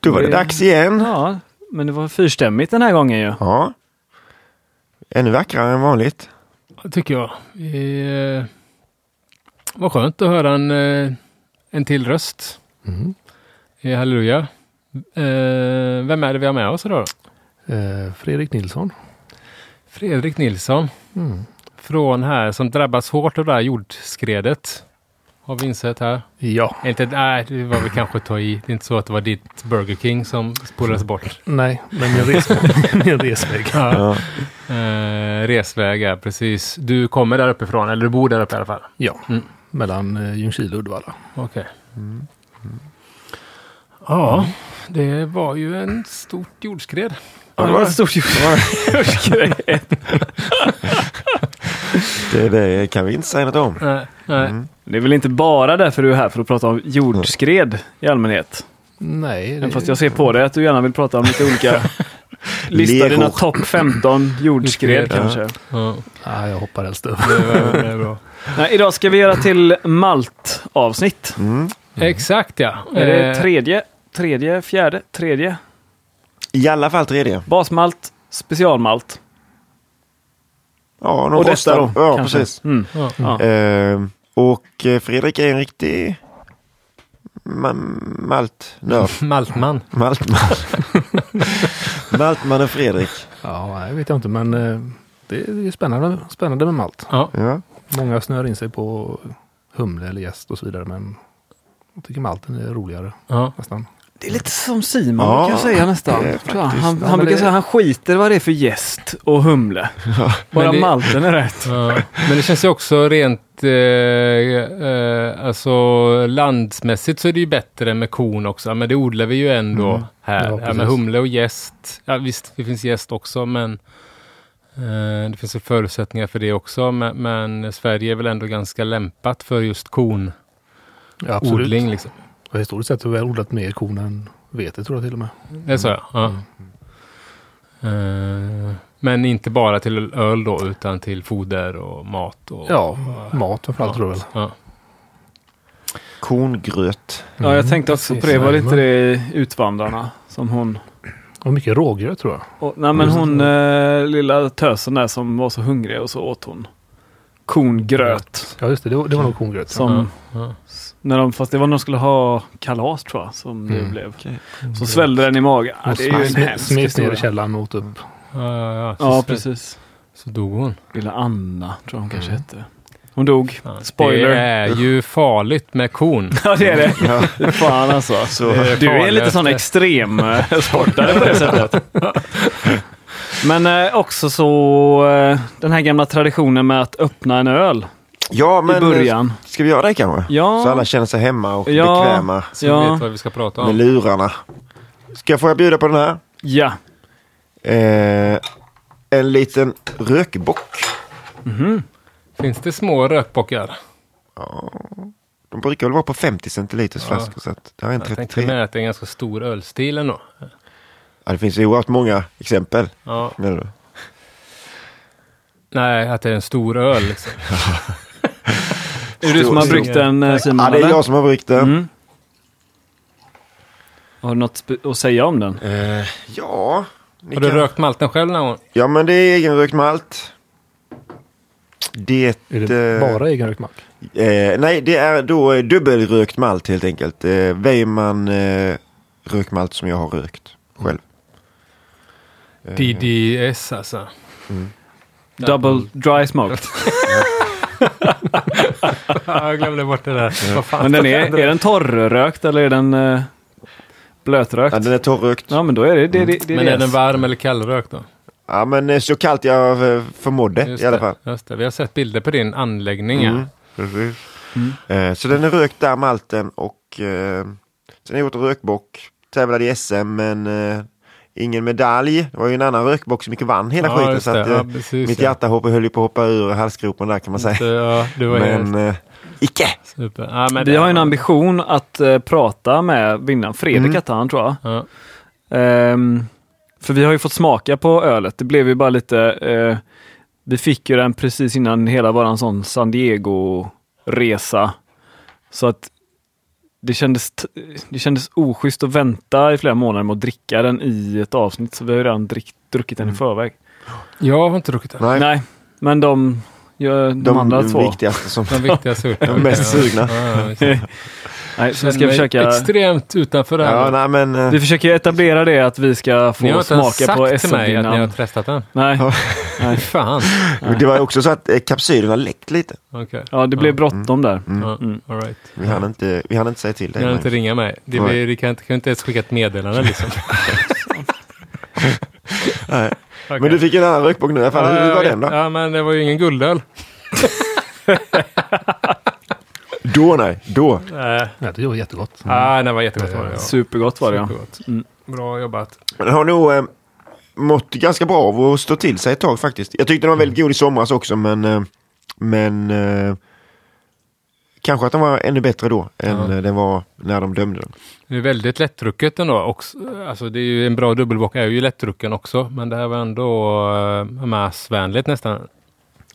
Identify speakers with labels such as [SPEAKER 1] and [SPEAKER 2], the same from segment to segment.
[SPEAKER 1] Då var det dags igen.
[SPEAKER 2] Ja, men det var fyrstämmigt den här gången ju.
[SPEAKER 1] Ja. Ännu vackrare än vanligt.
[SPEAKER 3] tycker jag. Eh, vad skönt att höra en, eh, en till röst.
[SPEAKER 4] Mm.
[SPEAKER 3] Eh, halleluja. Eh, vem är det vi har med oss idag då?
[SPEAKER 4] Eh, Fredrik Nilsson.
[SPEAKER 3] Fredrik Nilsson
[SPEAKER 4] Mm.
[SPEAKER 3] från här som drabbas hårt av det här jordskredet. Har vi insett här.
[SPEAKER 4] Ja,
[SPEAKER 3] Inte, nej, det var väl kanske att ta i. Det är inte så att det var ditt Burger King som spolades bort.
[SPEAKER 4] nej, men min resväg. min resväg.
[SPEAKER 1] Ja.
[SPEAKER 3] Eh, resväg, ja, precis. Du kommer där uppifrån, eller du bor där uppe i alla fall.
[SPEAKER 4] Ja,
[SPEAKER 3] Mm.
[SPEAKER 4] mellan eh, Ljungskile och Uddevalla.
[SPEAKER 3] Okej. Mm. Ja, det var ju en stort jordskred.
[SPEAKER 1] Ja, det var ett
[SPEAKER 3] stort jordskred.
[SPEAKER 1] Det, det kan vi inte säga något om.
[SPEAKER 3] nej, nej.
[SPEAKER 1] Mm.
[SPEAKER 2] Det är väl inte bara därför du är här för att prata om jordskred i allmänhet.
[SPEAKER 4] Nej,
[SPEAKER 2] Även
[SPEAKER 4] det,
[SPEAKER 2] fast jag ser på dig att du gärna vill prata om lite olika. Lista
[SPEAKER 1] Leror.
[SPEAKER 2] dina topp 15 jordskred
[SPEAKER 3] Jordskred,
[SPEAKER 2] kanske.
[SPEAKER 3] Ja,
[SPEAKER 4] nej, jag hoppar helst över.
[SPEAKER 3] det, var, det är bra.
[SPEAKER 2] Nej, idag ska vi göra till Malt-avsnitt.
[SPEAKER 1] Mm.
[SPEAKER 3] Exakt ja.
[SPEAKER 2] Är det
[SPEAKER 3] Eh,
[SPEAKER 2] tredje, tredje, fjärde, tredje?
[SPEAKER 1] I alla fall tredje.
[SPEAKER 2] Basmalt, specialmalt.
[SPEAKER 1] Ja, någon
[SPEAKER 2] Och
[SPEAKER 1] rostad-
[SPEAKER 2] detta då.
[SPEAKER 1] Ja,
[SPEAKER 2] kanske.
[SPEAKER 1] precis.
[SPEAKER 2] Mm.
[SPEAKER 3] ja.
[SPEAKER 2] Ja.
[SPEAKER 1] Ehm, och eh, Fredrik är en riktig ma- maltnörd.
[SPEAKER 3] Maltman.
[SPEAKER 1] Maltman. Maltmannen Fredrik.
[SPEAKER 4] Ja, nej, vet jag inte, men eh, det är det är spännande, spännande med malt.
[SPEAKER 3] Ja.
[SPEAKER 1] Ja.
[SPEAKER 4] Många snör in sig på humle eller gäst och så vidare, men jag tycker malten är roligare
[SPEAKER 3] Ja.
[SPEAKER 4] nästan.
[SPEAKER 2] Det är lite som Simon
[SPEAKER 1] Ja,
[SPEAKER 2] brukar säga nästan.
[SPEAKER 1] det är
[SPEAKER 2] Tror jag.
[SPEAKER 1] faktiskt-
[SPEAKER 2] Han,
[SPEAKER 4] ja,
[SPEAKER 2] han
[SPEAKER 4] men
[SPEAKER 2] brukar
[SPEAKER 4] det-
[SPEAKER 2] säga att han skiter vad det är för gäst och humle. Bara
[SPEAKER 3] Men det-
[SPEAKER 2] malten är rätt.
[SPEAKER 3] Ja. Men det känns ju också rent eh, eh, alltså landsmässigt så är det ju bättre med kon också. Men det odlar vi ju ändå här.
[SPEAKER 4] Mm. Ja,
[SPEAKER 3] Ja,
[SPEAKER 4] precis.
[SPEAKER 3] med humle och gäst. Ja, visst, det finns gäst också, men eh, det finns ju förutsättningar för det också. Men, men Sverige är väl ändå ganska lämpat för just konodling.
[SPEAKER 4] Ja, absolut.
[SPEAKER 3] Liksom.
[SPEAKER 4] Och historiskt sett har vi odlat mer korn än vete tror jag till och med.
[SPEAKER 3] Det sa jag. Ja. Eh, men inte bara till öl då, utan till foder och mat. Och,
[SPEAKER 4] Ja, mat framförallt tror jag väl.
[SPEAKER 3] Ja.
[SPEAKER 1] Korngröt.
[SPEAKER 2] Ja, jag tänkte också
[SPEAKER 3] Mm.
[SPEAKER 2] på det. Var det inte det i Utvandrarna som hon...
[SPEAKER 4] Och mycket rågröt tror jag.
[SPEAKER 2] Och, nej, men hon eh, lilla tösen där som var så hungrig och så åt hon korngröt.
[SPEAKER 4] Ja, just det. Det var, det var nog korngröt.
[SPEAKER 2] Som,
[SPEAKER 3] Ja, ja.
[SPEAKER 2] när de, fast det var när de skulle ha kalas tror jag, som det
[SPEAKER 4] Mm.
[SPEAKER 2] blev. Så svällde den i magen. Ja,
[SPEAKER 4] Och
[SPEAKER 2] det är ju en
[SPEAKER 4] smet-
[SPEAKER 2] hemsk
[SPEAKER 4] smet ner i
[SPEAKER 2] historia.
[SPEAKER 4] källaren och åt upp.
[SPEAKER 3] Ja, ja, ja. Så-
[SPEAKER 2] Ja, precis.
[SPEAKER 3] Så dog hon.
[SPEAKER 2] Lilla Anna tror jag hon kanske
[SPEAKER 4] Mm.
[SPEAKER 2] hette. Hon dog.
[SPEAKER 3] Det
[SPEAKER 2] Spoiler.
[SPEAKER 3] är ju farligt med kon.
[SPEAKER 2] Ja, det är det.
[SPEAKER 1] Ja.
[SPEAKER 2] Fan alltså.
[SPEAKER 1] Så,
[SPEAKER 2] Du är lite sån extrem eh, sportare på det sättet. Men eh, också så eh, den här gamla traditionen med att öppna en öl
[SPEAKER 1] ja, men
[SPEAKER 2] i början.
[SPEAKER 1] eh, ska vi göra det kanske?
[SPEAKER 2] Ja.
[SPEAKER 1] Så alla känner sig hemma och
[SPEAKER 2] Ja.
[SPEAKER 1] bekväma
[SPEAKER 3] Så vi
[SPEAKER 2] Ja.
[SPEAKER 3] vet vad vi ska prata
[SPEAKER 1] med
[SPEAKER 3] om.
[SPEAKER 1] lurarna. Ska jag, får jag bjuda på den här?
[SPEAKER 2] Ja.
[SPEAKER 1] Eh, en liten rökbock.
[SPEAKER 3] Finns det små rökbockar?
[SPEAKER 1] De brukar väl vara på 50 centiliters flaskor. Så att det här är en
[SPEAKER 3] Jag tänkte med
[SPEAKER 1] 33.
[SPEAKER 3] att det är en ganska stor ölstil ändå.
[SPEAKER 1] Ja, det finns ju oerhört många exempel.
[SPEAKER 3] Ja.
[SPEAKER 1] Menar du?
[SPEAKER 3] Nej, att det är en stor öl liksom.
[SPEAKER 2] Är det du som har
[SPEAKER 1] Stor-
[SPEAKER 2] bryggt den eh, Simon?
[SPEAKER 1] Ja, det är
[SPEAKER 2] eller?
[SPEAKER 1] jag som har bryggt den.
[SPEAKER 2] Mm. Har du något spe- att säga om den?
[SPEAKER 1] Eh, ja, ni
[SPEAKER 3] Har du
[SPEAKER 1] kan-
[SPEAKER 3] rökt malten själv någon gång?
[SPEAKER 1] ja, men det är egenrökt malt. Det...
[SPEAKER 4] Är det
[SPEAKER 1] eh,
[SPEAKER 4] bara egenrökt malt?
[SPEAKER 1] Eh, nej, det är då eh, dubbelrökt malt helt enkelt. Eh, Weimann eh, rökmalt som jag har rökt själv. Eh,
[SPEAKER 3] DDS alltså.
[SPEAKER 2] Double dry smoked.
[SPEAKER 3] jag glömde bort det där. Vad fan?
[SPEAKER 2] Men den är, är den torrrökt eller är den eh,
[SPEAKER 1] Ja,
[SPEAKER 2] blötrökt?
[SPEAKER 1] den är torrrökt.
[SPEAKER 2] Ja, men då är det det. det, det
[SPEAKER 3] Men är den
[SPEAKER 2] yes.
[SPEAKER 3] varm eller kallrökt då?
[SPEAKER 1] Ja, men eh, så kallt jag eh, förmådde
[SPEAKER 3] Just
[SPEAKER 1] i alla
[SPEAKER 3] det,
[SPEAKER 1] fall.
[SPEAKER 3] Just det. Vi har sett bilder på din anläggning. ja.
[SPEAKER 1] Mm, precis. Eh, så den är rökt där, malten. Och eh, sen har jag gjort rökbock. Tävlade i SM, men eh, ingen medalj. Det var ju en annan rökbock som gick och vann hela
[SPEAKER 3] Ja,
[SPEAKER 1] skiten.
[SPEAKER 3] just
[SPEAKER 1] Så att,
[SPEAKER 3] det. Ja,
[SPEAKER 1] eh,
[SPEAKER 3] precis,
[SPEAKER 1] mitt
[SPEAKER 3] ja.
[SPEAKER 1] hjärta hoppade, höll ju på att hoppa ur halsgropen där kan man säga.
[SPEAKER 3] Så, ja, du var
[SPEAKER 1] Men
[SPEAKER 3] helt
[SPEAKER 1] eh, icke!
[SPEAKER 3] super. Ja, men
[SPEAKER 2] Vi
[SPEAKER 3] det-
[SPEAKER 2] har ju en ambition att eh, prata med vinnaren. Fredrik
[SPEAKER 1] Mm.
[SPEAKER 2] hette han tror jag.
[SPEAKER 3] Ja.
[SPEAKER 2] Ehm, för vi har ju fått smaka på ölet. Det blev ju bara lite... eh, vi fick ju den precis innan hela våran sån San Diego-resa. Så att det kändes, t- det kändes oschysst att vänta i flera månader med att dricka den i ett avsnitt, så vi har ju redan drick, druckit den i
[SPEAKER 1] Mm.
[SPEAKER 2] förväg.
[SPEAKER 3] Jag har inte druckit den.
[SPEAKER 1] Nej,
[SPEAKER 2] Nej, men de, ja, de,
[SPEAKER 1] de,
[SPEAKER 2] andra två.
[SPEAKER 1] viktigaste som...
[SPEAKER 3] De viktigaste urterna.
[SPEAKER 1] De mest sugna.
[SPEAKER 3] Ja, ja, ja,
[SPEAKER 2] Nej, så vi
[SPEAKER 3] jag
[SPEAKER 1] eh,
[SPEAKER 2] ska
[SPEAKER 3] ska
[SPEAKER 2] försöka,
[SPEAKER 3] Extremt utanför det här.
[SPEAKER 1] Ja, nej men... eh,
[SPEAKER 2] vi försöker etablera det att vi ska
[SPEAKER 3] ni har
[SPEAKER 2] få
[SPEAKER 3] inte ens
[SPEAKER 2] smaka på
[SPEAKER 3] sagt till
[SPEAKER 2] SM
[SPEAKER 3] mig att ni har
[SPEAKER 2] innan.
[SPEAKER 3] testat den.
[SPEAKER 2] Nej,
[SPEAKER 1] Ja.
[SPEAKER 3] Fan.
[SPEAKER 1] Det var ju också så att eh, kapsylerna läckte lite.
[SPEAKER 3] Okej.
[SPEAKER 2] ja det blev
[SPEAKER 3] Ja.
[SPEAKER 2] bråttom där.
[SPEAKER 1] Mm.
[SPEAKER 3] Ja,
[SPEAKER 2] Mm.
[SPEAKER 3] all right.
[SPEAKER 1] Vi hann inte, vi hann inte säga till
[SPEAKER 3] Ni har
[SPEAKER 1] dig.
[SPEAKER 3] inte ringa mig. Det
[SPEAKER 1] Nej.
[SPEAKER 3] blir, det kan, inte, kan inte ens skicka ett meddelande liksom.
[SPEAKER 1] Nej.
[SPEAKER 3] Okej.
[SPEAKER 1] Men du fick en annan rökbock nu i alla fall. Hur var
[SPEAKER 3] ja,
[SPEAKER 1] den då?
[SPEAKER 3] Ja, men det var ju ingen guldöl.
[SPEAKER 1] Då nej, då.
[SPEAKER 3] Nej,
[SPEAKER 4] Ja, det var
[SPEAKER 1] Mm.
[SPEAKER 4] jättegott.
[SPEAKER 3] ah, den var jättegott. Var det, ja.
[SPEAKER 2] Supergott var det ja.
[SPEAKER 3] Supergott.
[SPEAKER 2] Mm.
[SPEAKER 3] Bra jobbat.
[SPEAKER 1] Men den har nog eh, mått ganska bra av att stå till sig ett tag faktiskt. Jag tyckte den var väldigt god i somras också men... eh, Men... eh, Kanske att den var ännu bättre då än
[SPEAKER 3] Ja.
[SPEAKER 1] eh, den var när de dömde den.
[SPEAKER 3] Det är väldigt lättdrucket ändå. Också. Alltså, det är ju en bra dubbelbock är ju lättdrucken också, men det här var ändå uh, massvänligt nästan.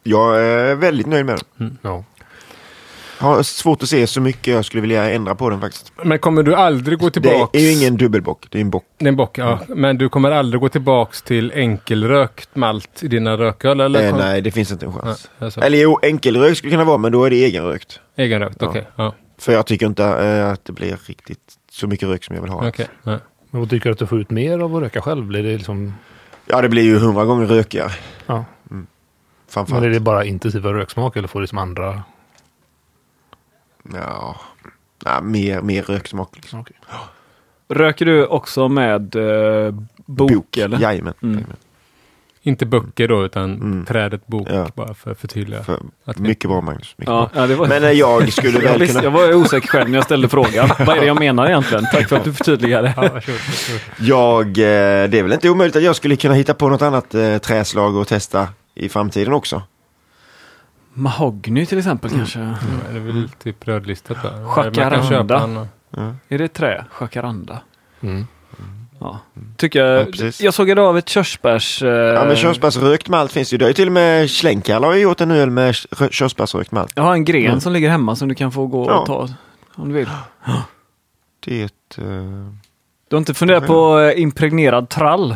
[SPEAKER 1] Jag är väldigt nöjd med den.
[SPEAKER 4] Ja.
[SPEAKER 1] Har svårt att se så mycket jag skulle vilja ändra på den faktiskt.
[SPEAKER 3] Men kommer du aldrig gå tillbaks?
[SPEAKER 1] Det är ju ingen dubbelbock, det är en bock.
[SPEAKER 3] Det är en bock, ja. Men du kommer aldrig gå tillbaks till enkelrökt malt i dina rököl? Eller?
[SPEAKER 1] Eh,
[SPEAKER 3] Kom-
[SPEAKER 1] nej, det finns inte en
[SPEAKER 3] Nej,
[SPEAKER 1] chans.
[SPEAKER 3] alltså,
[SPEAKER 1] Eller jo, enkelrökt skulle kunna vara, men då är det egenrökt.
[SPEAKER 3] egenrökt,
[SPEAKER 1] Ja.
[SPEAKER 3] okej. Ja.
[SPEAKER 1] För jag tycker inte eh, att det blir riktigt så mycket rök som jag vill ha.
[SPEAKER 3] okej, ja.
[SPEAKER 4] Men vad tycker du att du får ut mer av att röka själv? Blir det liksom...
[SPEAKER 1] Ja, det blir ju hundra gånger rökigare.
[SPEAKER 4] Ja. Men är
[SPEAKER 1] Framförallt.
[SPEAKER 4] det bara intensiva röksmak eller får du liksom andra?
[SPEAKER 1] Ja. Nej, mer, mer röksmak. Liksom.
[SPEAKER 4] Okej.
[SPEAKER 2] Röker du också med eh, bok, eller?
[SPEAKER 1] Jajamän.
[SPEAKER 2] Mm.
[SPEAKER 1] Jajamän.
[SPEAKER 3] Inte böcker då, utan
[SPEAKER 1] Mm.
[SPEAKER 3] trädet bok,
[SPEAKER 1] Ja.
[SPEAKER 3] bara för att förtydliga.
[SPEAKER 1] För,
[SPEAKER 3] Att vi-
[SPEAKER 1] mycket bra Magnus. Mycket
[SPEAKER 2] Ja, ja, det var...
[SPEAKER 1] bra. Men eh, jag skulle
[SPEAKER 2] jag,
[SPEAKER 1] väl
[SPEAKER 2] visste, jag
[SPEAKER 1] kunna...
[SPEAKER 2] var osäker själv när jag ställde frågan. Vad är det jag menar egentligen? Tack för att du förtydligade.
[SPEAKER 3] Ja, varsågod, varsågod.
[SPEAKER 1] Jag, eh, det är väl inte omöjligt att jag skulle kunna hitta på något annat eh, träslag och testa i framtiden också.
[SPEAKER 2] Mahogny till exempel kanske?
[SPEAKER 3] Ja, det är väl typ rödlistat där. Man kan
[SPEAKER 2] Jacaranda.
[SPEAKER 3] köpa en-
[SPEAKER 2] Är det trä? Jacaranda?
[SPEAKER 4] Mm.
[SPEAKER 2] Ja. Tycker
[SPEAKER 1] Ja,
[SPEAKER 2] jag,
[SPEAKER 1] precis.
[SPEAKER 2] jag sågade av ett körsbärs... Eh,
[SPEAKER 1] Ja, men körsbärsrökt malt finns ju. Det har ju till och med Schlenkerl har ju gjort en öl med kö- körsbärsrökt malt.
[SPEAKER 2] Jag har en gren
[SPEAKER 1] Mm.
[SPEAKER 2] som ligger hemma som du kan få gå och
[SPEAKER 1] Ja.
[SPEAKER 2] ta om du vill.
[SPEAKER 1] Det är ett... eh,
[SPEAKER 2] Du har inte funderat på eh, impregnerad trall?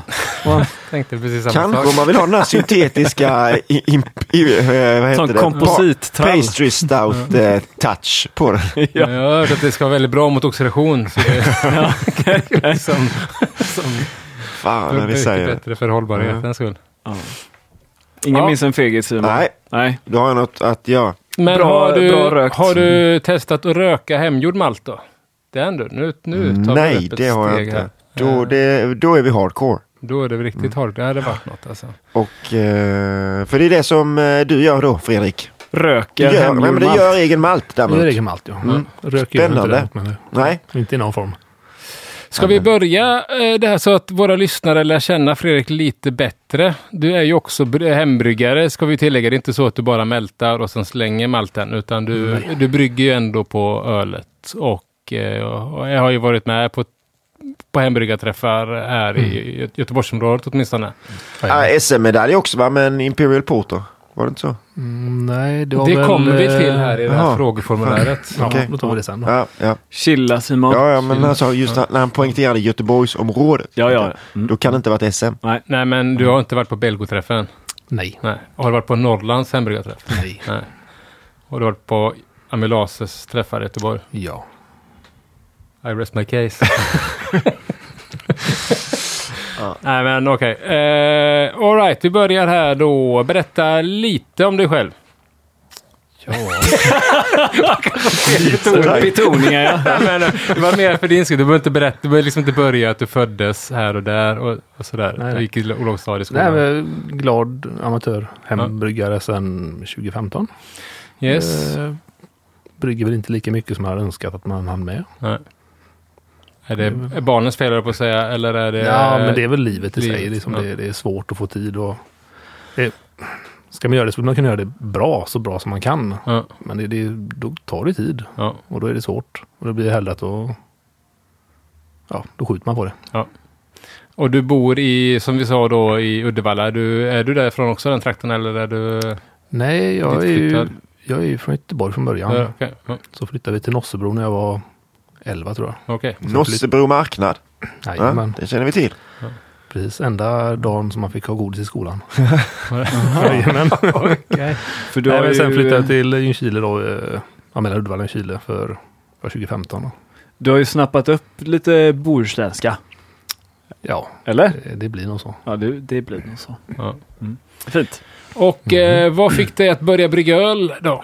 [SPEAKER 3] Tänkte precis samma sak.
[SPEAKER 1] Kanske om man vill ha den här syntetiska i, i, i, eh, vad heter
[SPEAKER 2] Sån
[SPEAKER 1] det? Pa-
[SPEAKER 2] komposittrall? Mm.
[SPEAKER 1] Pastry stout eh, touch på den.
[SPEAKER 2] Ja.
[SPEAKER 3] Men Jag har hört att det ska vara väldigt bra mot oxidation. Så det är som, som
[SPEAKER 1] Fan när vi säger det.
[SPEAKER 3] bättre för hållbarhetens skull.
[SPEAKER 2] Ja. Ingen
[SPEAKER 3] Ja.
[SPEAKER 2] minns en fegis Simon?
[SPEAKER 1] Nej,
[SPEAKER 2] Nej.
[SPEAKER 1] då har jag något att göra.
[SPEAKER 3] Men
[SPEAKER 2] Bra-
[SPEAKER 3] har, du,
[SPEAKER 2] bra rökt.
[SPEAKER 3] har
[SPEAKER 1] Mm.
[SPEAKER 3] du testat att röka hemgjord malt då? Det är du. Nu, nu tar vi
[SPEAKER 1] Nej,
[SPEAKER 3] upp ett
[SPEAKER 1] det har jag
[SPEAKER 3] steg
[SPEAKER 1] inte. Mm.
[SPEAKER 3] här.
[SPEAKER 1] Då,
[SPEAKER 3] Eh,
[SPEAKER 1] det, då är vi hardcore.
[SPEAKER 3] då är det väl riktigt hårt. Det hade varit något alltså.
[SPEAKER 1] Och, eh, för det är det som eh, du gör då, Fredrik. Du
[SPEAKER 2] Röker
[SPEAKER 1] gör, nej, men
[SPEAKER 2] hemgjord
[SPEAKER 1] du
[SPEAKER 2] malt?
[SPEAKER 1] gör egen malt
[SPEAKER 4] Det är
[SPEAKER 1] däremot.
[SPEAKER 4] egen malt, ja.
[SPEAKER 1] Mm.
[SPEAKER 4] Röker ju inte
[SPEAKER 1] Spännande.
[SPEAKER 4] det, men
[SPEAKER 1] Nej,
[SPEAKER 4] inte i någon form.
[SPEAKER 3] Ska vi börja eh, det här så att våra lyssnare lär känna Fredrik lite bättre? Du är ju också br- hembryggare ska vi tillägga. Det är inte så att du bara mältar och sen slänger malten utan du, du brygger ju ändå på ölet. Och, eh, och jag har ju varit med på, på hembryggarträffar här
[SPEAKER 1] Mm.
[SPEAKER 3] i Gö- Göteborgsområdet åtminstone.
[SPEAKER 1] ah, SM-medalj också va, men Imperial Porter. Var det inte så?
[SPEAKER 4] Mm, nej, det var
[SPEAKER 3] det
[SPEAKER 4] väl,
[SPEAKER 3] kommer vi till
[SPEAKER 4] eh,
[SPEAKER 3] här i det här
[SPEAKER 1] jaha.
[SPEAKER 3] frågeformuläret.
[SPEAKER 4] Ja,
[SPEAKER 1] Okej.
[SPEAKER 4] då tar vi det sen då.
[SPEAKER 1] Ja, ja.
[SPEAKER 2] Chilla Simon. Ja,
[SPEAKER 1] ja, ja men alltså, just när- när han poängterade Göteborgsområdet.
[SPEAKER 2] ja. Mm.
[SPEAKER 1] Då kan det inte ha varit SM.
[SPEAKER 3] Nej, men du har inte varit på Belgoträffen.
[SPEAKER 4] Nej.
[SPEAKER 3] Nej. Har du varit på Norrlands hembryggarträff?
[SPEAKER 4] Nej.
[SPEAKER 3] Nej. Har du varit på Amylases träffar i Göteborg?
[SPEAKER 4] Ja.
[SPEAKER 3] I rest my case. Nej men okej. Okay. all Alright, vi börjar här då. Berätta lite om dig själv.
[SPEAKER 2] Mm.
[SPEAKER 1] Sådär.
[SPEAKER 2] Betoningar ja.
[SPEAKER 3] Nej, men, eh, det var mer för din skull. Du behöver inte berätta. Du behöver liksom inte börja att du föddes här och där och, och sådär.
[SPEAKER 4] Nej, nej.
[SPEAKER 3] Du gick i lo-
[SPEAKER 4] Nej,
[SPEAKER 3] lågstadieskolan.
[SPEAKER 4] men glad amatör. Hembryggare sedan 2015.
[SPEAKER 3] yes.
[SPEAKER 4] Eh, brygger väl inte lika mycket som jag hade önskat att man hann med.
[SPEAKER 3] Nej. Är det är barnens fel höll jag på att säga eller är det...
[SPEAKER 4] Mm. ja, men det är väl livet i sig.
[SPEAKER 3] livet,
[SPEAKER 4] Liksom
[SPEAKER 3] ja.
[SPEAKER 4] det, det är svårt att få tid och... Det, ska man göra det så vill man kunna göra det bra, så bra som man kan.
[SPEAKER 3] Ja,
[SPEAKER 4] Men det, det, då tar det tid
[SPEAKER 3] ja.
[SPEAKER 4] och då är det svårt. Och då blir det hellre att då... Ja, då skjuter man på det.
[SPEAKER 3] Och du bor i, som vi sa då, i Uddevalla. Är du, är du därifrån också, den trakten, eller är du...
[SPEAKER 4] Nej, jag är ju
[SPEAKER 3] Ditflyttad.
[SPEAKER 4] jag är ju från Göteborg från början.
[SPEAKER 3] Ja, okej. Ja.
[SPEAKER 4] Så flyttade vi till Nossebro när jag var 11 tror jag.
[SPEAKER 3] Okej.
[SPEAKER 1] Nossebro marknad. Ja,
[SPEAKER 4] Jajamän,
[SPEAKER 1] det känner vi till.
[SPEAKER 4] precis. Enda dagen som man fick ha godis i skolan. Jajamän.
[SPEAKER 2] För du
[SPEAKER 4] Nej,
[SPEAKER 2] har
[SPEAKER 4] men sen
[SPEAKER 2] ju,
[SPEAKER 4] flyttade jag till Ljungskile då, eh, ja mellan Uddevalla och Ljungskile för, för 2015. Då.
[SPEAKER 2] du har ju snappat upp lite bohuslänska.
[SPEAKER 4] Ja,
[SPEAKER 2] Eller?
[SPEAKER 4] eh, det blir nog så.
[SPEAKER 2] Ja, det, det blir nog så. Mm.
[SPEAKER 3] Ja.
[SPEAKER 2] Fint.
[SPEAKER 3] Och
[SPEAKER 4] Mhm.
[SPEAKER 3] eh, vad fick dig att börja brygga öl då?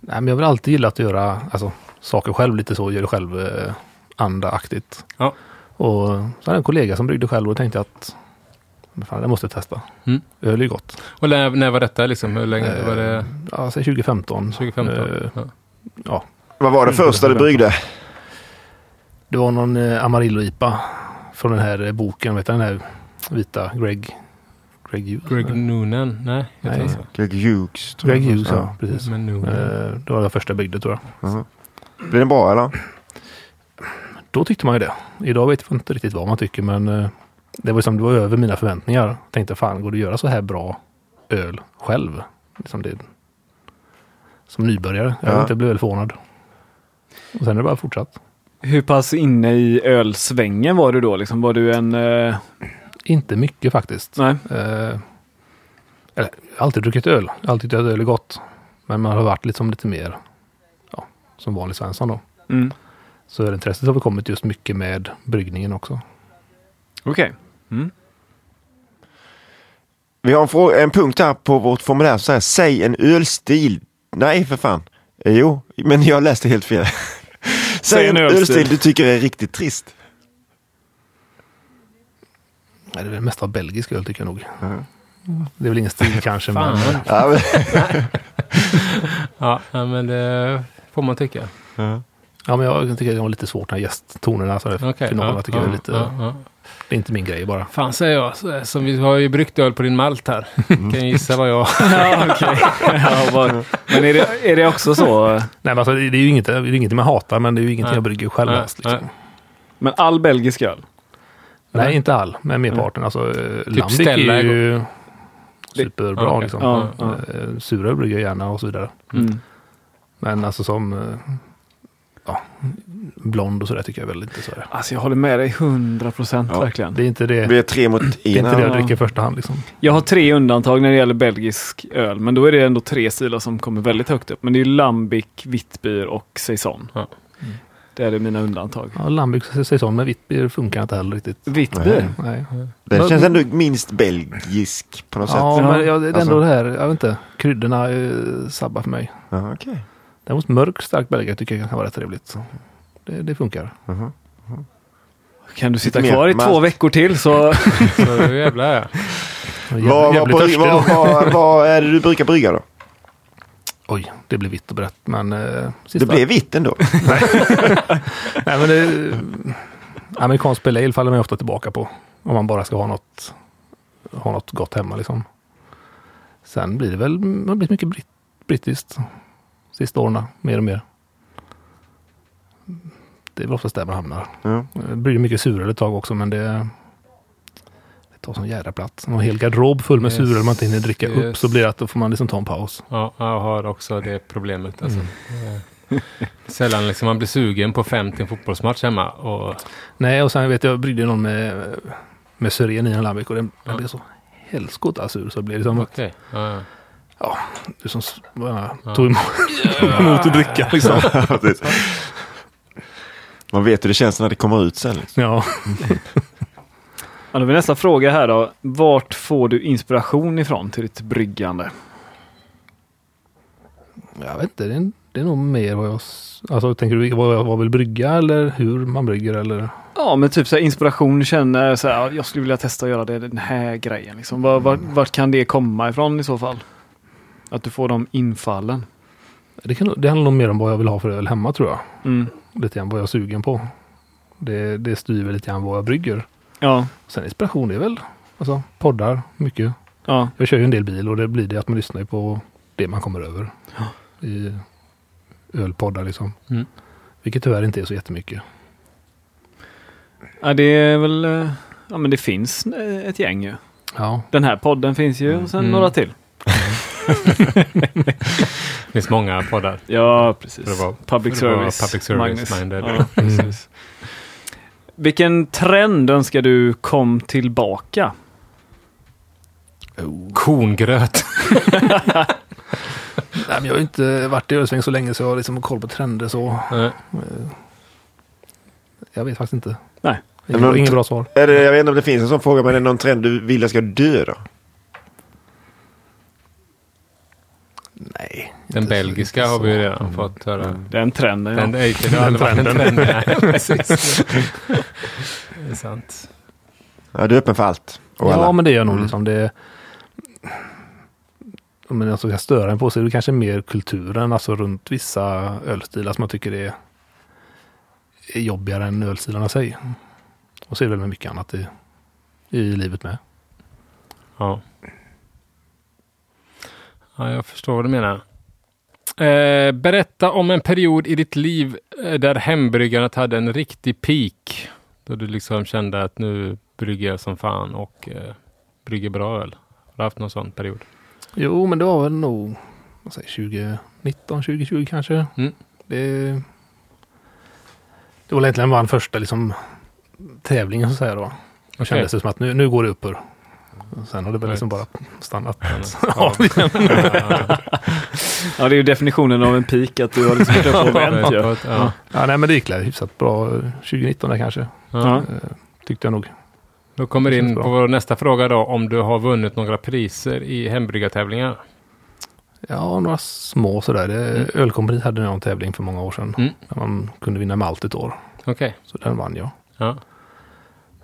[SPEAKER 4] Nej, men jag har väl alltid gillat att göra alltså, saker själv, lite så, gör det själv eh, andaaktigt.
[SPEAKER 3] Ja.
[SPEAKER 4] Och så hade jag en kollega som bryggde själv och tänkte att men fan, det måste jag testa.
[SPEAKER 3] Mm.
[SPEAKER 4] Öl är ju gott.
[SPEAKER 3] Och när, när var detta liksom? Hur länge
[SPEAKER 4] Eh,
[SPEAKER 3] var det?
[SPEAKER 4] Ja, säg 2015.
[SPEAKER 3] 2015?
[SPEAKER 4] Eh,
[SPEAKER 3] ja.
[SPEAKER 1] Vad var det första du bryggde?
[SPEAKER 4] Det var någon eh, Amarillo-IPA från den här eh, boken, vet du, den här vita Greg... Greg Hughes?
[SPEAKER 3] Greg Noonan? Nej,
[SPEAKER 4] eh, Nej.
[SPEAKER 3] heter Mm. han så?
[SPEAKER 1] Greg Hughes. tror
[SPEAKER 4] Greg
[SPEAKER 1] jag.
[SPEAKER 4] Hughes, ja. Precis.
[SPEAKER 3] Men Noonan.
[SPEAKER 4] Eh, Det var det första jag byggde tror jag.
[SPEAKER 1] Mhm. Blir den bra eller?
[SPEAKER 4] Då tyckte man ju det. Idag vet jag inte riktigt vad man tycker men eh, det var, liksom, det var över mina förväntningar. Jag tänkte fan, går det att göra så här bra öl själv? Liksom det, som nybörjare. Jag
[SPEAKER 1] Ja.
[SPEAKER 4] vet inte, jag blev väldigt förvånad. Och sen är det bara fortsatt.
[SPEAKER 2] Hur pass inne i ölsvängen var du då? Liksom, var du en... eh,
[SPEAKER 4] Inte mycket faktiskt.
[SPEAKER 2] nej.
[SPEAKER 4] Eh, eller, jag har alltid druckit öl. Jag har alltid tyckt att öl är gott. Men man har varit liksom lite mer ja, som vanlig svensson då.
[SPEAKER 2] Mm.
[SPEAKER 4] Så ölintresset har väl kommit just mycket med bryggningen också.
[SPEAKER 2] Okej.
[SPEAKER 1] Vi har en, fråga, en punkt här på vårt formulär som säger säg en ölstil. Nej för fan. Eh, Jo, men jag läste helt fel. säg en ölstil du tycker är riktigt trist.
[SPEAKER 4] Nej, det är väl mest av belgisk öl tycker jag nog. Det är väl ingen stil kanske, men
[SPEAKER 3] Fan.
[SPEAKER 1] Ja, men,
[SPEAKER 3] Ja, nej, men det får man tycka.
[SPEAKER 4] Ja, men jag tycker det var lite svårt när gästtonerna, så här
[SPEAKER 3] Okej,
[SPEAKER 4] finalerna
[SPEAKER 3] ja,
[SPEAKER 4] tycker jag
[SPEAKER 3] ja,
[SPEAKER 4] är lite,
[SPEAKER 3] ja, ja.
[SPEAKER 4] det är inte min grej bara.
[SPEAKER 3] Fan säger jag, så- som vi har ju bryggt öl på din malt här.
[SPEAKER 4] Mm.
[SPEAKER 3] Kan ju gissa vad jag...
[SPEAKER 2] Ja, okej. ja, vad- men är det, är det också så? eh,
[SPEAKER 4] Nej, men alltså, det det är ju inget, det är inget man hatar, men det är ju ingenting
[SPEAKER 3] Nej.
[SPEAKER 4] jag brygger själv
[SPEAKER 3] Nej,
[SPEAKER 4] helst. Liksom.
[SPEAKER 3] nej.
[SPEAKER 4] Nej.
[SPEAKER 2] Men all belgisk öl?
[SPEAKER 3] Nej.
[SPEAKER 4] inte all, men merparten. Alltså, typ Lambic
[SPEAKER 3] Stella
[SPEAKER 4] är
[SPEAKER 3] är
[SPEAKER 4] ju superbra.
[SPEAKER 3] Ja, okej.
[SPEAKER 4] liksom.
[SPEAKER 2] Ja, ja.
[SPEAKER 4] Eh, Sura brygger jag gärna och så vidare.
[SPEAKER 2] Mm.
[SPEAKER 4] Men alltså som eh, ja, blond och sådär tycker jag väl inte så. här.
[SPEAKER 2] Alltså jag håller med dig 100 procent
[SPEAKER 1] Ja.
[SPEAKER 2] verkligen.
[SPEAKER 4] Det är inte det,
[SPEAKER 1] vi är tre mot
[SPEAKER 4] det, är
[SPEAKER 1] en.
[SPEAKER 4] inte det
[SPEAKER 1] här.
[SPEAKER 4] jag
[SPEAKER 2] Ja.
[SPEAKER 4] dricker i första hand. Liksom.
[SPEAKER 2] Jag har tre undantag när det gäller belgisk öl, men då är det ändå tre stilar som kommer väldigt högt upp. Men det är ju Lambic, Vitbyr och Saison.
[SPEAKER 3] Ja.
[SPEAKER 2] Det är det mina undantag.
[SPEAKER 4] Ja, Lambic säsong med vitt beer funkar inte heller riktigt.
[SPEAKER 2] Vitbyr?
[SPEAKER 1] Nej.
[SPEAKER 4] Nej.
[SPEAKER 1] Den känns ändå minst belgisk på något
[SPEAKER 4] Ja,
[SPEAKER 1] sätt.
[SPEAKER 4] men jag, det är ändå
[SPEAKER 1] Alltså-
[SPEAKER 4] det här, jag vet inte, kryddorna eh, sabbar för mig.
[SPEAKER 1] Ja, okej.
[SPEAKER 4] Däremot mörk stark belgare tycker jag kan vara rätt trevligt. Så Det, det funkar.
[SPEAKER 1] Mhm.
[SPEAKER 2] Kan du sitta
[SPEAKER 1] Mer
[SPEAKER 2] kvar i
[SPEAKER 1] malt.
[SPEAKER 2] två veckor till så...
[SPEAKER 3] Så jävlar ja.
[SPEAKER 4] Jag är
[SPEAKER 1] Vad, vad,
[SPEAKER 4] jävligt
[SPEAKER 1] vad,
[SPEAKER 4] törstig
[SPEAKER 1] vad,
[SPEAKER 4] då.
[SPEAKER 1] vad, vad är det du brukar brygga då?
[SPEAKER 4] Oj, det blev vitt och brett. Men, eh, sista,
[SPEAKER 1] Det blev vitt ändå.
[SPEAKER 4] Nej, men det, amerikansk pale ale faller man ju ofta tillbaka på. Om man bara ska ha något, ha något gott hemma liksom. Sen blir det väl, det har blivit mycket britt, brittiskt. Sista åren, mer och mer. Det är väl oftast där man hamnar.
[SPEAKER 1] Ja.
[SPEAKER 4] Det blir mycket surare ett tag också, men det, det tar sån jädra plats. En hel garderob full med
[SPEAKER 3] Yes,
[SPEAKER 4] suröl man inte hinner dricka upp
[SPEAKER 3] yes.
[SPEAKER 4] så blir det att då får man liksom ta en paus.
[SPEAKER 3] ja. Jag har också det problemet. Alltså. Eh, Sällan liksom man blir sugen på fem till en fotbollsmatch hemma. Och,
[SPEAKER 4] Nej, och sen vet jag, jag bryggde någon med, med syren i en lambic och den,
[SPEAKER 3] Ja. Mm.
[SPEAKER 4] den blev så helskotta sur så det blev liksom att
[SPEAKER 3] Okej. Ja, ja.
[SPEAKER 4] du som s- bara tog emot, emot att dricka liksom.
[SPEAKER 1] Precis. Man vet hur det känns när det kommer ut sen. liksom.
[SPEAKER 4] Ja,
[SPEAKER 2] Ja, då är nästa fråga här då. Vart får du inspiration ifrån till ditt bryggande?
[SPEAKER 4] jag vet inte, det är, det är nog mer vad jag, s- alltså tänker du vad jag, vad jag vill brygga eller hur man brygger eller?
[SPEAKER 2] Ja, men typ så här inspiration känner så här, jag skulle vilja testa att göra det, den här grejen. Liksom. Var, var, vart kan det komma ifrån i så fall? Att du får de infallen.
[SPEAKER 4] Det, kan, nog- det handlar nog mer om vad jag vill ha för öl hemma tror jag.
[SPEAKER 2] Mm.
[SPEAKER 4] Lite grann vad jag är sugen på. Det, det styr väl lite grann vad jag brygger.
[SPEAKER 2] Ja,
[SPEAKER 4] Sen inspiration, det är väl alltså, poddar mycket.
[SPEAKER 2] ja.
[SPEAKER 4] Jag kör ju en del bil och det blir det att man lyssnar ju på det man kommer över. I ölpoddar liksom.
[SPEAKER 3] Mm.
[SPEAKER 4] Vilket tyvärr inte är så jättemycket.
[SPEAKER 2] Ja, det är väl... eh, Ja, men det finns eh, ett gäng ju.
[SPEAKER 4] Ja,
[SPEAKER 2] Den här podden finns ju och sen
[SPEAKER 3] Mm.
[SPEAKER 2] några till.
[SPEAKER 3] Det finns många poddar.
[SPEAKER 2] Ja,
[SPEAKER 3] För att
[SPEAKER 2] precis.
[SPEAKER 3] vara-
[SPEAKER 2] Public
[SPEAKER 3] för att vara
[SPEAKER 2] service.
[SPEAKER 3] public service minded.
[SPEAKER 2] Ja,
[SPEAKER 4] Mm.
[SPEAKER 2] precis. Vilken trend önskar du kom tillbaka?
[SPEAKER 3] Korngröt.
[SPEAKER 4] Nej, men jag har ju inte varit i Ösväng så länge så jag har liksom koll på trender så.
[SPEAKER 3] Nej.
[SPEAKER 4] Jag vet faktiskt inte.
[SPEAKER 2] Nej.
[SPEAKER 4] Ingen,
[SPEAKER 1] Men-
[SPEAKER 4] ingen bra svar.
[SPEAKER 1] Är det, jag vet inte om det finns en sån fråga, men är det någon trend du vill jag ska dö då?
[SPEAKER 4] Nej.
[SPEAKER 3] Den
[SPEAKER 4] inte så-
[SPEAKER 3] belgiska
[SPEAKER 4] inte
[SPEAKER 3] har
[SPEAKER 4] så.
[SPEAKER 3] vi ju redan fått höra.
[SPEAKER 2] Den trenden, ja.
[SPEAKER 3] Den, den, den, den, den, Mm. Nej, precis. Det är sant.
[SPEAKER 1] Ja, du är öppen för allt. Och alla.
[SPEAKER 4] Ja, men det är jag nog.
[SPEAKER 1] Mm.
[SPEAKER 4] Liksom. Det, men alltså, jag stör en på sig. Det är kanske mer kulturen, alltså runt vissa ölstilar som jag tycker är, är jobbigare än ölstilarna i sig. Och så är det väl med mycket annat i, i livet med.
[SPEAKER 3] Ja. ja, jag förstår vad du menar. Eh, berätta om en period i ditt liv eh, där hembryggandet hade en riktig peak. Då du liksom kände att nu brygger jag som fan och eh, brygger bra öl. Har du haft någon sån period?
[SPEAKER 4] Jo, men det var väl nog vad säger, 2019, 2020 kanske.
[SPEAKER 3] Mm.
[SPEAKER 4] Det, det var väl egentligen bara den första liksom, tävlingen så att säga då. Då kändes det som att nu, nu går det uppur. Och Sen har det väl liksom bara stannat.
[SPEAKER 3] Ja, ja,
[SPEAKER 2] Ja, det är ju definitionen av en peak, att du har liksom gjort upp och vänt ju.
[SPEAKER 3] ja, ja.
[SPEAKER 4] Ja, nej, men det gick väl hyfsat bra eh, 2019 där kanske.
[SPEAKER 2] Ja.
[SPEAKER 4] Eh, Tyckte jag nog.
[SPEAKER 3] Då kommer
[SPEAKER 4] Det
[SPEAKER 3] det
[SPEAKER 4] känns
[SPEAKER 3] in
[SPEAKER 4] bra.
[SPEAKER 3] på vår nästa fråga då, om du har vunnit några priser i hembryggartävlingar.
[SPEAKER 4] Ja, några små sådär. Mm.
[SPEAKER 3] Mm.
[SPEAKER 4] Ölkompaniet hade någon tävling för många år sedan.
[SPEAKER 3] Mm.
[SPEAKER 4] Där man kunde vinna malt ett år.
[SPEAKER 3] Okej.
[SPEAKER 4] Så den vann jag.
[SPEAKER 3] Ja.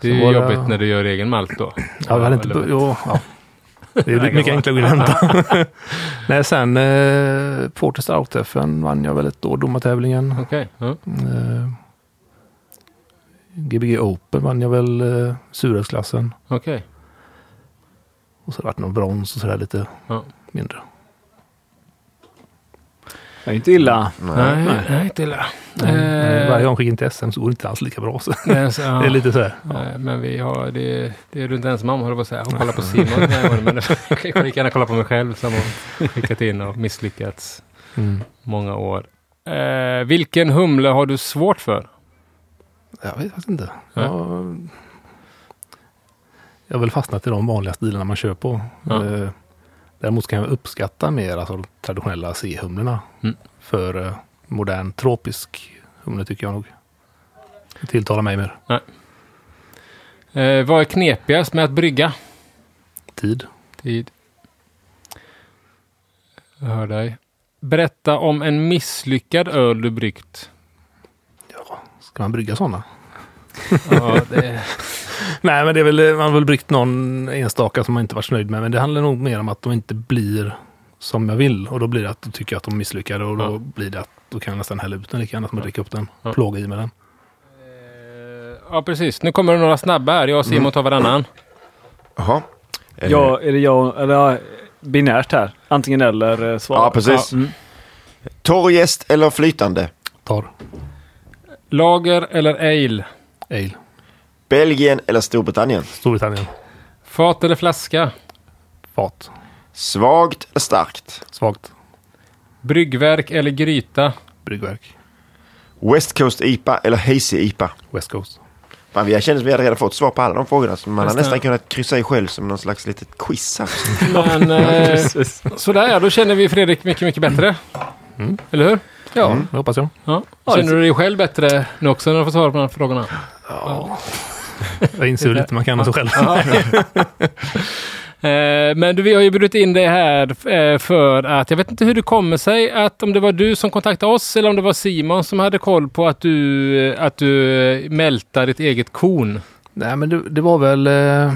[SPEAKER 3] Det är
[SPEAKER 4] Sen
[SPEAKER 3] ju
[SPEAKER 4] var det-
[SPEAKER 3] jobbigt när du gör egen malt då.
[SPEAKER 4] Ja, vi hade inte...
[SPEAKER 3] Eller-
[SPEAKER 4] Jo, ja. Det är mycket enklare att hämta. Nej, sen eh, Porter Stout-träffen vann jag väl ett år, domartävlingen.
[SPEAKER 3] Okej. Ja.
[SPEAKER 4] Eh, Gbg Open vann jag väl eh, surhetsklassen.
[SPEAKER 3] Okej.
[SPEAKER 4] Och så har det varit någon brons och sådär lite
[SPEAKER 3] Ja.
[SPEAKER 4] mindre.
[SPEAKER 2] Det är inte illa.
[SPEAKER 3] Nej, nej, inte illa.
[SPEAKER 4] Men
[SPEAKER 3] Eh,
[SPEAKER 4] Varje gång jag skickar in till SM så går det inte alls lika bra. Så.
[SPEAKER 3] men så- ja.
[SPEAKER 4] Det är lite sådär.
[SPEAKER 3] Nej, Men vi har, det, det är du inte ensam om, höll jag på att säga. Jag kollar på Simon den här gången, men jag kan lika gärna kolla på mig själv som har skickat in och misslyckats
[SPEAKER 4] Mm.
[SPEAKER 3] många år. Eh, vilken humle har du svårt för?
[SPEAKER 4] Jag vet faktiskt inte.
[SPEAKER 3] Nej.
[SPEAKER 4] Jag, jag har väl fastnat i de vanliga stilarna man kör på.
[SPEAKER 3] Ja.
[SPEAKER 4] Eh, Däremot kan jag uppskatta mer alltså, de traditionella C-humlorna.
[SPEAKER 3] Mm.
[SPEAKER 4] För eh, modern tropisk humle tycker jag nog. Det tilltalar mig mer.
[SPEAKER 3] Eh, vad är knepigast med att brygga?
[SPEAKER 4] Tid.
[SPEAKER 3] Tid. Jag hör dig. Berätta om en misslyckad öl du bryggt.
[SPEAKER 4] Ska man brygga sådana?
[SPEAKER 3] Ja, det,
[SPEAKER 4] Nej, men det är väl, man har väl bryggt någon enstaka som man inte varit nöjd med. Men det handlar nog mer om att de inte blir som jag vill. Och då blir det att då tycker jag att de misslyckade och då
[SPEAKER 3] Ja.
[SPEAKER 4] blir det att då kan jag nästan hälla ut den lika gärna som att dricka upp den.
[SPEAKER 3] Ja.
[SPEAKER 4] Plåga i med den.
[SPEAKER 3] ja, precis. Nu kommer det några snabba här. Jag och Simon tar varannan.
[SPEAKER 1] Jaha. Eh,
[SPEAKER 2] Ja, är det jag, eller ja, binärt här? Antingen eller eh, svar.
[SPEAKER 1] Ja, precis.
[SPEAKER 2] Ja. Mm.
[SPEAKER 1] Torr jäst eller flytande?
[SPEAKER 4] Tar
[SPEAKER 3] Lager eller ale?
[SPEAKER 4] ale.
[SPEAKER 1] Belgien eller Storbritannien?
[SPEAKER 4] Storbritannien.
[SPEAKER 3] Fat eller flaska?
[SPEAKER 4] Fat.
[SPEAKER 1] Svagt eller starkt?
[SPEAKER 4] Svagt.
[SPEAKER 3] Bryggverk eller gryta?
[SPEAKER 4] Bryggverk.
[SPEAKER 1] West Coast IPA eller Hazy IPA?
[SPEAKER 4] West Coast.
[SPEAKER 1] Fan, jag kände som vi hade redan fått svar på alla de frågorna. Så man har
[SPEAKER 3] Just det.
[SPEAKER 1] nästan kunnat kryssa i själv som någon slags litet quiz här.
[SPEAKER 3] Men eh, sådär ja, då känner vi Fredrik mycket, mycket bättre. Eller hur?
[SPEAKER 4] Ja, det hoppas jag.
[SPEAKER 3] Ja. Känner du dig själv bättre nu också när du får svara på de här frågorna?
[SPEAKER 4] Jag inser hur lite man kan alltså själv.
[SPEAKER 3] Eh, Men du, vi har ju bjudit in dig här eh, för att, jag vet inte hur det kommer sig att om det var du som kontaktade oss eller om det var Simon som hade koll på att du, att du eh, mältar ditt eget korn.
[SPEAKER 4] Nej, men det, det var väl eh, eh,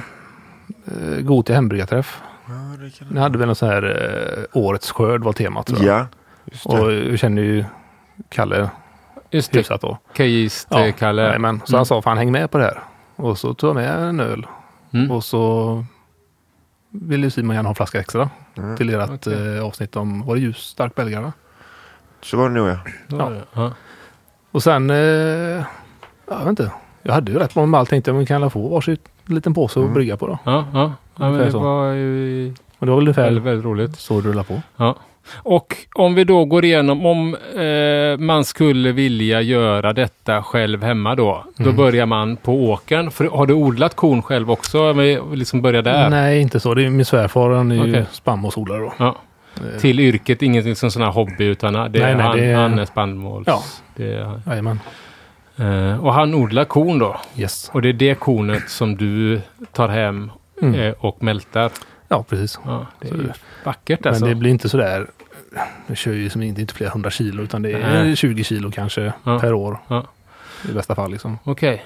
[SPEAKER 4] Gothia hembryggarträff. Ni hade väl någon sån här eh, årets skörd var temat. Tror jag.
[SPEAKER 1] Ja, just det.
[SPEAKER 4] Och jag känner ju Kalle
[SPEAKER 3] Just det,
[SPEAKER 4] hyfsat då.
[SPEAKER 3] Kajist-Kalle.
[SPEAKER 4] nej, men, så han sa fan häng med på det här. Och så tog jag med en öl.
[SPEAKER 3] Mm.
[SPEAKER 4] Och så ville ju Simon gärna ha en flaska extra. Till ert
[SPEAKER 3] Mm. Okej.
[SPEAKER 4] eh, avsnitt om, var det ljus stark belgarna?
[SPEAKER 1] Så var det nog ja.
[SPEAKER 4] Eh.
[SPEAKER 3] Ja. Ja.
[SPEAKER 4] Och sen, eh, ja, jag vet inte. Jag hade ju rätt
[SPEAKER 3] Mm.
[SPEAKER 4] på mig med allt. Tänkte jag, men kan jag få varsitt liten påse att brygga på då?
[SPEAKER 3] Ja, ja. ja men
[SPEAKER 4] Ungefär
[SPEAKER 3] det
[SPEAKER 4] så.
[SPEAKER 3] var ju
[SPEAKER 4] Men det var väl
[SPEAKER 3] Väldigt,
[SPEAKER 4] ungefär
[SPEAKER 3] väldigt roligt.
[SPEAKER 4] så det rullade på.
[SPEAKER 3] Ja. Och om vi då går igenom, om eh, man skulle vilja göra detta själv hemma då, då börjar man på åkern. För, har du odlat korn själv också? Om vi liksom börjar där.
[SPEAKER 4] Nej, inte så. Det är min svärfar, han är ju
[SPEAKER 3] Okej.
[SPEAKER 4] spannmålsodlare då.
[SPEAKER 3] Ja.
[SPEAKER 4] Eh,
[SPEAKER 3] Till yrket, ingenting som sån här hobby utan det,
[SPEAKER 4] Nej, nej,
[SPEAKER 3] han,
[SPEAKER 4] det är-
[SPEAKER 3] han är spannmåls...
[SPEAKER 4] Ja.
[SPEAKER 3] Det, är-
[SPEAKER 4] Jajamän.
[SPEAKER 3] eh, och han odlar korn då.
[SPEAKER 4] Yes.
[SPEAKER 3] Och det är det kornet som du tar hem
[SPEAKER 4] Mm.
[SPEAKER 3] eh, och mältar.
[SPEAKER 4] Ja, precis.
[SPEAKER 3] Ja, det är
[SPEAKER 4] Så-
[SPEAKER 3] ju vackert alltså.
[SPEAKER 4] Men det blir inte sådär, vi kör ju som inte, inte flera hundra kilo utan det är
[SPEAKER 3] Nej.
[SPEAKER 4] 20 kilo kanske
[SPEAKER 3] Ja.
[SPEAKER 4] per år.
[SPEAKER 3] Ja.
[SPEAKER 4] I bästa fall liksom.
[SPEAKER 3] Okej.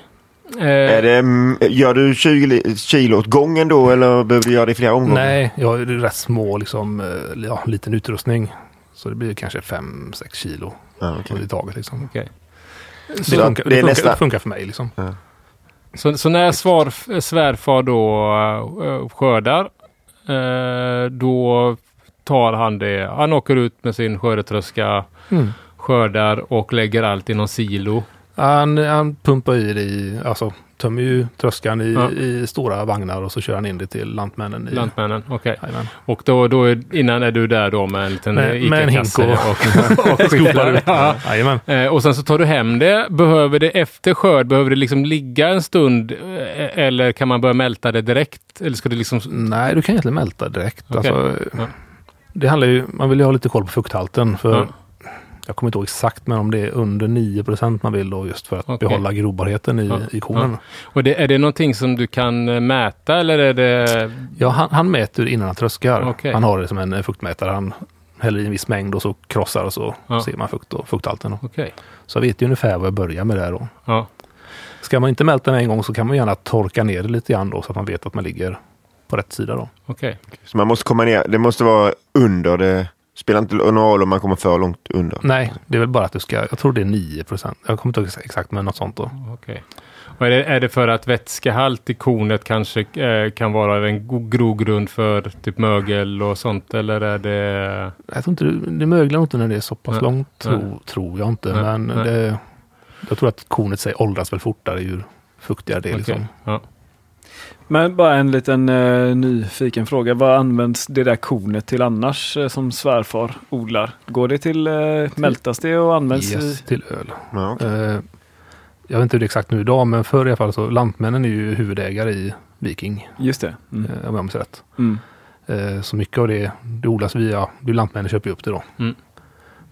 [SPEAKER 1] Är
[SPEAKER 3] Eh,
[SPEAKER 1] det, mm, gör du 20 li- kilo åt gången då eller behöver du göra det i flera omgångar?
[SPEAKER 4] Nej, jag har ju rätt små liksom, eh, ja, liten utrustning. Så det blir kanske 5-6 kilo
[SPEAKER 1] Ja, Ah, okej.
[SPEAKER 4] i taget liksom.
[SPEAKER 3] okej.
[SPEAKER 4] Det
[SPEAKER 1] Så
[SPEAKER 4] funkar,
[SPEAKER 1] det är
[SPEAKER 4] det funkar,
[SPEAKER 1] nästa-
[SPEAKER 4] det funkar för mig liksom.
[SPEAKER 3] Så, så när svar, svärfar då eh, skördar, eh, då tar han det. Han åker ut med sin skördetröska,
[SPEAKER 4] Mm.
[SPEAKER 3] skördar och lägger allt i någon silo.
[SPEAKER 4] Han, han pumpar i det i, alltså tömmer ju tröskan i,
[SPEAKER 3] Ja.
[SPEAKER 4] i stora vagnar och så kör han in det till lantmännen. I,
[SPEAKER 3] Lantmännen, okej.
[SPEAKER 4] Jajamän.
[SPEAKER 3] Och då, då är, innan är du där då med en liten eh,
[SPEAKER 4] Med- med en
[SPEAKER 3] Ica-kasse
[SPEAKER 4] hink och-
[SPEAKER 3] och, och skopar ut. Ja.
[SPEAKER 4] Jajamän.
[SPEAKER 3] Eh, Och sen så tar du hem det. Behöver det efter skörd, behöver det liksom ligga en stund eh, eller kan man börja mälta det direkt? Eller ska det liksom...
[SPEAKER 4] Nej, du kan egentligen mälta direkt.
[SPEAKER 3] Okej.
[SPEAKER 4] Alltså,
[SPEAKER 3] Ja.
[SPEAKER 4] Det handlar ju, man vill ju ha lite koll på fukthalten. För
[SPEAKER 3] Ja.
[SPEAKER 4] Jag kommer inte ihåg exakt, men om det är under 9 man vill då just för att
[SPEAKER 3] Okej.
[SPEAKER 4] behålla grobarheten i,
[SPEAKER 3] Ja.
[SPEAKER 4] i kornen.
[SPEAKER 3] Och det, är det någonting som du kan eh, mäta eller är det...
[SPEAKER 4] Ja, han, han mäter innan han tröskar.
[SPEAKER 3] Okej.
[SPEAKER 4] Han har det som en eh, fuktmätare. Han häller i en viss mängd och så krossar och så
[SPEAKER 3] Ja.
[SPEAKER 4] ser man fukt och, fukthalten. då.
[SPEAKER 3] Okej.
[SPEAKER 4] Så jag vet ju ungefär vad jag börjar med där då.
[SPEAKER 3] Ja.
[SPEAKER 4] Ska man inte mälta med en gång så kan man gärna torka ner det lite grann då så att man vet att man ligger på rätt sida då.
[SPEAKER 3] Okej.
[SPEAKER 1] Så man måste komma ner, det måste vara under det. Spelar inte någon roll om man kommer för långt under.
[SPEAKER 4] Nej, det är väl bara att du ska, jag tror det är 9 Jag kommer inte ihåg exakt, men något sånt då.
[SPEAKER 3] okej. Och är, det, är det för att vätskehalt i kornet kanske eh, kan vara en go- grogrund för typ mögel och sånt? Eller är det...
[SPEAKER 4] Jag tror inte, det det möglar nog inte när det är så pass
[SPEAKER 3] Nej,
[SPEAKER 4] långt,
[SPEAKER 3] nej.
[SPEAKER 4] tro, tror jag inte.
[SPEAKER 3] Nej,
[SPEAKER 4] Men
[SPEAKER 3] nej.
[SPEAKER 4] det, jag tror att kornet sig åldras väl fortare ju fuktigare det är. Liksom.
[SPEAKER 3] Okej, Ja.
[SPEAKER 2] Men bara en liten eh, nyfiken fråga. Vad används det där kornet till annars eh, som svärfar odlar? Går det till, eh, mältas det och används
[SPEAKER 4] Yes,
[SPEAKER 2] i...
[SPEAKER 4] till öl.
[SPEAKER 1] Ja, Ah, okej.
[SPEAKER 4] Eh, jag vet inte hur det är exakt nu idag, men förr i alla fall så lantmännen är ju huvudägare i Viking,
[SPEAKER 2] Just det. Mm.
[SPEAKER 4] eh, om jag minns rätt.
[SPEAKER 2] Mm.
[SPEAKER 4] Eh, så mycket av det, det odlas via, det är lantmännen köper ju upp det då.
[SPEAKER 3] Mm.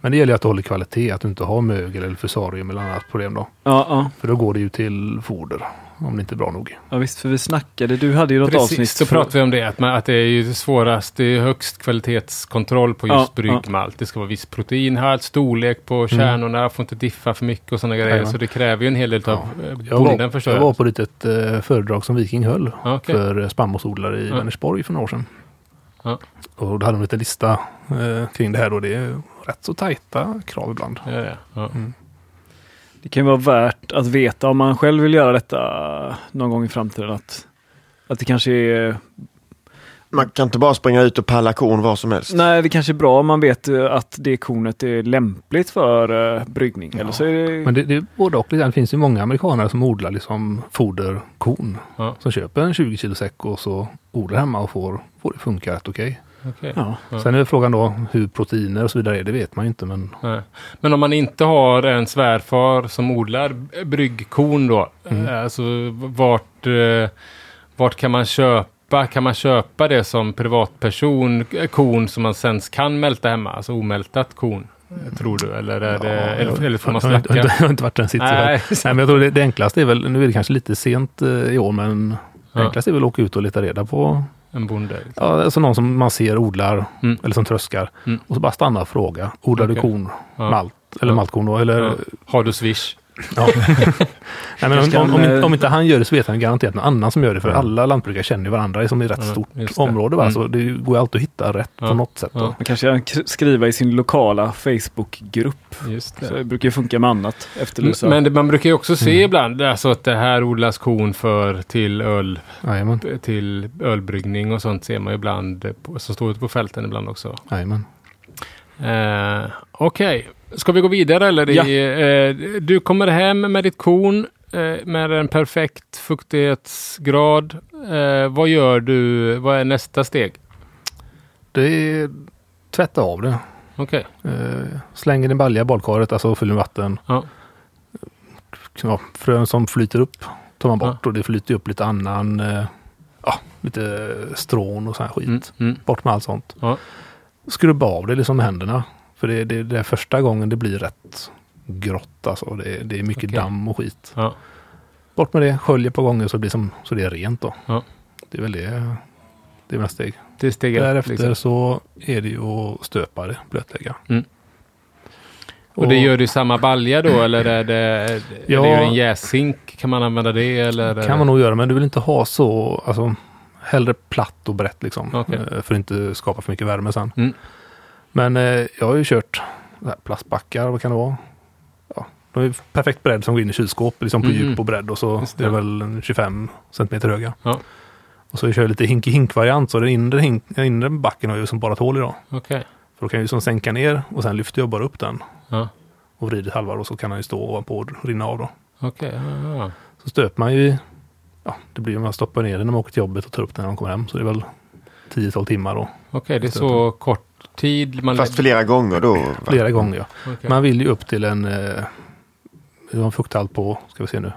[SPEAKER 4] Men det gäller ju att du håller kvalitet, att du inte har mögel eller fusarium eller annat problem då.
[SPEAKER 2] Ja, ja,
[SPEAKER 4] För då går det ju till foder, om det inte är bra nog.
[SPEAKER 2] ja, visst. För vi snackade. Du hade ju något avsnitt.
[SPEAKER 3] Precis, så
[SPEAKER 2] för-
[SPEAKER 3] pratar vi om det. Att, man, att det är ju svårast, det är högst kvalitetskontroll på
[SPEAKER 2] Ja,
[SPEAKER 3] just
[SPEAKER 2] ja.
[SPEAKER 3] bryggmalt. Det ska vara viss proteinhalt, storlek på kärnorna, får inte diffa för mycket och sådana grejer.
[SPEAKER 4] Jajamän.
[SPEAKER 3] Så det kräver ju en hel del av eh,
[SPEAKER 4] Jag var,
[SPEAKER 3] bonden förstår
[SPEAKER 4] jag var på ett litet eh, föredrag som Viking höll
[SPEAKER 3] Ja, okej.
[SPEAKER 4] för eh, spannmålsodlare i
[SPEAKER 3] Ja.
[SPEAKER 4] Vänersborg för några år sedan.
[SPEAKER 3] Ja.
[SPEAKER 4] Och då hade de en liten lista eh, kring det här och det är rätt så tajta krav ibland.
[SPEAKER 3] Ja, ja, ja.
[SPEAKER 2] Det kan ju vara värt att veta om man själv vill göra detta någon gång i framtiden. Att, att det kanske är...
[SPEAKER 1] Man kan inte bara springa ut och palla korn var som helst.
[SPEAKER 2] Nej, det kanske är bra om man vet eh, att det kornet är lämpligt för eh, bryggning. Eller så är det...
[SPEAKER 4] Men det, det är både och. Det finns ju många amerikanare som odlar liksom foderkorn.
[SPEAKER 3] Ja.
[SPEAKER 4] Som köper en 20 kilo säck och så odlar hemma och får, får det funka rätt okej.
[SPEAKER 3] okej.
[SPEAKER 2] Ja.
[SPEAKER 3] Ja.
[SPEAKER 4] Sen är frågan då hur proteiner och så vidare är, det vet man ju inte. Men
[SPEAKER 3] Nej. Men om man inte har en svärfar som odlar b- bryggkorn då, eh, alltså vart, eh, vart kan man köpa? Kan man köpa det som privatperson, eh, korn som man sen kan mälta hemma? Alltså omältat korn, eh, tror du? Eller, är det, eller, eller får man
[SPEAKER 4] jag, jag, jag,
[SPEAKER 3] snacka?
[SPEAKER 4] har inte varit i den sitsen.
[SPEAKER 3] Nej.
[SPEAKER 4] Nej. men jag tror det, det enklaste är väl, nu är det kanske lite sent eh, i år, men det
[SPEAKER 3] Ja.
[SPEAKER 4] enklaste är väl att åka ut och leta reda på
[SPEAKER 3] En bonde?
[SPEAKER 4] ja, alltså någon som man ser odlar
[SPEAKER 3] Mm.
[SPEAKER 4] eller som tröskar.
[SPEAKER 3] Mm.
[SPEAKER 4] Och så bara stanna och fråga, odlar du
[SPEAKER 3] Okej.
[SPEAKER 4] korn,
[SPEAKER 3] Ja.
[SPEAKER 4] malt eller
[SPEAKER 3] Ja.
[SPEAKER 4] maltkorn då? Eller,
[SPEAKER 3] Ja. Har du swish?
[SPEAKER 4] ja. Nej, men
[SPEAKER 2] Kanske
[SPEAKER 4] om, om, om,
[SPEAKER 2] han,
[SPEAKER 4] inte-
[SPEAKER 2] eh,
[SPEAKER 4] om inte han gör det så vet han garanterat någon annan som gör det. För alla lantbrukare känner ju varandra som är ett rätt
[SPEAKER 3] Ja,
[SPEAKER 4] stort
[SPEAKER 3] just det.
[SPEAKER 4] område. Va?
[SPEAKER 3] Mm.
[SPEAKER 4] Så det går ju alltid att hitta rätt
[SPEAKER 3] Ja.
[SPEAKER 4] på något sätt. Då.
[SPEAKER 3] Ja.
[SPEAKER 2] Man kanske kan kr- skriva i sin lokala Facebookgrupp.
[SPEAKER 3] Just
[SPEAKER 2] Så det Mm, brukar ju funka med annat. Efterlysa.
[SPEAKER 3] Mm, Men det, man brukar ju också se ibland alltså att det här odlas korn för till öl
[SPEAKER 4] Jajamän.
[SPEAKER 3] till ölbryggning och sånt ser man ju ibland, på- som står ute på fälten ibland också.
[SPEAKER 4] Jajamän.
[SPEAKER 3] Eh, Okej, ska vi gå vidare eller? I,
[SPEAKER 2] Ja.
[SPEAKER 3] eh, du kommer hem med ditt korn eh, med en perfekt fuktighetsgrad. Eh, vad gör du? Vad är nästa steg?
[SPEAKER 4] Det är, tvätta av det.
[SPEAKER 3] Okej.
[SPEAKER 4] Eh, släng den i balja badkaret, alltså fyll med vatten.
[SPEAKER 3] Ja.
[SPEAKER 4] Ja, frön som flyter upp tar man bort
[SPEAKER 3] Ja.
[SPEAKER 4] och det flyter upp lite annan, eh, ja, lite strån och sån här skit.
[SPEAKER 3] Mm, mm.
[SPEAKER 4] Bort med allt sånt.
[SPEAKER 3] Ja.
[SPEAKER 4] Skrubba av det liksom med händerna. För det, det, det är första gången det blir rätt grått alltså. Det, det är mycket
[SPEAKER 3] Okej.
[SPEAKER 4] damm och skit.
[SPEAKER 3] Ja.
[SPEAKER 4] Bort med det, skölj ett par gånger så, det blir som, så det är rent då.
[SPEAKER 3] Ja.
[SPEAKER 4] Det är väl det. Det är nästa steg.
[SPEAKER 3] Det är steg ett,
[SPEAKER 4] Därefter
[SPEAKER 3] liksom.
[SPEAKER 4] så är det ju att stöpa det, blötlägga.
[SPEAKER 3] Mm. Och det gör du i samma balja då eller är det,
[SPEAKER 4] Ja.
[SPEAKER 3] är det en jäshink? Kan man använda det eller?
[SPEAKER 4] kan man nog göra, men du vill inte ha så, alltså hellre platt och brett liksom.
[SPEAKER 3] Okej.
[SPEAKER 4] eh, För att inte skapa för mycket värme sen.
[SPEAKER 3] Mm.
[SPEAKER 4] Men eh, jag har ju kört så här plastbackar, vad kan det vara? Ja, de är perfekt bredd som går in i kylskåp, liksom på
[SPEAKER 3] Mm.
[SPEAKER 4] djup och bredd och så
[SPEAKER 3] Just
[SPEAKER 4] det.
[SPEAKER 3] det.
[SPEAKER 4] är det väl en 25 centimeter höga.
[SPEAKER 3] Ja.
[SPEAKER 4] Och så kör jag lite hink-hink-variant, så den inre, hink, den inre backen har ju som bara ett hål i då.
[SPEAKER 3] Okej.
[SPEAKER 4] För då kan jag ju som sänka ner och sen lyfter jag bara upp den
[SPEAKER 3] Ja.
[SPEAKER 4] och vrider halva och så kan den ju stå ovanpå och rinna av då.
[SPEAKER 3] Okej. Ja, ja.
[SPEAKER 4] Så stöper man ju i, ja, det blir ju man stoppar ner den när man åker till jobbet och tar upp den när man kommer hem. Så det är väl 10-12 timmar då,
[SPEAKER 3] Okej, det är så kort tid. Man
[SPEAKER 1] Fast flera gånger då. va?
[SPEAKER 4] flera gånger. Ja.
[SPEAKER 3] Okej.
[SPEAKER 4] Man vill ju upp till en, eh, det var en fukthalt på, ska vi se nu,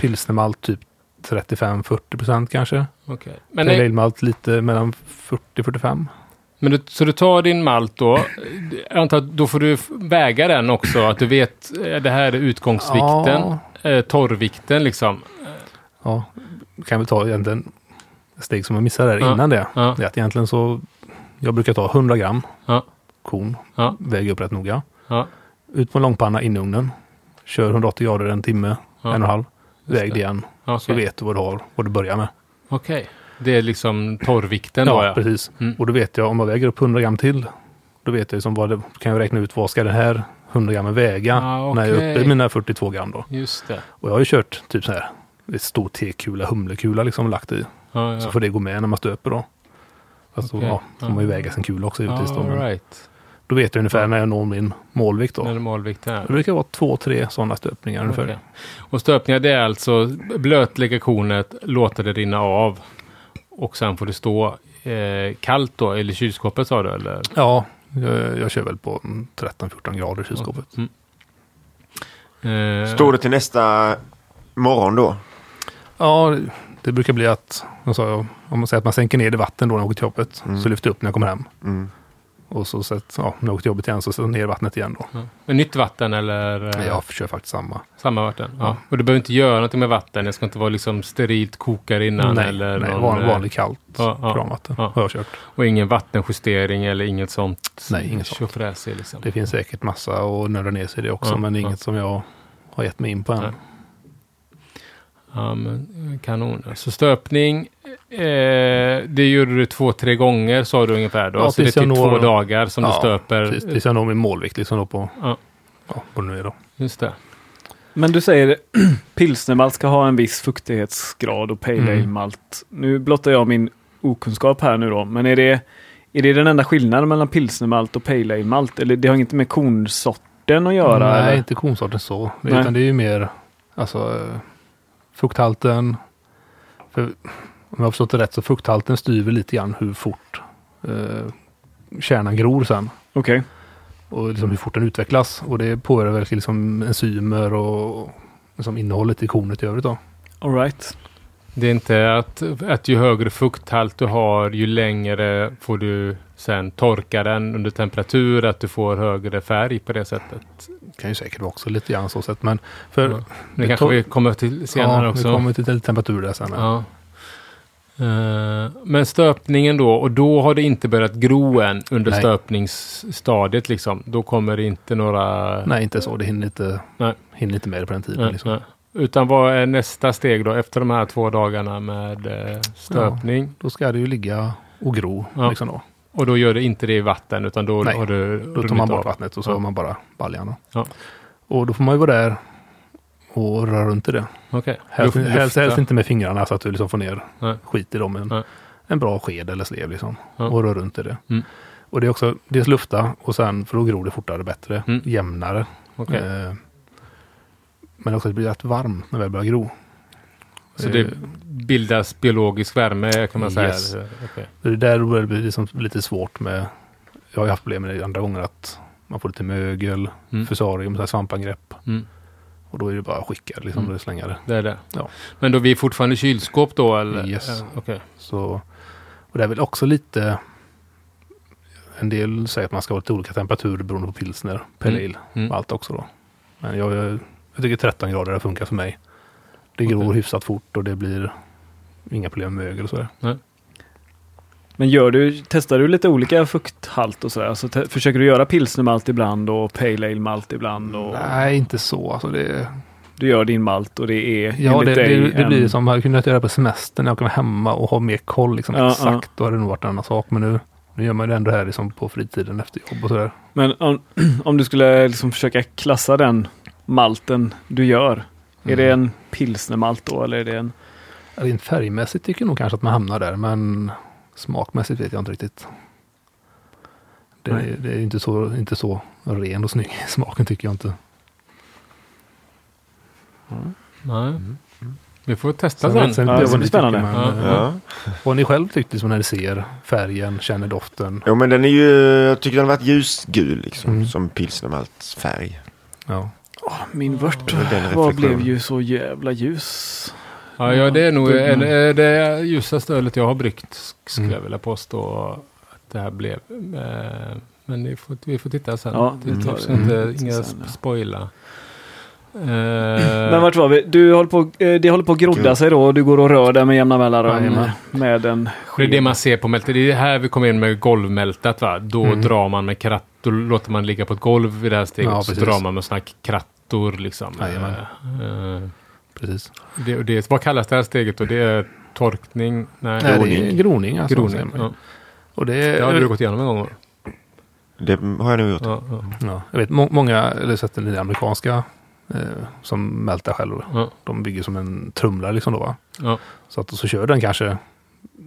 [SPEAKER 4] pilsnermalt typ 35-40 procent kanske.
[SPEAKER 3] Okej. Men,
[SPEAKER 4] Pale
[SPEAKER 3] nej,
[SPEAKER 4] ale-malt lite mellan 40-45.
[SPEAKER 3] men du, så du tar din malt då. Jag antar att då får du f- väga den också. Att du vet, eh, det här är utgångsvikten.
[SPEAKER 4] Ja,
[SPEAKER 3] Eh, torrvikten liksom.
[SPEAKER 4] ja. kan vi ta egentligen ett steg som jag missade där
[SPEAKER 3] Ja.
[SPEAKER 4] innan det.
[SPEAKER 3] Ja.
[SPEAKER 4] Det är att egentligen så, jag brukar ta 100 gram
[SPEAKER 3] Ja.
[SPEAKER 4] korn,
[SPEAKER 3] Ja.
[SPEAKER 4] väger upp rätt noga.
[SPEAKER 3] Ja.
[SPEAKER 4] Ut på en långpanna in i ugnen. Kör 180 grader en timme,
[SPEAKER 3] Ja.
[SPEAKER 4] en och en halv.
[SPEAKER 3] Just
[SPEAKER 4] Väg
[SPEAKER 3] det.
[SPEAKER 4] det igen,
[SPEAKER 3] Okej.
[SPEAKER 4] så vet du vad du har, vad du börjar med.
[SPEAKER 3] Okej. Det är liksom torrvikten då ja.
[SPEAKER 4] precis.
[SPEAKER 3] Mm.
[SPEAKER 4] Och då vet jag, om jag väger upp 100 gram till, då vet jag som vad det, kan jag räkna ut vad ska den här 100 grammen väga
[SPEAKER 3] Ah,
[SPEAKER 4] när jag är
[SPEAKER 3] okej.
[SPEAKER 4] uppe i mina 42 gram då.
[SPEAKER 3] Just det.
[SPEAKER 4] Och jag har ju kört typ så här, ett stor tekula, humlekula liksom lagt i.
[SPEAKER 3] Ja, ja.
[SPEAKER 4] Så får det gå med när man stöper då. Alltså,
[SPEAKER 3] Okej.
[SPEAKER 4] ja, får man ju
[SPEAKER 3] Ja.
[SPEAKER 4] väga sin kula också givetvis då.
[SPEAKER 3] All
[SPEAKER 4] Men
[SPEAKER 3] right.
[SPEAKER 4] då vet jag ungefär när jag når min målvikt då.
[SPEAKER 3] När målvikten är.
[SPEAKER 4] Det brukar vara två, tre sådana stöpningar ungefär.
[SPEAKER 3] Okej. Och stöpningar det är alltså blötlägga kornet, låta det rinna av och sen får det stå eh, kallt då, eller i kylskåpet sa du? Eller?
[SPEAKER 4] Ja, jag, jag kör väl på mm, 13-14 grader i kylskåpet.
[SPEAKER 3] Mm. Eh,
[SPEAKER 1] Står det till nästa morgon då?
[SPEAKER 4] Ja, det- det brukar bli att, jag sa, jag, om man säger att man sänker ner det i vatten då när jag åker till jobbet, så lyfter jag upp när jag kommer hem.
[SPEAKER 1] Mm.
[SPEAKER 4] Och så sätt, ja, när jag åker till jobbet igen så sätter jag ner vattnet igen då.
[SPEAKER 3] ja. Med nytt vatten eller eh,
[SPEAKER 4] Nej, Jag kör faktiskt samma.
[SPEAKER 3] samma vatten? Ja. Och du behöver inte göra någonting med vatten, det ska inte vara liksom sterilt kokare innan?
[SPEAKER 4] nej,
[SPEAKER 3] eller
[SPEAKER 4] nej
[SPEAKER 3] någon,
[SPEAKER 4] van,
[SPEAKER 3] eh,
[SPEAKER 4] vanligt kallt
[SPEAKER 3] ja, ja,
[SPEAKER 4] kranvatten
[SPEAKER 3] ja.
[SPEAKER 4] har jag kört.
[SPEAKER 3] Och ingen vattenjustering eller inget sånt?
[SPEAKER 4] Nej, inget sånt.
[SPEAKER 3] tjofräs i Liksom.
[SPEAKER 4] Det finns säkert massa och nörda ner sig i det också,
[SPEAKER 3] Ja,
[SPEAKER 4] men det är
[SPEAKER 3] ja.
[SPEAKER 4] inget som jag har gett mig in på än.
[SPEAKER 3] Nej. Ja, men eh, kanon. Så stöpning, eh, det gjorde du två, tre gånger sa du ungefär då?
[SPEAKER 4] Ja,
[SPEAKER 3] så det är
[SPEAKER 4] tills jag
[SPEAKER 3] typ
[SPEAKER 4] når-
[SPEAKER 3] två dagar som du
[SPEAKER 4] Ja,
[SPEAKER 3] stöper?
[SPEAKER 4] Precis, tills jag når min målvikt liksom då på,
[SPEAKER 3] Ja.
[SPEAKER 4] ja, vad det nu är då.
[SPEAKER 3] Just det.
[SPEAKER 2] Men du säger pilsnermalt ska ha en viss fuktighetsgrad och pale
[SPEAKER 4] Mm.
[SPEAKER 2] ale-malt. Nu blottar jag min okunskap här nu då, men är det, är det den enda skillnaden mellan pilsnermalt och pale ale-malt? Eller det har inget med kornsorten att göra?
[SPEAKER 4] Nej,
[SPEAKER 2] eller?
[SPEAKER 4] inte kornsorten så.
[SPEAKER 2] Nej.
[SPEAKER 4] Utan det är ju mer alltså, eh, frukthalten. För, om jag har förstått det rätt så frukthalten styr väl lite grann hur fort eh, kärnan gror sen.
[SPEAKER 2] Okej.
[SPEAKER 4] Och
[SPEAKER 3] Mm.
[SPEAKER 4] liksom hur fort den utvecklas. Och det påverkar väl liksom enzymer och liksom innehållet i kornet i övrigt. Då.
[SPEAKER 2] All right.
[SPEAKER 3] Det är inte att, att ju högre fukthalt du har, ju längre får du sen torka den under temperatur, att du får högre färg på det sättet.
[SPEAKER 4] Det kan ju säkert vara också lite grann så sett. Men för,
[SPEAKER 3] Ja,
[SPEAKER 4] ja,
[SPEAKER 3] Det,
[SPEAKER 4] Det
[SPEAKER 3] kanske
[SPEAKER 4] tor-
[SPEAKER 3] vi kommer till senare också.
[SPEAKER 4] vi kommer till lite temperatur där sen. Ja.
[SPEAKER 3] Ja. Eh, Men stöpningen då, och då har det inte börjat gro än under
[SPEAKER 4] Nej.
[SPEAKER 3] stöpningsstadiet liksom. Då kommer det inte några...
[SPEAKER 4] Nej, inte så. Det hinner inte,
[SPEAKER 3] Nej.
[SPEAKER 4] hinner inte med det på den tiden.
[SPEAKER 3] nej,
[SPEAKER 4] liksom.
[SPEAKER 3] nej. Utan vad är nästa steg då efter de här två dagarna med eh, stöpning?
[SPEAKER 4] Då ska det ju ligga och gro.
[SPEAKER 3] Ja.
[SPEAKER 4] Liksom då.
[SPEAKER 3] Och då gör det inte det i vatten utan då
[SPEAKER 4] Nej,
[SPEAKER 3] har du...
[SPEAKER 4] Då tar man
[SPEAKER 3] runnit
[SPEAKER 4] bort
[SPEAKER 3] av.
[SPEAKER 4] vattnet och så
[SPEAKER 3] Ja.
[SPEAKER 4] har man bara baljan. då.
[SPEAKER 3] Ja.
[SPEAKER 4] Och då får man ju vara där och röra runt i det.
[SPEAKER 3] Okej.
[SPEAKER 4] Helst,
[SPEAKER 3] Luft-
[SPEAKER 4] helst, helst
[SPEAKER 3] lufta.
[SPEAKER 4] inte med fingrarna så att du liksom får ner
[SPEAKER 3] Nej.
[SPEAKER 4] skit i dem. med
[SPEAKER 3] Nej.
[SPEAKER 4] En, en bra sked eller slev liksom.
[SPEAKER 3] Ja.
[SPEAKER 4] Och rör runt i det.
[SPEAKER 3] Mm.
[SPEAKER 4] Och det är också dels lufta och sen för då gror det fortare bättre.
[SPEAKER 3] Mm.
[SPEAKER 4] Jämnare.
[SPEAKER 3] Okej.
[SPEAKER 4] Eh, men också att det blir rätt varm när det väl börjar gro.
[SPEAKER 3] Så det bildas biologisk värme kan man säga.
[SPEAKER 4] Yes.
[SPEAKER 3] Okej.
[SPEAKER 4] Det är där det blir liksom lite svårt med... Jag har ju haft problem med det andra gånger att man får lite mögel,
[SPEAKER 3] Mm.
[SPEAKER 4] fusarium, så här svampangrepp.
[SPEAKER 3] Mm.
[SPEAKER 4] Och då är det bara att skicka liksom,
[SPEAKER 3] Mm.
[SPEAKER 4] och slänga det.
[SPEAKER 3] Det är det.
[SPEAKER 4] Ja.
[SPEAKER 3] Men då vi är fortfarande kylskåp då eller?
[SPEAKER 4] Yes.
[SPEAKER 3] Eh, Okej.
[SPEAKER 4] Så, och det är väl också lite... En del säger att man ska ha lite olika temperaturer beroende på pilsner, pale
[SPEAKER 3] Mm.
[SPEAKER 4] ale
[SPEAKER 3] Mm.
[SPEAKER 4] och allt också då. Men jag, jag tycker 13 grader funkar för mig. Det gror
[SPEAKER 3] Okej.
[SPEAKER 4] hyfsat fort och det blir inga problem med mögel och sådär.
[SPEAKER 2] Men gör du, testar du lite olika fukthalt och sådär? Så te- försöker du göra pilsnermalt ibland och pale ale malt ibland? Och
[SPEAKER 4] Nej, inte så. Alltså det,
[SPEAKER 2] Du gör din malt och det är
[SPEAKER 4] Ja, det,
[SPEAKER 2] enligt
[SPEAKER 4] det,
[SPEAKER 2] dig
[SPEAKER 4] det
[SPEAKER 2] en-
[SPEAKER 4] blir som jag kunde göra på semestern när jag kom hemma och ha mer koll liksom,
[SPEAKER 2] Ja,
[SPEAKER 4] exakt. Då hade det nog varit en annan sak. Men nu, nu gör man det ändå här liksom, på fritiden efter jobb och sådär.
[SPEAKER 2] Men om, om du skulle liksom försöka klassa den malten du gör. Är det en pilsnermalt då eller är det en...
[SPEAKER 4] Ja, Rent färgmässigt tycker jag nog kanske att man hamnar där, men smakmässigt vet jag inte riktigt. Det,
[SPEAKER 2] Nej.
[SPEAKER 4] är- det är inte så, inte så ren och snygg i smaken tycker jag inte.
[SPEAKER 3] Nej. Vi får testa
[SPEAKER 4] Sen-
[SPEAKER 3] sen.
[SPEAKER 4] sen
[SPEAKER 2] Ja,
[SPEAKER 4] vet
[SPEAKER 2] det
[SPEAKER 4] jag
[SPEAKER 2] blir
[SPEAKER 4] inte
[SPEAKER 2] spännande.
[SPEAKER 4] tycker man, eh,
[SPEAKER 1] Ja.
[SPEAKER 4] Vad har ni själv tyckt liksom, när ni ser färgen, känner doften?
[SPEAKER 1] Jo men den är ju, jag tycker den har varit ljusgul liksom.
[SPEAKER 4] Mm.
[SPEAKER 1] Som pilsnermalts färg.
[SPEAKER 4] Ja.
[SPEAKER 2] min vört
[SPEAKER 1] Det är den
[SPEAKER 2] var
[SPEAKER 1] reflektionen.
[SPEAKER 2] blev ju så jävla ljus.
[SPEAKER 3] Ja, ja, det är nog
[SPEAKER 2] Mm.
[SPEAKER 3] eller, eh, det ljusaste ölet jag har bryggt, sk- skulle
[SPEAKER 4] Mm.
[SPEAKER 3] jag vilja påstå att det här blev. Eh, Men vi får, vi får titta sen.
[SPEAKER 2] Ja, vi
[SPEAKER 3] vi
[SPEAKER 2] tar
[SPEAKER 3] tar
[SPEAKER 2] det.
[SPEAKER 3] Inte,
[SPEAKER 2] Mm.
[SPEAKER 3] Inga
[SPEAKER 2] Sen, ja.
[SPEAKER 3] sp- spoila. Eh,
[SPEAKER 2] Men vart var vi? Du håller på, eh, det håller på att grodda
[SPEAKER 1] Gud.
[SPEAKER 2] sig då och du går och rör dig med jämna mellanrum
[SPEAKER 4] Jajamän.
[SPEAKER 2] med en
[SPEAKER 3] det är
[SPEAKER 2] sked.
[SPEAKER 3] det man ser på mältet. Det är det här vi kommer in med golvmältet. Va? Då
[SPEAKER 4] Mm.
[SPEAKER 3] drar man med kratt. Då låter man ligga på ett golv vid det här steget.
[SPEAKER 4] Ja,
[SPEAKER 3] så
[SPEAKER 4] precis.
[SPEAKER 3] drar man med sådana här krattor. Liksom.
[SPEAKER 4] Jajamän.
[SPEAKER 3] Eh, eh,
[SPEAKER 4] Precis.
[SPEAKER 3] det, och det, vad kallas det här steget då? Det är torkning? Nej,
[SPEAKER 4] Nej, det är
[SPEAKER 1] Groning.
[SPEAKER 4] groning. Alltså, säger
[SPEAKER 3] groning.
[SPEAKER 4] man. Eh,
[SPEAKER 3] Ja.
[SPEAKER 4] Och det är,
[SPEAKER 3] Det har du gått igenom en gång? va?
[SPEAKER 1] Det har jag nog gjort.
[SPEAKER 3] Ja, ja,
[SPEAKER 4] Ja, jag vet må många, eller sett den i det amerikanska, eh, som mältar själv.
[SPEAKER 3] ja.
[SPEAKER 4] De bygger som en trumlare liksom då va.
[SPEAKER 3] Ja,
[SPEAKER 4] Så att så kör den kanske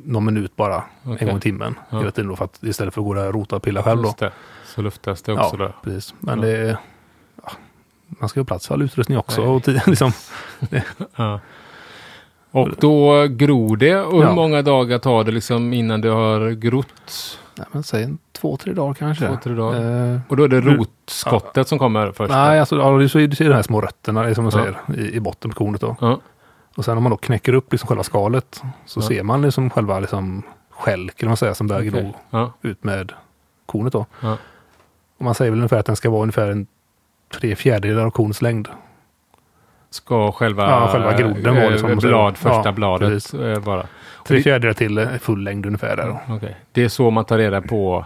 [SPEAKER 4] någon minut bara,
[SPEAKER 3] okej.
[SPEAKER 4] en gång i timmen.
[SPEAKER 3] Ja.
[SPEAKER 4] Hela tiden då för att istället för att gå där och rota och pilla själv då.
[SPEAKER 3] Just det. Så luftas det
[SPEAKER 4] Ja,
[SPEAKER 3] också då.
[SPEAKER 4] precis. Men
[SPEAKER 3] Ja.
[SPEAKER 4] det är, ja, man ska ju ha plats för all utrustning också.
[SPEAKER 3] Nej.
[SPEAKER 4] Och tid, liksom.
[SPEAKER 3] Ja. Och då gror det. Och hur
[SPEAKER 4] Ja.
[SPEAKER 3] många dagar tar det liksom innan det har grott?
[SPEAKER 4] Nej, men säg en två, tre dagar kanske.
[SPEAKER 3] Två, tre dagar.
[SPEAKER 4] Eh,
[SPEAKER 3] Och då är det
[SPEAKER 4] Mm.
[SPEAKER 3] rotskottet som kommer först?
[SPEAKER 4] nej, alltså ja, du ser, du ser de här små rötterna det är som man
[SPEAKER 3] Ja.
[SPEAKER 4] säger i, i botten på kornet då.
[SPEAKER 3] Ja.
[SPEAKER 4] Och sen om man då knäcker upp liksom själva skalet så
[SPEAKER 3] Ja.
[SPEAKER 4] ser man liksom själva liksom skälk, eller vad man säger, som börjar
[SPEAKER 3] okej.
[SPEAKER 4] gro
[SPEAKER 3] Ja.
[SPEAKER 4] ut med kornet då.
[SPEAKER 3] Ja.
[SPEAKER 4] Och man säger väl ungefär att den ska vara ungefär en tre fjärdedelar av kornets längd.
[SPEAKER 3] Ska själva,
[SPEAKER 4] Ja, själva groden var det som
[SPEAKER 3] eh,
[SPEAKER 4] man säger.
[SPEAKER 3] blad, första
[SPEAKER 4] Ja,
[SPEAKER 3] bladet
[SPEAKER 4] precis.
[SPEAKER 3] eh, bara.
[SPEAKER 4] Tre
[SPEAKER 3] det-
[SPEAKER 4] fjärdedelar till eh, full längd ungefär där. då.
[SPEAKER 3] Okej. Det är så man tar reda på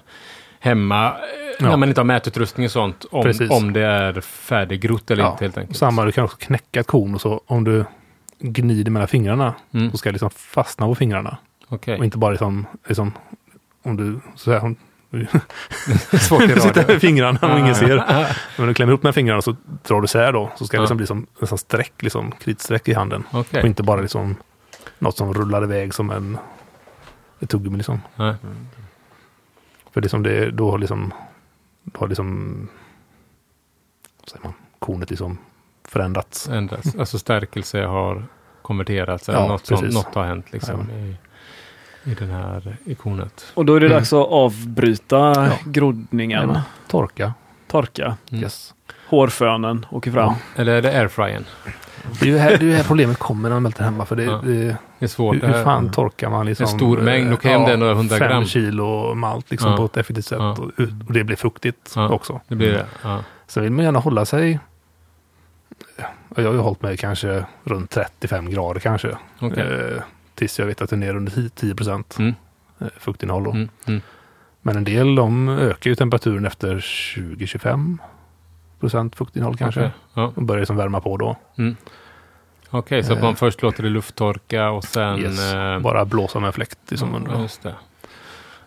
[SPEAKER 3] hemma eh,
[SPEAKER 4] Ja.
[SPEAKER 3] när man inte har mätutrustning och sånt. Om,
[SPEAKER 4] Precis.
[SPEAKER 3] om det är färdiggrott eller
[SPEAKER 4] Ja,
[SPEAKER 3] inte helt enkelt.
[SPEAKER 4] Samma, du kan också knäcka ett korn och så om du gnider mellan fingrarna
[SPEAKER 3] Mm.
[SPEAKER 4] så ska det liksom fastna på fingrarna.
[SPEAKER 3] Okej.
[SPEAKER 4] Och inte bara liksom, liksom om du så här, om,
[SPEAKER 3] Svårt i radio.
[SPEAKER 4] sitter med fingrarna om ingen ser.
[SPEAKER 3] Ah, ah,
[SPEAKER 4] Men du klämmer upp med fingrarna så drar du sär då. Så ska det
[SPEAKER 3] Ja.
[SPEAKER 4] liksom bli som nästan streck, liksom kritstreck i handen.
[SPEAKER 3] ah. Okej.
[SPEAKER 4] Och inte bara liksom något som rullar iväg som en ett tuggummi liksom.
[SPEAKER 3] Nej.
[SPEAKER 4] För liksom det, då har liksom, då har liksom, vad säger man, kornet liksom förändrats.
[SPEAKER 3] ändras. Alltså stärkelse har konverterats.
[SPEAKER 4] Ja,
[SPEAKER 3] eller något, som,
[SPEAKER 4] precis.
[SPEAKER 3] något har hänt liksom, i, i den här ikonet.
[SPEAKER 2] Och då
[SPEAKER 1] Mm.
[SPEAKER 2] är det dags att avbryta groddningen.
[SPEAKER 4] Jajamän. Torka.
[SPEAKER 2] Torka.
[SPEAKER 3] Mm.
[SPEAKER 4] Yes.
[SPEAKER 2] Hårfönen åker fram.
[SPEAKER 3] Eller är det airfryern?
[SPEAKER 4] Det är ju här, det är ju här problemet kommer när man mälter hemma. För det,
[SPEAKER 3] Ja.
[SPEAKER 4] det,
[SPEAKER 3] Det är svårt.
[SPEAKER 4] hur,
[SPEAKER 3] det här. Mm.
[SPEAKER 4] hur fan torkar man liksom?
[SPEAKER 3] En stor mängd, då kan
[SPEAKER 4] eh,
[SPEAKER 3] det ändå vara 100 gram.
[SPEAKER 4] Fem kilo malt liksom
[SPEAKER 3] Ja.
[SPEAKER 4] på ett effektivt sätt.
[SPEAKER 3] Ja.
[SPEAKER 4] Och, ut- och det blir fruktigt
[SPEAKER 3] Ja.
[SPEAKER 4] också.
[SPEAKER 3] Det blir det. Ja.
[SPEAKER 4] Sen vill man gärna hålla sig, jag har ju hållit mig kanske runt 35 grader kanske.
[SPEAKER 3] Okej.
[SPEAKER 4] Eh, tills jag vet att den är ner under 10, 10 procent
[SPEAKER 3] Mm.
[SPEAKER 4] fuktinnehåll. Då.
[SPEAKER 3] Mm, mm.
[SPEAKER 4] Men en del de ökar ju temperaturen efter 20-25 procent fuktinnehåll kanske.
[SPEAKER 3] Okej. Ja.
[SPEAKER 4] Och börjar liksom värma på då.
[SPEAKER 3] Okej, så att
[SPEAKER 4] Eh.
[SPEAKER 3] man först låter det lufttorka och sen...
[SPEAKER 4] yes.
[SPEAKER 3] eh,
[SPEAKER 4] Bara blåsa med fläkt liksom under.
[SPEAKER 3] ja, just det.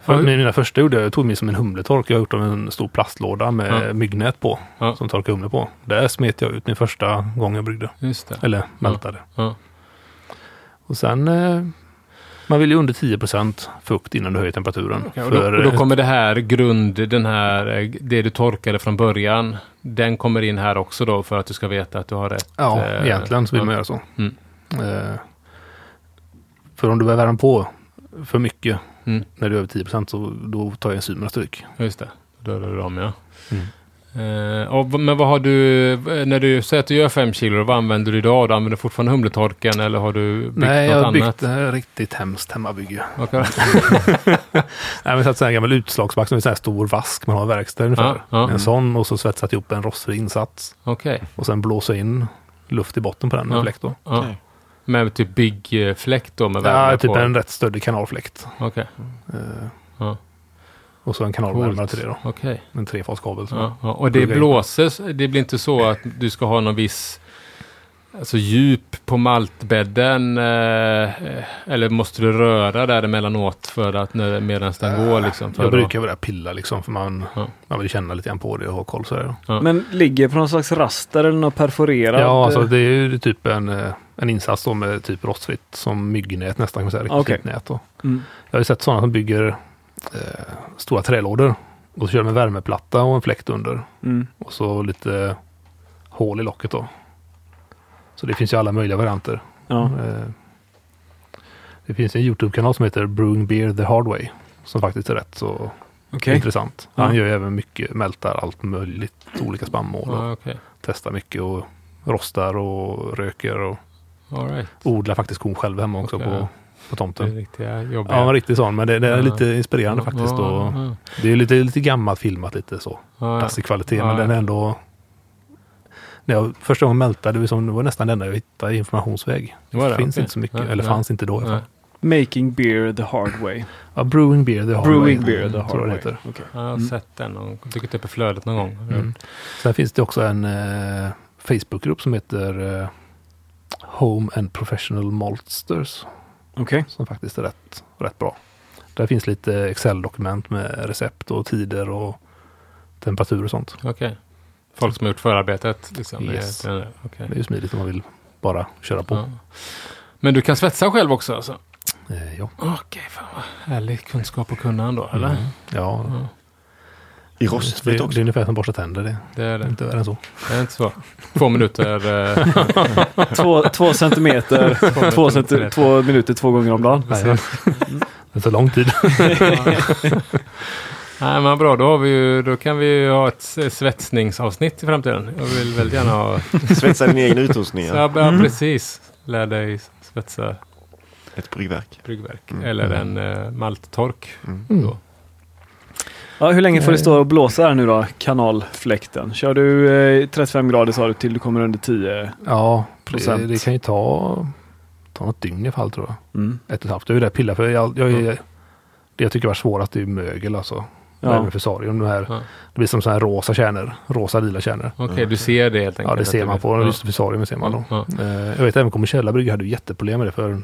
[SPEAKER 4] För
[SPEAKER 3] Ja,
[SPEAKER 4] min- mina första gjorde jag, jag tog mig som en humletork. Jag har gjort av en stor plastlåda med
[SPEAKER 3] Ja.
[SPEAKER 4] myggnät på.
[SPEAKER 3] Ja.
[SPEAKER 4] Som torkar humle på. Där smet jag ut min första gång jag bryggde.
[SPEAKER 3] Just det.
[SPEAKER 4] Eller mältade.
[SPEAKER 3] Ja.
[SPEAKER 4] Och sen, eh, man vill ju under 10 procent fukt innan du höjer temperaturen.
[SPEAKER 3] Okej, och, då, och då
[SPEAKER 4] eh,
[SPEAKER 3] kommer det här grund, den här, eh, det du torkade från början, den kommer in här också då för att du ska veta att du har rätt.
[SPEAKER 4] Ja,
[SPEAKER 3] eh,
[SPEAKER 4] egentligen så vill
[SPEAKER 3] ja.
[SPEAKER 4] man göra så.
[SPEAKER 3] Mm.
[SPEAKER 4] Eh, För om du börjar värma på för mycket
[SPEAKER 3] Mm.
[SPEAKER 4] när du är över 10 så då tar enzymerna stryk.
[SPEAKER 3] Ja, Just det, då dödar du dem ja.
[SPEAKER 4] Mm.
[SPEAKER 3] Eh, och, v- men vad har du, eh, när du säger att du gör fem kilo, vad använder du idag? Du använder fortfarande humletorken eller har du byggt
[SPEAKER 4] Nej,
[SPEAKER 3] något
[SPEAKER 4] jag har
[SPEAKER 3] annat?
[SPEAKER 4] byggt ett riktigt hemskt hemmabygge.
[SPEAKER 3] Okej.
[SPEAKER 4] Nej, men så att säga en gammal utslagsback som är en sån här stor vask man har i verkstaden ungefär.
[SPEAKER 3] Ja, ja.
[SPEAKER 4] En sån och så svetsat ihop en rostfri insats
[SPEAKER 3] Okej.
[SPEAKER 4] och sen blåsa in luft i botten på den med
[SPEAKER 3] Ja.
[SPEAKER 4] fläkt då.
[SPEAKER 3] Ja.
[SPEAKER 1] Okej.
[SPEAKER 3] Med typ byggfläkt då med värme
[SPEAKER 4] Ja, typ
[SPEAKER 3] på?
[SPEAKER 4] en rätt stöddig kanalfläkt.
[SPEAKER 3] Okej.
[SPEAKER 4] Eh,
[SPEAKER 3] Ja.
[SPEAKER 4] Och så en kanalvärmare till det då.
[SPEAKER 3] Okej.
[SPEAKER 4] En trefaskabel. som-
[SPEAKER 3] Ja, ja. Och det
[SPEAKER 4] Plugga in.
[SPEAKER 3] blåser, det blir inte så att du ska ha någon viss alltså djup på maltbädden eh, eller måste du röra där emellanåt för att när- medan den går liksom? För
[SPEAKER 4] Eh, Jag
[SPEAKER 3] då-
[SPEAKER 4] brukar väl där pilla liksom för man,
[SPEAKER 3] Ja.
[SPEAKER 4] man vill känna lite grann på det och ha koll sådär.
[SPEAKER 2] Men ligger på någon slags raster eller något perforerat?
[SPEAKER 4] Ja, alltså
[SPEAKER 2] eh,
[SPEAKER 4] det är ju typ en, eh, en insats då med typ rostfritt som myggnät nästan kan man säga. riktigt
[SPEAKER 2] Ah, Okej.
[SPEAKER 4] fint Nät då.
[SPEAKER 2] Mm.
[SPEAKER 4] Jag har ju sett sådana som bygger eh, stora trälådor. Och så kör de en värmeplatta och en fläkt under.
[SPEAKER 2] Mm.
[SPEAKER 4] Och så lite hål i locket då. Så det finns ju alla möjliga varianter.
[SPEAKER 2] Ja.
[SPEAKER 4] Eh, Det finns en YouTube-kanal som heter Brewing Beer the Hard Way. Som faktiskt är rätt så
[SPEAKER 2] Okej.
[SPEAKER 4] intressant. Han
[SPEAKER 2] Ja.
[SPEAKER 4] gör ju även mycket, mältar allt möjligt, olika spannmål och
[SPEAKER 3] Ja, okej.
[SPEAKER 4] testar mycket och rostar och röker och
[SPEAKER 3] All right.
[SPEAKER 4] odlar faktiskt kon själv hemma också
[SPEAKER 3] Okej, ja.
[SPEAKER 4] på, på
[SPEAKER 3] Det är
[SPEAKER 4] tomten.
[SPEAKER 3] riktiga jobbiga.
[SPEAKER 4] Ja, en riktig sån, men det, det är
[SPEAKER 3] Ja.
[SPEAKER 4] lite inspirerande faktiskt. Och
[SPEAKER 3] ja,
[SPEAKER 4] det är lite, lite gammalt filmat lite så,
[SPEAKER 3] ja.
[SPEAKER 4] passig kvalitet,
[SPEAKER 3] Ja,
[SPEAKER 4] men
[SPEAKER 3] ja.
[SPEAKER 4] den är ändå... När jag första gången mältade, det var som- det var nästan det enda jag hittade i informationsväg. Det,
[SPEAKER 3] Var det?
[SPEAKER 4] finns
[SPEAKER 3] Okej.
[SPEAKER 4] inte så mycket,
[SPEAKER 3] Nej,
[SPEAKER 4] eller
[SPEAKER 3] nej.
[SPEAKER 4] fanns inte då i alla fall.
[SPEAKER 3] Nej.
[SPEAKER 2] Making beer the hard way.
[SPEAKER 4] Ja, Brewing Beer The Hard
[SPEAKER 2] Brewing
[SPEAKER 4] Way,
[SPEAKER 2] beer the
[SPEAKER 4] tror jag
[SPEAKER 2] hard
[SPEAKER 4] det
[SPEAKER 2] way.
[SPEAKER 4] heter.
[SPEAKER 2] Okej.
[SPEAKER 3] Ja, jag har
[SPEAKER 2] Mm.
[SPEAKER 3] sett den och dykt upp typ i flödet någon gång.
[SPEAKER 4] Mm. Sen finns det också en eh, Facebookgrupp som heter eh, Home and Professional Maltsters
[SPEAKER 2] Okej.
[SPEAKER 4] som faktiskt är rätt, rätt bra. Där finns lite Excel-dokument med recept och tider och temperatur och sånt.
[SPEAKER 3] Okej. Folk som har gjort förarbetet. Liksom.
[SPEAKER 4] Yes.
[SPEAKER 3] Det är- okej.
[SPEAKER 4] Det är ju smidigt om man vill bara köra på.
[SPEAKER 3] Ja. Men du kan svetsa själv också alltså?
[SPEAKER 4] Eh, ja.
[SPEAKER 3] Okej, fan vad härlig kunskap och kunnande då, eller?
[SPEAKER 4] Mm. ja.
[SPEAKER 3] Ja,
[SPEAKER 1] I
[SPEAKER 4] Det,
[SPEAKER 1] rostfritt
[SPEAKER 4] det är
[SPEAKER 1] också.
[SPEAKER 4] ungefär som borsta tänder. Det
[SPEAKER 3] det är
[SPEAKER 4] är
[SPEAKER 3] det.
[SPEAKER 4] inte värre än så.
[SPEAKER 3] Det är inte svårt. Två minuter. eh,
[SPEAKER 2] Två, två centimeter, två, centi- två minuter två gånger om dagen.
[SPEAKER 4] Nej, det tar lång tid.
[SPEAKER 3] Nej, men bra. Då, har vi ju, då kan vi ju ha ett s- svetsningsavsnitt i framtiden. Jag vill väldigt gärna ha...
[SPEAKER 1] Svetsa din egen utrustning.
[SPEAKER 3] Så
[SPEAKER 1] ja.
[SPEAKER 3] jag,
[SPEAKER 4] Mm.
[SPEAKER 3] ja, precis. Lär dig svetsa
[SPEAKER 1] Ett bryggverk.
[SPEAKER 3] bryggverk.
[SPEAKER 1] Mm.
[SPEAKER 3] Eller en eh, malttork.
[SPEAKER 4] Mm.
[SPEAKER 3] Då.
[SPEAKER 2] Ja, hur länge får det stå och blåsa här nu då, kanalfläkten? Kör du eh, 35 grader sa du till du kommer under 10?
[SPEAKER 4] Ja, det,
[SPEAKER 2] Procent.
[SPEAKER 4] det kan ju ta, ta något dygn i alla fall tror jag.
[SPEAKER 2] Mm.
[SPEAKER 4] ett och ett halvt. Jag är där och pillar för jag, jag, är- det jag tycker var svårast är ju mögel alltså.
[SPEAKER 2] Ja.
[SPEAKER 4] Även för sarium. De här,
[SPEAKER 3] Ja.
[SPEAKER 4] Det blir som sådana här rosa kärnor. Rosa lila kärnor.
[SPEAKER 3] Okej, du ser det helt enkelt.
[SPEAKER 4] Mm. Ja, det
[SPEAKER 3] att
[SPEAKER 4] ser man på.
[SPEAKER 3] Ja.
[SPEAKER 4] Just för sarium ser man då.
[SPEAKER 3] Ja,
[SPEAKER 4] Eh, Jag vet även Comichella brygga hade ju jätteproblem med det för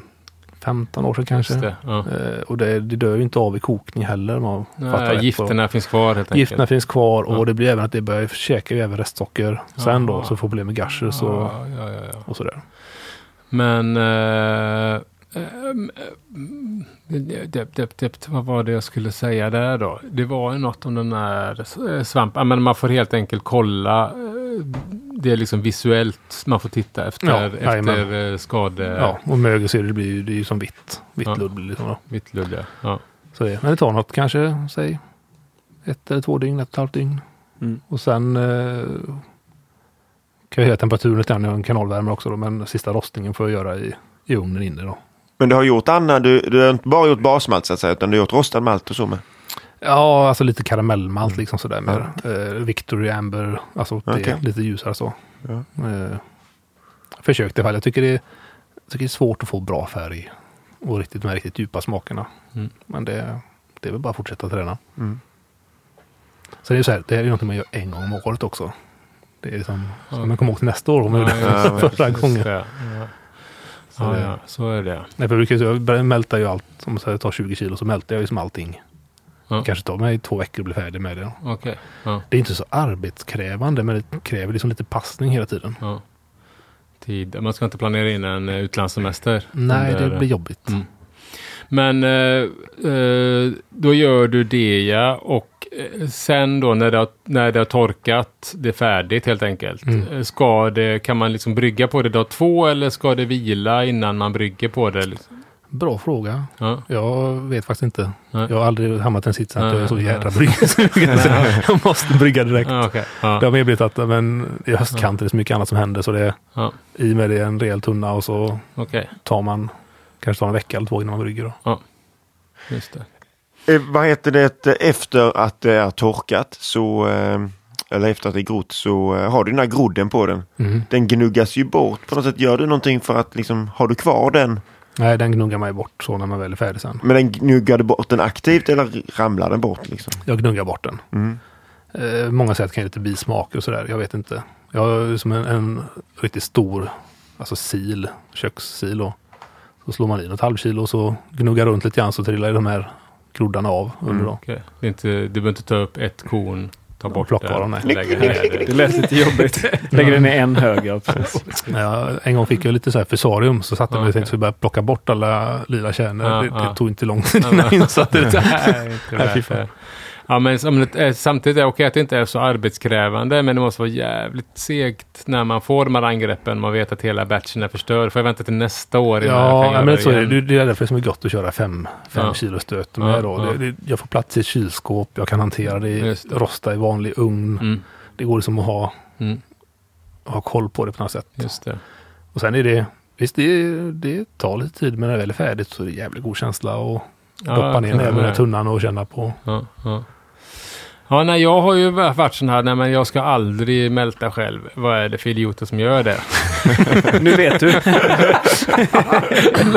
[SPEAKER 4] 15 år sedan kanske.
[SPEAKER 3] Just det. Ja.
[SPEAKER 4] Eh, Och det, det dör ju inte av i kokning heller. om Man fattar
[SPEAKER 3] Nej,
[SPEAKER 4] rätt på-
[SPEAKER 3] gifterna finns kvar helt enkelt.
[SPEAKER 4] Gifterna finns kvar och
[SPEAKER 3] Ja.
[SPEAKER 4] det blir även att det börjar käka ju även restsocker. Sen då
[SPEAKER 3] Jaha.
[SPEAKER 4] så får problem med gasher så,
[SPEAKER 3] Ja, ja, ja, ja.
[SPEAKER 4] och sådär.
[SPEAKER 3] Men... Eh, ehm, eh, dep, dep, dep, vad var det jag skulle säga där då? Det var ju något om den här eh, svampen. Ja, Men man får helt enkelt kolla. eh, Det är liksom visuellt. Man får titta
[SPEAKER 4] Ja,
[SPEAKER 3] efter, efter
[SPEAKER 4] jajamän.
[SPEAKER 3] eh, skade...
[SPEAKER 4] Ja, och mögel ser du, det blir ju, det är ju som vitt. Vitt
[SPEAKER 3] Ja.
[SPEAKER 4] ludd blir det liksom då.
[SPEAKER 3] Vittludde. Ja.
[SPEAKER 4] Så det, men det tar något kanske, säg ett eller två dygn, ett och ett halvt dygn.
[SPEAKER 2] Mm.
[SPEAKER 4] Och sen eh, kan jag höja temperaturen lite grann, jag har en kanalvärme också då, men sista rostningen får jag göra i, i ugnen inne då.
[SPEAKER 1] Men du har gjort annan, du, du har inte bara gjort basmalt så att säga, utan du har gjort rostad malt och så med.
[SPEAKER 4] Ja, alltså lite karamellmalt
[SPEAKER 3] Mm.
[SPEAKER 4] liksom sådär mer. Eh, Victory Amber, alltså det,
[SPEAKER 1] Okej.
[SPEAKER 4] lite ljusare så.
[SPEAKER 1] Ja.
[SPEAKER 4] Eh, försökt i alla fall, jag tycker, det, jag tycker det är svårt att få bra färg och riktigt, de här riktigt djupa smakerna.
[SPEAKER 3] Mm.
[SPEAKER 4] Men det, det är väl bara att fortsätta träna.
[SPEAKER 1] Mm.
[SPEAKER 4] Sen är det ju så här, det här är ju någonting man gör en gång om året också. Det är liksom, så
[SPEAKER 3] Ja.
[SPEAKER 4] man kommer ihåg till nästa år om man
[SPEAKER 3] Ja,
[SPEAKER 4] gjorde det
[SPEAKER 1] ja, men
[SPEAKER 4] förra gången.
[SPEAKER 3] Ja, ja.
[SPEAKER 4] Så
[SPEAKER 3] Ja,
[SPEAKER 4] det-
[SPEAKER 3] ja, så är det.
[SPEAKER 4] Nej, för jag, brukar, ju- jag bör- mältar ju allt, om jag tar 20 kilo så mältar jag ju som allting.
[SPEAKER 3] Ja.
[SPEAKER 4] Det kanske tar mig två veckor att bli färdig med det.
[SPEAKER 3] Okej. Ja,
[SPEAKER 4] Det är inte så arbetskrävande men det kräver liksom lite passning hela tiden.
[SPEAKER 3] ja. Tid. Man ska inte planera in en eh, utlandssemester.
[SPEAKER 4] Nej,
[SPEAKER 3] under-
[SPEAKER 4] det blir jobbigt.
[SPEAKER 3] Mm. Men eh, eh, då gör du det ja och eh, sen då när det, har, när det har torkat, det är färdigt helt enkelt.
[SPEAKER 4] Mm.
[SPEAKER 3] eh, Ska det, kan man liksom brygga på det dag två eller ska det vila innan man brygger på det? Liksom?
[SPEAKER 4] Bra fråga.
[SPEAKER 3] Ja. Ah,
[SPEAKER 4] Jag vet faktiskt inte.
[SPEAKER 3] Nej.
[SPEAKER 4] Jag har aldrig hamnat i en sits att jag är så
[SPEAKER 3] Nej.
[SPEAKER 4] jädra bryggsugen. så jag måste brygga direkt.
[SPEAKER 3] Ja, okej. Ah, Ja.
[SPEAKER 4] Det har mer blivit att men, i höstkanter är det så mycket annat som händer så det är
[SPEAKER 3] Ja.
[SPEAKER 4] i med det en rejäl tunna och så
[SPEAKER 3] ah, Okej,
[SPEAKER 4] tar man kanske tar en vecka eller två innan man brygger. Då.
[SPEAKER 3] just det.
[SPEAKER 1] Eh, vad heter det, eh, efter att det är torkat så, eh, eller efter att det är grott så eh, har du den här grodden på den.
[SPEAKER 3] Mm.
[SPEAKER 1] Den gnuggas ju bort på något sätt. Gör du någonting för att liksom, har du kvar den?
[SPEAKER 4] Nej, den gnuggar man ju bort så när man väl är färdig sen.
[SPEAKER 1] Men den gnuggar du bort den aktivt eller ramlar den bort liksom?
[SPEAKER 4] Jag gnuggar bort den.
[SPEAKER 1] Mm.
[SPEAKER 4] Eh, många säger att det kan ge lite bismaker och sådär. Jag vet inte. Jag har som en, en riktigt stor alltså sil, kökssil. Då. Så slår man i något halvkilo och så gnuggar runt lite grann så trillar ju de här groddarna av under
[SPEAKER 1] Mm.
[SPEAKER 4] dem.
[SPEAKER 3] Okej. Det är inte, du behöver inte ta upp ett korn, ta bort
[SPEAKER 4] plockar
[SPEAKER 3] det,
[SPEAKER 4] dem, nej.
[SPEAKER 3] lägga ner det.
[SPEAKER 2] Det lät lite jobbigt. Lägger den i en hög. Ja, precis.
[SPEAKER 4] När jag, en gång fick jag lite så här fusarium så satte jag
[SPEAKER 3] Ja,
[SPEAKER 4] mig och
[SPEAKER 3] okej.
[SPEAKER 4] tänkte att jag började plocka bort alla lila kärnor.
[SPEAKER 3] Ja,
[SPEAKER 4] det,
[SPEAKER 3] ja.
[SPEAKER 4] det tog inte lång tid
[SPEAKER 3] Ja,
[SPEAKER 4] innan jag
[SPEAKER 3] men-
[SPEAKER 4] insåg att det.
[SPEAKER 3] Nej, inte
[SPEAKER 4] Nej, fy
[SPEAKER 3] värt
[SPEAKER 4] fan.
[SPEAKER 3] det. Ja, men som- eh, samtidigt är det okej att det inte är så arbetskrävande, men det måste vara jävligt segt när man får de här angreppen. Man vet att hela batchen är förstörd. Får jag vänta till nästa år innan jag
[SPEAKER 4] Ja,
[SPEAKER 3] kan
[SPEAKER 4] ja
[SPEAKER 3] göra
[SPEAKER 4] men så är det.
[SPEAKER 3] igen?
[SPEAKER 4] Det- Det är därför som är gott att köra fem, fem
[SPEAKER 3] Ja.
[SPEAKER 4] kilo stöt
[SPEAKER 3] Ja,
[SPEAKER 4] med då.
[SPEAKER 3] ja.
[SPEAKER 4] Det, det, jag får plats i ett kylskåp, jag kan hantera det, i-
[SPEAKER 3] Just det.
[SPEAKER 4] rosta i vanlig ugn.
[SPEAKER 3] Mm,
[SPEAKER 4] Det går liksom att ha,
[SPEAKER 3] mm,
[SPEAKER 4] ha koll på det på något sätt.
[SPEAKER 3] just det.
[SPEAKER 4] Och sen är det, visst det, det tar lite tid men när det väl är färdigt så är det jävligt god känsla att
[SPEAKER 3] Ja,
[SPEAKER 4] doppa ner
[SPEAKER 3] jag kan
[SPEAKER 4] näven i den här
[SPEAKER 3] tänka mig.
[SPEAKER 4] tunnan och känna på.
[SPEAKER 3] Ja, ja. Ja, nej, jag har ju varit sån här, nej men jag ska aldrig mälta själv. Vad är det för idioter som gör det?
[SPEAKER 2] Nu vet du.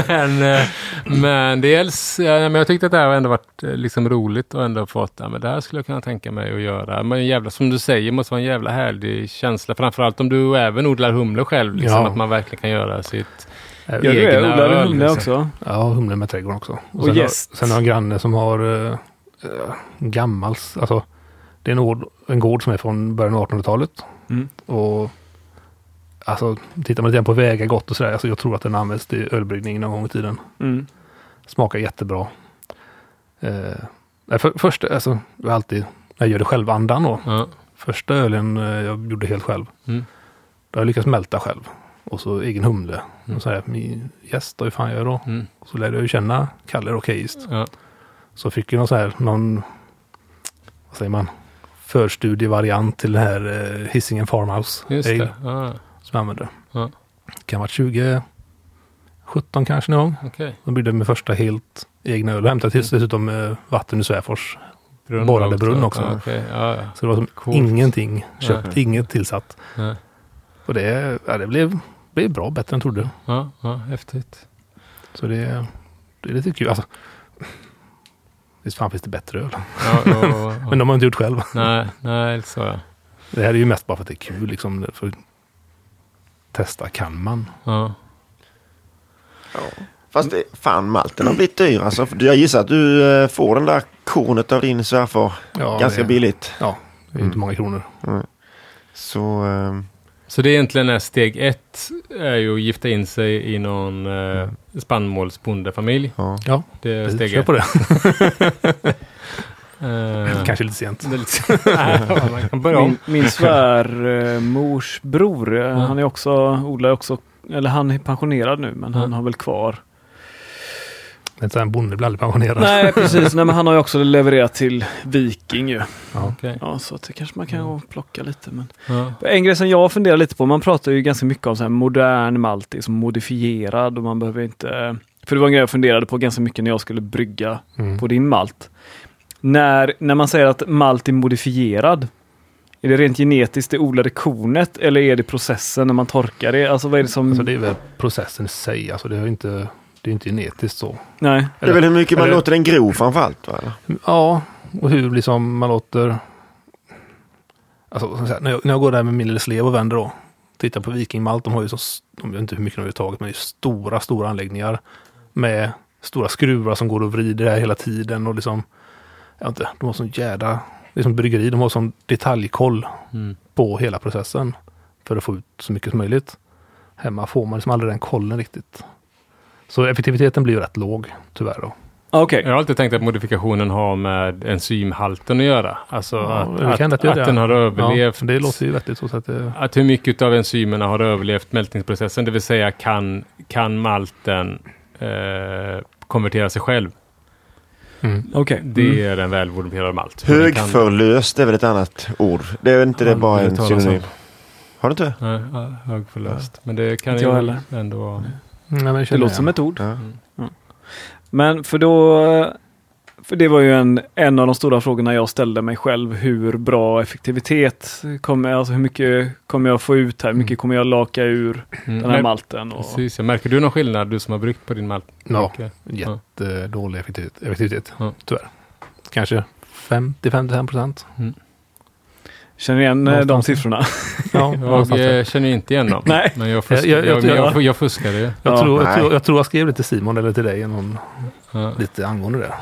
[SPEAKER 3] men, eh, men dels, eh, men jag tyckte att det här har ändå varit eh, liksom roligt och ändå fått, ja, men det här skulle jag kunna tänka mig att göra. Men jävla, som du säger, måste vara en jävla härlig känsla. Framförallt om du även odlar humlor själv, liksom,
[SPEAKER 4] Ja.
[SPEAKER 3] att man verkligen kan göra sitt.
[SPEAKER 4] Äh,
[SPEAKER 2] Ja, du är
[SPEAKER 3] Egna
[SPEAKER 2] odlare
[SPEAKER 3] öl,
[SPEAKER 2] humle
[SPEAKER 3] liksom.
[SPEAKER 2] också.
[SPEAKER 4] Ja, humlen med trädgården också.
[SPEAKER 2] Och
[SPEAKER 4] sen, har,
[SPEAKER 2] gäst.
[SPEAKER 4] sen har jag en granne som har eh, eh, gammals, alltså det är en, ord, en gård som är från början av 1800-talet.
[SPEAKER 2] Mm.
[SPEAKER 4] Och alltså, tittar man lite grann på vägar gott och sådär, alltså jag tror att den används till ölbryggning någon gång i tiden.
[SPEAKER 2] Mm.
[SPEAKER 4] Smakar jättebra. Eh, nej, för, först, alltså, jag har alltid, jag gör det själv andan då.
[SPEAKER 3] Ja,
[SPEAKER 4] Första ölen eh, jag gjorde helt själv.
[SPEAKER 3] Mm.
[SPEAKER 4] Då har jag lyckats mälta själv. Och så egen humle.
[SPEAKER 3] Mm.
[SPEAKER 4] Och så här, min gäst, då, hur fan gör jag då?
[SPEAKER 3] mm,
[SPEAKER 4] Och så lärde jag ju känna Kalle Rockheist.
[SPEAKER 3] ja,
[SPEAKER 4] Så fick jag någon så här, någon, vad säger man, förstudievariant till den här eh, Hisingen Farmhouse.
[SPEAKER 3] just
[SPEAKER 4] Ale
[SPEAKER 3] det. Ja,
[SPEAKER 4] Som jag använde.
[SPEAKER 3] Ja.
[SPEAKER 4] Kan ha varit 2017 kanske någon gång.
[SPEAKER 3] okej.
[SPEAKER 4] Då byggde jag min första helt egna öl och hämtade till dessutom eh, vatten ur Svärfors.
[SPEAKER 3] Mm. Brunn
[SPEAKER 4] Borrade brunn också.
[SPEAKER 3] Ja, okej. ja, ja.
[SPEAKER 4] Så det var som
[SPEAKER 3] Coolt.
[SPEAKER 4] ingenting köpt, inget tillsatt.
[SPEAKER 3] Ja,
[SPEAKER 4] Och det, ja, det blev, blev bra, bättre än jag trodde.
[SPEAKER 3] ja, ja, häftigt.
[SPEAKER 4] Så det, det är lite kul. Alltså, visst fan finns det bättre öl.
[SPEAKER 3] Ja, ja, ja, ja.
[SPEAKER 4] Men de har jag inte gjort själv.
[SPEAKER 3] Nej, nej, så ja.
[SPEAKER 4] Det här är ju mest bara för att det är kul liksom. För att testa kan man.
[SPEAKER 3] ja.
[SPEAKER 1] Fast det, fan malten har blivit dyr alltså. Jag gissar att du eh, får den där kornet av din svärfar
[SPEAKER 4] Ja,
[SPEAKER 1] ganska
[SPEAKER 4] det,
[SPEAKER 1] billigt.
[SPEAKER 4] Ja, det
[SPEAKER 3] Mm.
[SPEAKER 4] är ju inte många kronor.
[SPEAKER 1] Så eh,
[SPEAKER 3] Så det är egentligen är steg ett, är ju att gifta in sig i någon eh, spannmålsbondefamilj.
[SPEAKER 1] ja.
[SPEAKER 4] Ja,
[SPEAKER 3] Det är
[SPEAKER 4] precis.
[SPEAKER 3] steg
[SPEAKER 4] kör
[SPEAKER 3] ett.
[SPEAKER 4] på det.
[SPEAKER 3] Eh,
[SPEAKER 4] Kanske lite sent.
[SPEAKER 3] det är lite- Nej, man kan börja om.
[SPEAKER 2] Min, min svärmors bror, eh, han är också, odlar också, eller han är pensionerad nu men han
[SPEAKER 3] Ja.
[SPEAKER 2] har väl kvar.
[SPEAKER 4] Det är inte så här en bonde blir aldrig pensionerad.
[SPEAKER 2] Nej precis, nej, men han har ju också levererat till Viking ju.
[SPEAKER 4] Ja.
[SPEAKER 3] Okej.
[SPEAKER 2] Ja, så att det kanske man kan gå och plocka lite. Men...
[SPEAKER 3] Ja.
[SPEAKER 2] Mm. En grej som jag funderar lite på, man pratar ju ganska mycket om så här modern maltis, modifierad och man behöver inte... För det var en grej jag funderade på ganska mycket när jag skulle brygga
[SPEAKER 4] Mm.
[SPEAKER 2] på din malt. När, när man säger att malt är modifierad, är det rent genetiskt det odlade kornet eller är det processen när man torkar det? Alltså vad är det som...
[SPEAKER 4] Alltså det är väl processen i sig. Alltså det är ju inte, det är inte genetiskt så.
[SPEAKER 2] Nej.
[SPEAKER 1] Det är väl hur mycket man
[SPEAKER 4] Eller-
[SPEAKER 1] låter den gro framförallt. Va? eller?
[SPEAKER 4] Ja, och hur liksom man låter... Alltså, som sagt, när, jag, när jag går där med min lille slev och vänder då. Tittar på Viking Malt, de har ju så, s- de vet inte hur mycket de har tagit, men det är ju stora, stora anläggningar. Med stora skruvar som går och vrider här hela tiden och liksom... Jag vet inte, de har sån jädra... Det är som bryggeri, de har sån detaljkoll
[SPEAKER 3] Mm.
[SPEAKER 4] på hela processen. För att få ut så mycket som möjligt. Hemma får man liksom aldrig den kollen riktigt. Så effektiviteten blir ju rätt låg, tyvärr då.
[SPEAKER 2] Ah, Okej.
[SPEAKER 3] Jag har alltid tänkt att modifikationen har med enzymhalten att göra. Alltså
[SPEAKER 4] Ja,
[SPEAKER 3] att,
[SPEAKER 4] det
[SPEAKER 3] att,
[SPEAKER 4] kan lätt göra det.
[SPEAKER 3] att den har överlevt.
[SPEAKER 4] Ja, det låter ju vettigt så att
[SPEAKER 2] Mm.
[SPEAKER 4] det...
[SPEAKER 3] Att hur mycket av enzymerna har överlevt mältningsprocessen, det vill säga kan, kan malten eh, eh, konvertera sig själv.
[SPEAKER 4] Mm.
[SPEAKER 2] Okej. Mm.
[SPEAKER 3] Det är den välvodimerade malt. Och det kan-
[SPEAKER 1] Högförlöst är väl ett annat ord? Det är väl inte det
[SPEAKER 3] Aldrig
[SPEAKER 1] bara en
[SPEAKER 3] hört talas om.
[SPEAKER 1] synonym? Har du inte?
[SPEAKER 3] Nej, ja, högförlöst. Men det kan
[SPEAKER 2] Inte
[SPEAKER 3] ju
[SPEAKER 2] jag heller.
[SPEAKER 3] ändå vara... Mm.
[SPEAKER 4] Nej, men jag
[SPEAKER 2] Det
[SPEAKER 4] känner
[SPEAKER 2] låter
[SPEAKER 4] igen.
[SPEAKER 2] som ett ord.
[SPEAKER 1] Ja.
[SPEAKER 2] Men för då... För det var ju en, en av de stora frågorna jag ställde mig själv. Hur bra effektivitet kommer alltså hur mycket kommer jag få ut här? Hur mycket kommer jag laka ur den här
[SPEAKER 3] Men-
[SPEAKER 2] malten? Och,
[SPEAKER 3] Mm. Precis, ja. Märker du någon skillnad, du som har bryggt på din malt?
[SPEAKER 4] Ja,
[SPEAKER 3] Okej.
[SPEAKER 4] jättedålig effektivitet, effektivitet
[SPEAKER 3] Ja.
[SPEAKER 4] tyvärr. Kanske 50-55 procent.
[SPEAKER 2] känner igen eh, de
[SPEAKER 4] Någonstans.
[SPEAKER 2] siffrorna?
[SPEAKER 4] Ja,
[SPEAKER 3] Jag
[SPEAKER 4] någonstans där.
[SPEAKER 3] eh, känner ju inte igen dem.
[SPEAKER 2] Nej.
[SPEAKER 3] Men jag, fuskar,
[SPEAKER 4] Jag-
[SPEAKER 3] jag,
[SPEAKER 4] jag-
[SPEAKER 3] jag,
[SPEAKER 4] jag-
[SPEAKER 3] jag, jag fuskade ju.
[SPEAKER 4] jag,
[SPEAKER 2] Ja,
[SPEAKER 4] tror, jag,
[SPEAKER 1] nej.
[SPEAKER 4] tror, jag tror jag skrev det till Simon eller till dig någon,
[SPEAKER 3] Ja.
[SPEAKER 4] lite angående det.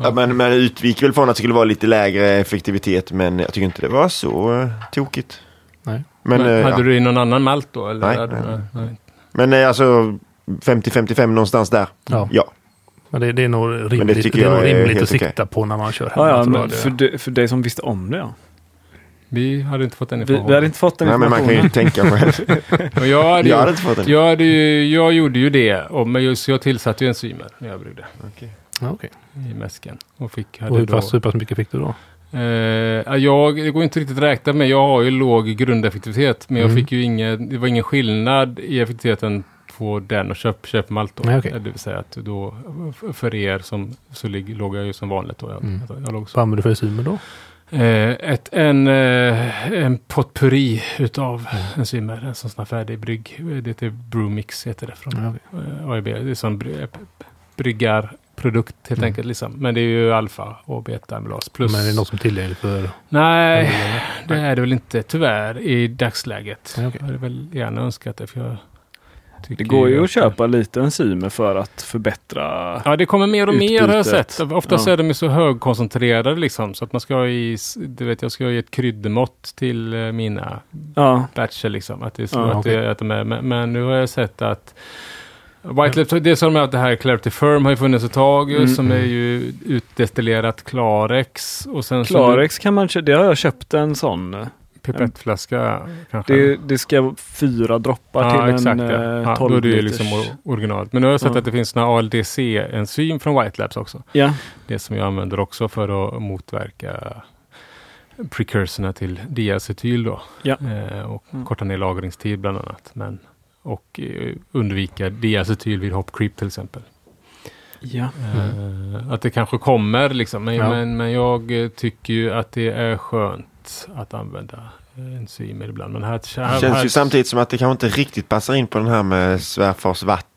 [SPEAKER 1] Ja, men, men det utgick väl från att det skulle vara lite lägre effektivitet men jag tycker inte det var så eh, tokigt.
[SPEAKER 4] Nej.
[SPEAKER 1] Men,
[SPEAKER 3] Men,
[SPEAKER 1] eh,
[SPEAKER 3] hade
[SPEAKER 1] ja.
[SPEAKER 3] du i någon annan malt då? Eller?
[SPEAKER 1] Nej,
[SPEAKER 3] hade-
[SPEAKER 1] nej,
[SPEAKER 3] nej.
[SPEAKER 1] men eh, alltså 50-55 någonstans där.
[SPEAKER 2] Mm.
[SPEAKER 4] Ja.
[SPEAKER 1] Ja.
[SPEAKER 4] Men det, det är nog rimligt, det
[SPEAKER 1] tycker
[SPEAKER 4] är
[SPEAKER 1] jag
[SPEAKER 4] nog
[SPEAKER 1] är
[SPEAKER 4] rimligt
[SPEAKER 1] helt
[SPEAKER 4] att sikta
[SPEAKER 1] okej.
[SPEAKER 4] på när man kör hemma.
[SPEAKER 2] Ja, ja,
[SPEAKER 4] tror jag
[SPEAKER 2] men
[SPEAKER 4] det.
[SPEAKER 2] för, dig- för dig som visste om det ja.
[SPEAKER 3] Vi hade inte fått den
[SPEAKER 2] Vi, vi
[SPEAKER 3] informationen.
[SPEAKER 2] hade inte fått den
[SPEAKER 1] Nej, men man kan
[SPEAKER 2] informationen.
[SPEAKER 1] ju tänka själv.
[SPEAKER 3] Och jag, hade ju,
[SPEAKER 1] Jag hade inte fått den.
[SPEAKER 3] jag, hade ju, jag gjorde ju det, och, men just, jag tillsatte ju enzymer när jag bryggde
[SPEAKER 4] ja, okej.
[SPEAKER 3] i mäsken. Och fick, hade
[SPEAKER 4] Och hur
[SPEAKER 3] då,
[SPEAKER 4] pass, hur pass mycket fick du då?
[SPEAKER 3] eh, jag, det går inte riktigt att räkna med, jag har ju låg grundeffektivitet, men jag
[SPEAKER 4] Mm.
[SPEAKER 3] fick ju ingen, det var ingen skillnad i effektiviteten på den och köp, köpmalt då.
[SPEAKER 4] Nej, okej.
[SPEAKER 3] Det vill säga att då, f- för er som, så ligg, låg jag ju som vanligt då. Jag,
[SPEAKER 4] Mm.
[SPEAKER 3] jag låg så.
[SPEAKER 4] Vad använde du för enzymer då?
[SPEAKER 3] Eh, ett, en, eh, en potpurri utav
[SPEAKER 4] Mm.
[SPEAKER 3] enzymer, en sån här färdig brygg. Det är Brewmix heter det från
[SPEAKER 4] Ja, okej.
[SPEAKER 3] eh, AIB. Det är som bry- eh, bryggarprodukt helt
[SPEAKER 4] Mm.
[SPEAKER 3] enkelt. Liksom. Men det är ju alfa och beta-amylas plus.
[SPEAKER 4] Men är det något som är tillgängligt för...
[SPEAKER 3] Nej, det är det väl inte tyvärr i dagsläget.
[SPEAKER 4] Nej, okej.
[SPEAKER 3] Jag hade väl gärna önskat det. För jag tycker
[SPEAKER 2] Det går ju att köpa lite enzymer för att förbättra.
[SPEAKER 3] Ja, det kommer mer och mer har jag
[SPEAKER 2] Utbytet.
[SPEAKER 3] sett. Oftast
[SPEAKER 2] Ja.
[SPEAKER 3] är de ju så högkoncentrerade liksom. Så att man ska ha i, s- du vet, jag ska ha i ett kryddmått till eh, mina
[SPEAKER 2] Ja,
[SPEAKER 3] batcher liksom. Att det är så
[SPEAKER 2] Ja,
[SPEAKER 3] att,
[SPEAKER 4] okej.
[SPEAKER 3] det, att de är, men, men nu har jag sett att Whitelift, det är som att det här Clarity Firm har ju funnits ett tag ju,
[SPEAKER 2] Mm.
[SPEAKER 3] som är ju utdestillerat Clarex och sen så-
[SPEAKER 2] Klarex kan man köpa. Det har jag köpt en sån.
[SPEAKER 3] pipettflaska kanske.
[SPEAKER 2] Det, det ska vara fyra droppar
[SPEAKER 3] ja,
[SPEAKER 2] till
[SPEAKER 3] exakt,
[SPEAKER 2] en
[SPEAKER 3] ja.
[SPEAKER 2] ja.
[SPEAKER 3] Ja,
[SPEAKER 2] 12
[SPEAKER 3] då är det ju
[SPEAKER 2] liters.
[SPEAKER 3] liksom or- originalt. Men nu har jag sett
[SPEAKER 2] Ja.
[SPEAKER 3] att det finns några ALDC-enzym från White Labs också.
[SPEAKER 2] Ja,
[SPEAKER 3] Det som jag använder också för att motverka precursorna till diacetyl då.
[SPEAKER 2] Ja.
[SPEAKER 3] Eh, och
[SPEAKER 2] Mm.
[SPEAKER 3] korta ner lagringstid bland annat. Men, och eh, undvika diacetyl vid hop creep till exempel.
[SPEAKER 2] ja. Mm.
[SPEAKER 3] Eh, att det kanske kommer liksom. Men,
[SPEAKER 4] Ja.
[SPEAKER 3] men, men jag eh, tycker ju att det är skönt att använda eh, enzymer ibland. Men här, här,
[SPEAKER 1] Det känns
[SPEAKER 3] här-
[SPEAKER 1] ju samtidigt som att det kanske inte riktigt passar in på den här med svärfars vatten.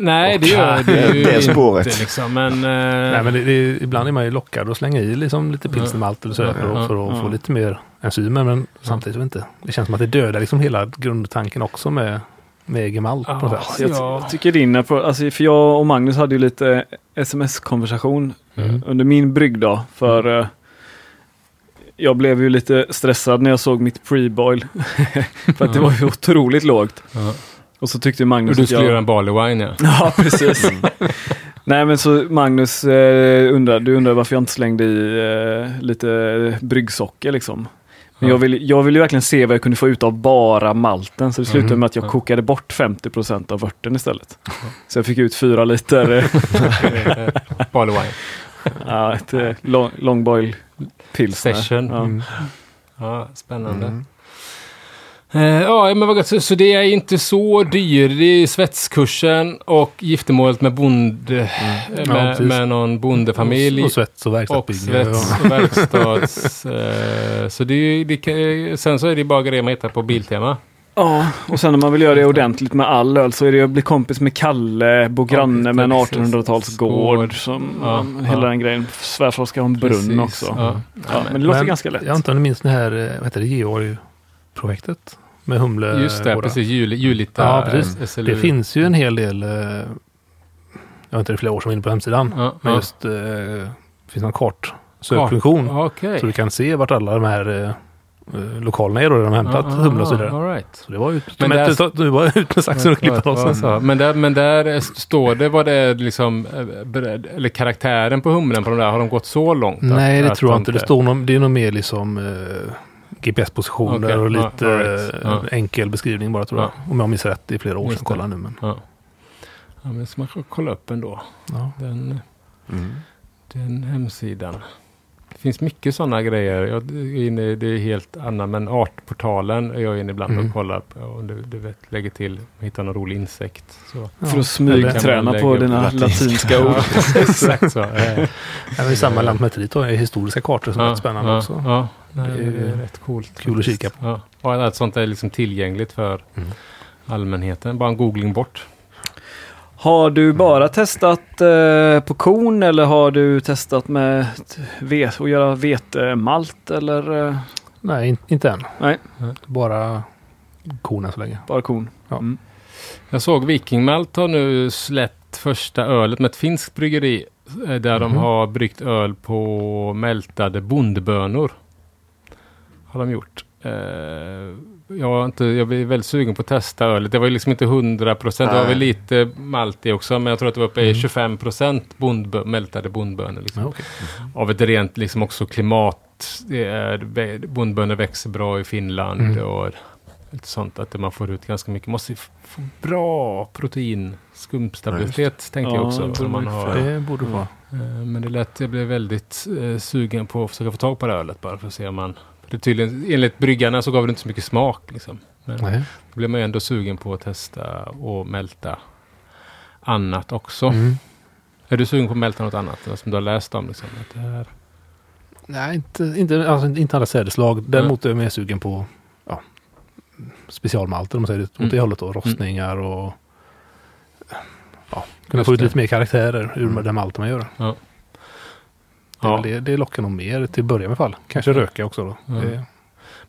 [SPEAKER 3] Nej, det gör det,
[SPEAKER 1] det
[SPEAKER 3] ju inte
[SPEAKER 1] spåret.
[SPEAKER 3] Liksom, men, eh,
[SPEAKER 4] Nej, men det, det, ibland är man ju lockad att slänga i liksom lite
[SPEAKER 3] Mm.
[SPEAKER 4] pilsnermalt eller så här för,
[SPEAKER 3] Ja,
[SPEAKER 4] att- för att
[SPEAKER 2] ja.
[SPEAKER 4] få lite mer enzymer. Men samtidigt inte. Det känns som att det dödar liksom hela grundtanken också med, med egen malt. på något sätt.
[SPEAKER 2] Jag,
[SPEAKER 3] eh, Ja.
[SPEAKER 2] jag tycker din appro- alltså, för jag och Magnus hade ju lite sms-konversation
[SPEAKER 4] Mm.
[SPEAKER 2] under min bryggdag. För
[SPEAKER 3] Mm.
[SPEAKER 2] eh, jag blev ju lite stressad när jag såg mitt pre-boil. för att det var ju otroligt lågt.
[SPEAKER 3] ja.
[SPEAKER 2] Och så tyckte Magnus
[SPEAKER 3] Du
[SPEAKER 2] att
[SPEAKER 3] skulle
[SPEAKER 2] jag...
[SPEAKER 3] göra en barley wine ja.
[SPEAKER 2] Ja, precis.
[SPEAKER 3] Mm.
[SPEAKER 2] Nej, men så Magnus eh, undrar, du undrar varför jag inte slängde i eh, lite bryggsocker liksom. Men
[SPEAKER 3] Ja.
[SPEAKER 2] jag ville jag vill ju verkligen se vad jag kunde få ut av bara malten, så det slutade
[SPEAKER 4] Mm.
[SPEAKER 2] med att jag
[SPEAKER 3] Ja.
[SPEAKER 2] kokade bort 50 av vörten istället. Så jag fick ut fyra liter eh,
[SPEAKER 3] barley wine.
[SPEAKER 2] ja, ett, eh, long, longboil pilsner.
[SPEAKER 3] Session.
[SPEAKER 2] Ja.
[SPEAKER 4] Mm.
[SPEAKER 3] Ja, spännande.
[SPEAKER 1] Mm.
[SPEAKER 3] Eh, ja, men vad gott. Så, så det är inte så dyr. Det är svetskursen och giftermålet med bonde, eh,
[SPEAKER 4] Mm. Ja,
[SPEAKER 3] med,
[SPEAKER 4] precis.
[SPEAKER 3] med någon bondefamilj.
[SPEAKER 4] Och, och svets och
[SPEAKER 3] Och
[SPEAKER 4] verkstadsbygge.
[SPEAKER 3] svets och verkstads... eh, så det är, ju- det, kan- sen så är det bara grejer man hittar på Biltema.
[SPEAKER 2] ja, och sen om man vill göra det ordentligt med all öl så är det att bli kompis med Kalle, bo granne med en
[SPEAKER 3] precis.
[SPEAKER 2] 1800-talsgård. Som,
[SPEAKER 3] Ja.
[SPEAKER 2] ja, hela
[SPEAKER 3] Ja.
[SPEAKER 2] den grejen. Svärfar ska ha en brunn
[SPEAKER 3] Precis.
[SPEAKER 2] också.
[SPEAKER 3] Ja.
[SPEAKER 2] Ja, men det låter
[SPEAKER 4] Men
[SPEAKER 2] ganska lätt.
[SPEAKER 4] Jag antar ni minns det här, eh, vad heter det, Georg-projektet? Med humle.
[SPEAKER 3] Just det,
[SPEAKER 4] Eh, båda.
[SPEAKER 3] precis. Jul, julita.
[SPEAKER 4] Ja, precis.
[SPEAKER 3] eh, SLU.
[SPEAKER 4] Det finns ju en hel del, eh, jag vet inte, det är flera år som är inne på hemsidan.
[SPEAKER 3] Ja,
[SPEAKER 4] Men
[SPEAKER 3] ja.
[SPEAKER 4] just, eh, finns någon kart, sökfunktion.
[SPEAKER 3] Ja, Okej.
[SPEAKER 4] Så du kan se vart alla de här eh, eh, lokalerna är då, där de har hämtat humle och så vidare.
[SPEAKER 3] All right.
[SPEAKER 4] Så det var ju
[SPEAKER 3] Ah, Men
[SPEAKER 4] men
[SPEAKER 3] där-
[SPEAKER 4] du, du var ut med saxen och klippa loss den.
[SPEAKER 3] Ja, men, där, men där eh, står det vad det är liksom, eh, beredd- eller karaktären på humlen på de där, har de gått så långt? att-
[SPEAKER 4] Nej, det
[SPEAKER 3] att
[SPEAKER 4] tror jag
[SPEAKER 3] de
[SPEAKER 4] inte. Det, står någon, det är nog mer liksom eh, GPS-positioner
[SPEAKER 3] Okej,
[SPEAKER 4] och
[SPEAKER 3] ja,
[SPEAKER 4] lite
[SPEAKER 3] all right.
[SPEAKER 4] eh,
[SPEAKER 3] Ja.
[SPEAKER 4] enkel beskrivning bara tror jag. Om jag minns rätt, det är flera år
[SPEAKER 3] Just
[SPEAKER 4] sedan
[SPEAKER 3] det.
[SPEAKER 4] kolla nu. Men.
[SPEAKER 3] Ja. Ja, men ska man k- kolla upp ändå.
[SPEAKER 4] Ja.
[SPEAKER 3] Den,
[SPEAKER 1] Mm.
[SPEAKER 3] den hemsidan. Det finns mycket sådana grejer. Jag är inne, det är helt annan, men artportalen är jag inne ibland
[SPEAKER 4] Mm.
[SPEAKER 3] och kollar på. Och du, du vet, lägger till, hittar någon rolig insekt. Så.
[SPEAKER 2] För att
[SPEAKER 3] Eller kan
[SPEAKER 2] smygträna
[SPEAKER 3] man
[SPEAKER 2] på
[SPEAKER 3] lägga upp
[SPEAKER 2] dina
[SPEAKER 1] latinska
[SPEAKER 2] latinska ord.
[SPEAKER 3] Ja, exakt så. Eh,
[SPEAKER 4] Även i samma lantmäteri tar jag historiska kartor som är rätt spännande
[SPEAKER 3] ja,
[SPEAKER 4] också.
[SPEAKER 3] Ja, nej,
[SPEAKER 4] Det
[SPEAKER 3] det,
[SPEAKER 4] är
[SPEAKER 3] är
[SPEAKER 4] ju
[SPEAKER 3] rätt coolt.
[SPEAKER 4] kul att
[SPEAKER 3] faktiskt.
[SPEAKER 4] kika
[SPEAKER 3] Ja. Och allt sånt är liksom tillgängligt för
[SPEAKER 4] Mm.
[SPEAKER 3] allmänheten. Bara en googling bort.
[SPEAKER 2] Har du bara testat eh, på korn eller har du testat med t- vet, att göra vetemalt eller eh,
[SPEAKER 4] Nej, in, inte än.
[SPEAKER 2] Nej.
[SPEAKER 4] Bara kornen så länge.
[SPEAKER 2] bara korn?
[SPEAKER 3] Jag såg Vikingmalt har nu släppt första ölet med ett finskt bryggeri. eh, Där de
[SPEAKER 4] Mhm.
[SPEAKER 3] har bryggt öl på mältade bondbönor. Har de gjort. Eh, jag, var inte, jag blev väldigt sugen på att testa ölet. Det var ju liksom inte 100 procent. Det var
[SPEAKER 1] Nej.
[SPEAKER 3] väl lite malt i också. Men jag tror att det var uppe i
[SPEAKER 4] Mm.
[SPEAKER 3] 25 procent bondbö- mältade bondbönor. Liksom.
[SPEAKER 4] Ja, okej.
[SPEAKER 3] av ett rent liksom också klimat. Det är, bondbönor växer bra i Finland
[SPEAKER 4] Mm.
[SPEAKER 3] och lite sånt. Att man får ut ganska mycket. Måste ju f- få bra protein. Skumstabilitet tänkte jag
[SPEAKER 2] Ja,
[SPEAKER 3] också.
[SPEAKER 2] det
[SPEAKER 3] om man
[SPEAKER 2] beror
[SPEAKER 3] har,
[SPEAKER 2] ju
[SPEAKER 3] eh,
[SPEAKER 4] Det borde vara.
[SPEAKER 3] men det lät, jag blev väldigt eh, sugen på att försöka få tag på det här ölet bara för att se om man... för Det är tydligen, enligt bryggarna så gav det inte så mycket smak. Liksom. Men
[SPEAKER 4] Nej.
[SPEAKER 3] då blev man ju ändå sugen på att testa och mälta annat också.
[SPEAKER 4] Mm.
[SPEAKER 3] Är du sugen på att mälta något annat? Något som du har läst om? Liksom, att det här,
[SPEAKER 4] Nej, inte, inte, alltså, inte alla sädeslag. Däremot är jag mer sugen på ja, specialmalter om man säger det. Åt det
[SPEAKER 3] Mm.
[SPEAKER 4] hållet då. Rostningar och ja, kunna
[SPEAKER 3] Just
[SPEAKER 4] få ut
[SPEAKER 3] det.
[SPEAKER 4] lite mer karaktärer ur
[SPEAKER 1] Mm.
[SPEAKER 4] den malten man gör.
[SPEAKER 3] Ja.
[SPEAKER 4] Det, är
[SPEAKER 3] Ja.
[SPEAKER 4] väl det, det lockar nog mer till att börja med i alla fall. Kanske röka också då.
[SPEAKER 3] Mm.
[SPEAKER 4] Det,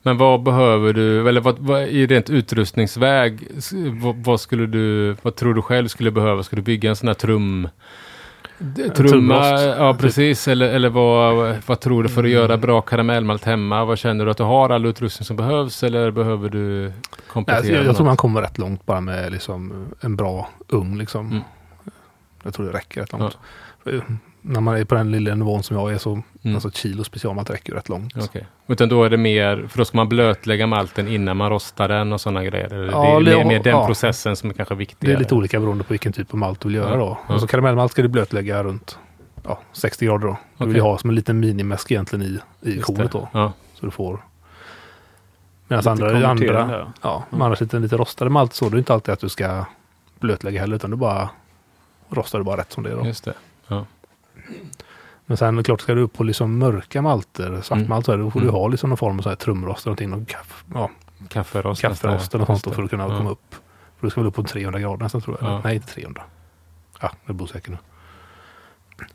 [SPEAKER 3] Men vad behöver du, eller vad, vad, i rent utrustningsväg, s- vad, vad skulle du, vad tror du själv skulle behöva? Ska du bygga en sån här trum... d- Trumma,
[SPEAKER 4] trumrost,
[SPEAKER 3] ja precis, eller, eller vad, vad tror du för att
[SPEAKER 4] typ. Mm.
[SPEAKER 3] göra bra karamellmalt hemma? Vad känner du att du har all utrustning som behövs eller behöver du
[SPEAKER 4] nej,
[SPEAKER 3] komplettera?
[SPEAKER 4] alltså, jag, jag
[SPEAKER 3] något?
[SPEAKER 4] tror man kommer rätt långt bara med liksom, en bra ugn. Liksom.
[SPEAKER 3] Mm.
[SPEAKER 4] Jag tror det räcker rätt långt. För, eh, När man är på den lilla nivån som jag är så
[SPEAKER 3] Mm.
[SPEAKER 4] alltså, ett kilo specialmalt räcker ju rätt långt.
[SPEAKER 3] Okej. Utan då är det mer, för då ska man blötlägga malten innan man rostar den och sådana grejer. Eller
[SPEAKER 4] Ja,
[SPEAKER 3] det, är, det är
[SPEAKER 4] det-
[SPEAKER 3] mer den
[SPEAKER 4] ja.
[SPEAKER 3] processen som är kanske viktigare.
[SPEAKER 4] Det är lite olika beroende på vilken typ av malt du vill göra
[SPEAKER 3] Ja,
[SPEAKER 4] då.
[SPEAKER 3] ja.
[SPEAKER 4] Alltså karamellmalt ska du blötlägga runt ja, 60 grader då. Du vill
[SPEAKER 3] Okej.
[SPEAKER 4] ju ha som en liten minimäsk egentligen i, i
[SPEAKER 3] Just det.
[SPEAKER 4] kornet då.
[SPEAKER 3] Ja.
[SPEAKER 4] Så du får... Medan
[SPEAKER 2] Lite
[SPEAKER 4] andra,
[SPEAKER 2] konverterande,
[SPEAKER 4] andra,
[SPEAKER 2] ja.
[SPEAKER 4] ja, men annars lite, lite rostade malt så det är inte alltid att du ska blötlägga heller utan du bara rostar du bara rätt som det är då.
[SPEAKER 3] Just det.
[SPEAKER 4] Men sen klart ska du upp på liksom mörka malter, svartmalt
[SPEAKER 3] Mm.
[SPEAKER 4] så här, då får du
[SPEAKER 3] Mm.
[SPEAKER 4] ha liksom någon form av så här trumrost eller någonting. Och kaff, ja,
[SPEAKER 3] Kafferost.
[SPEAKER 4] kafferost
[SPEAKER 3] nästan,
[SPEAKER 4] eller
[SPEAKER 3] ja.
[SPEAKER 4] något
[SPEAKER 3] Just
[SPEAKER 4] sånt då
[SPEAKER 3] det.
[SPEAKER 4] för att kunna
[SPEAKER 3] Ja.
[SPEAKER 4] komma upp. För du ska väl upp på 300 grader nästan tror jag.
[SPEAKER 3] Ja.
[SPEAKER 4] Nej, inte 300. Ja, det bor säkert nu.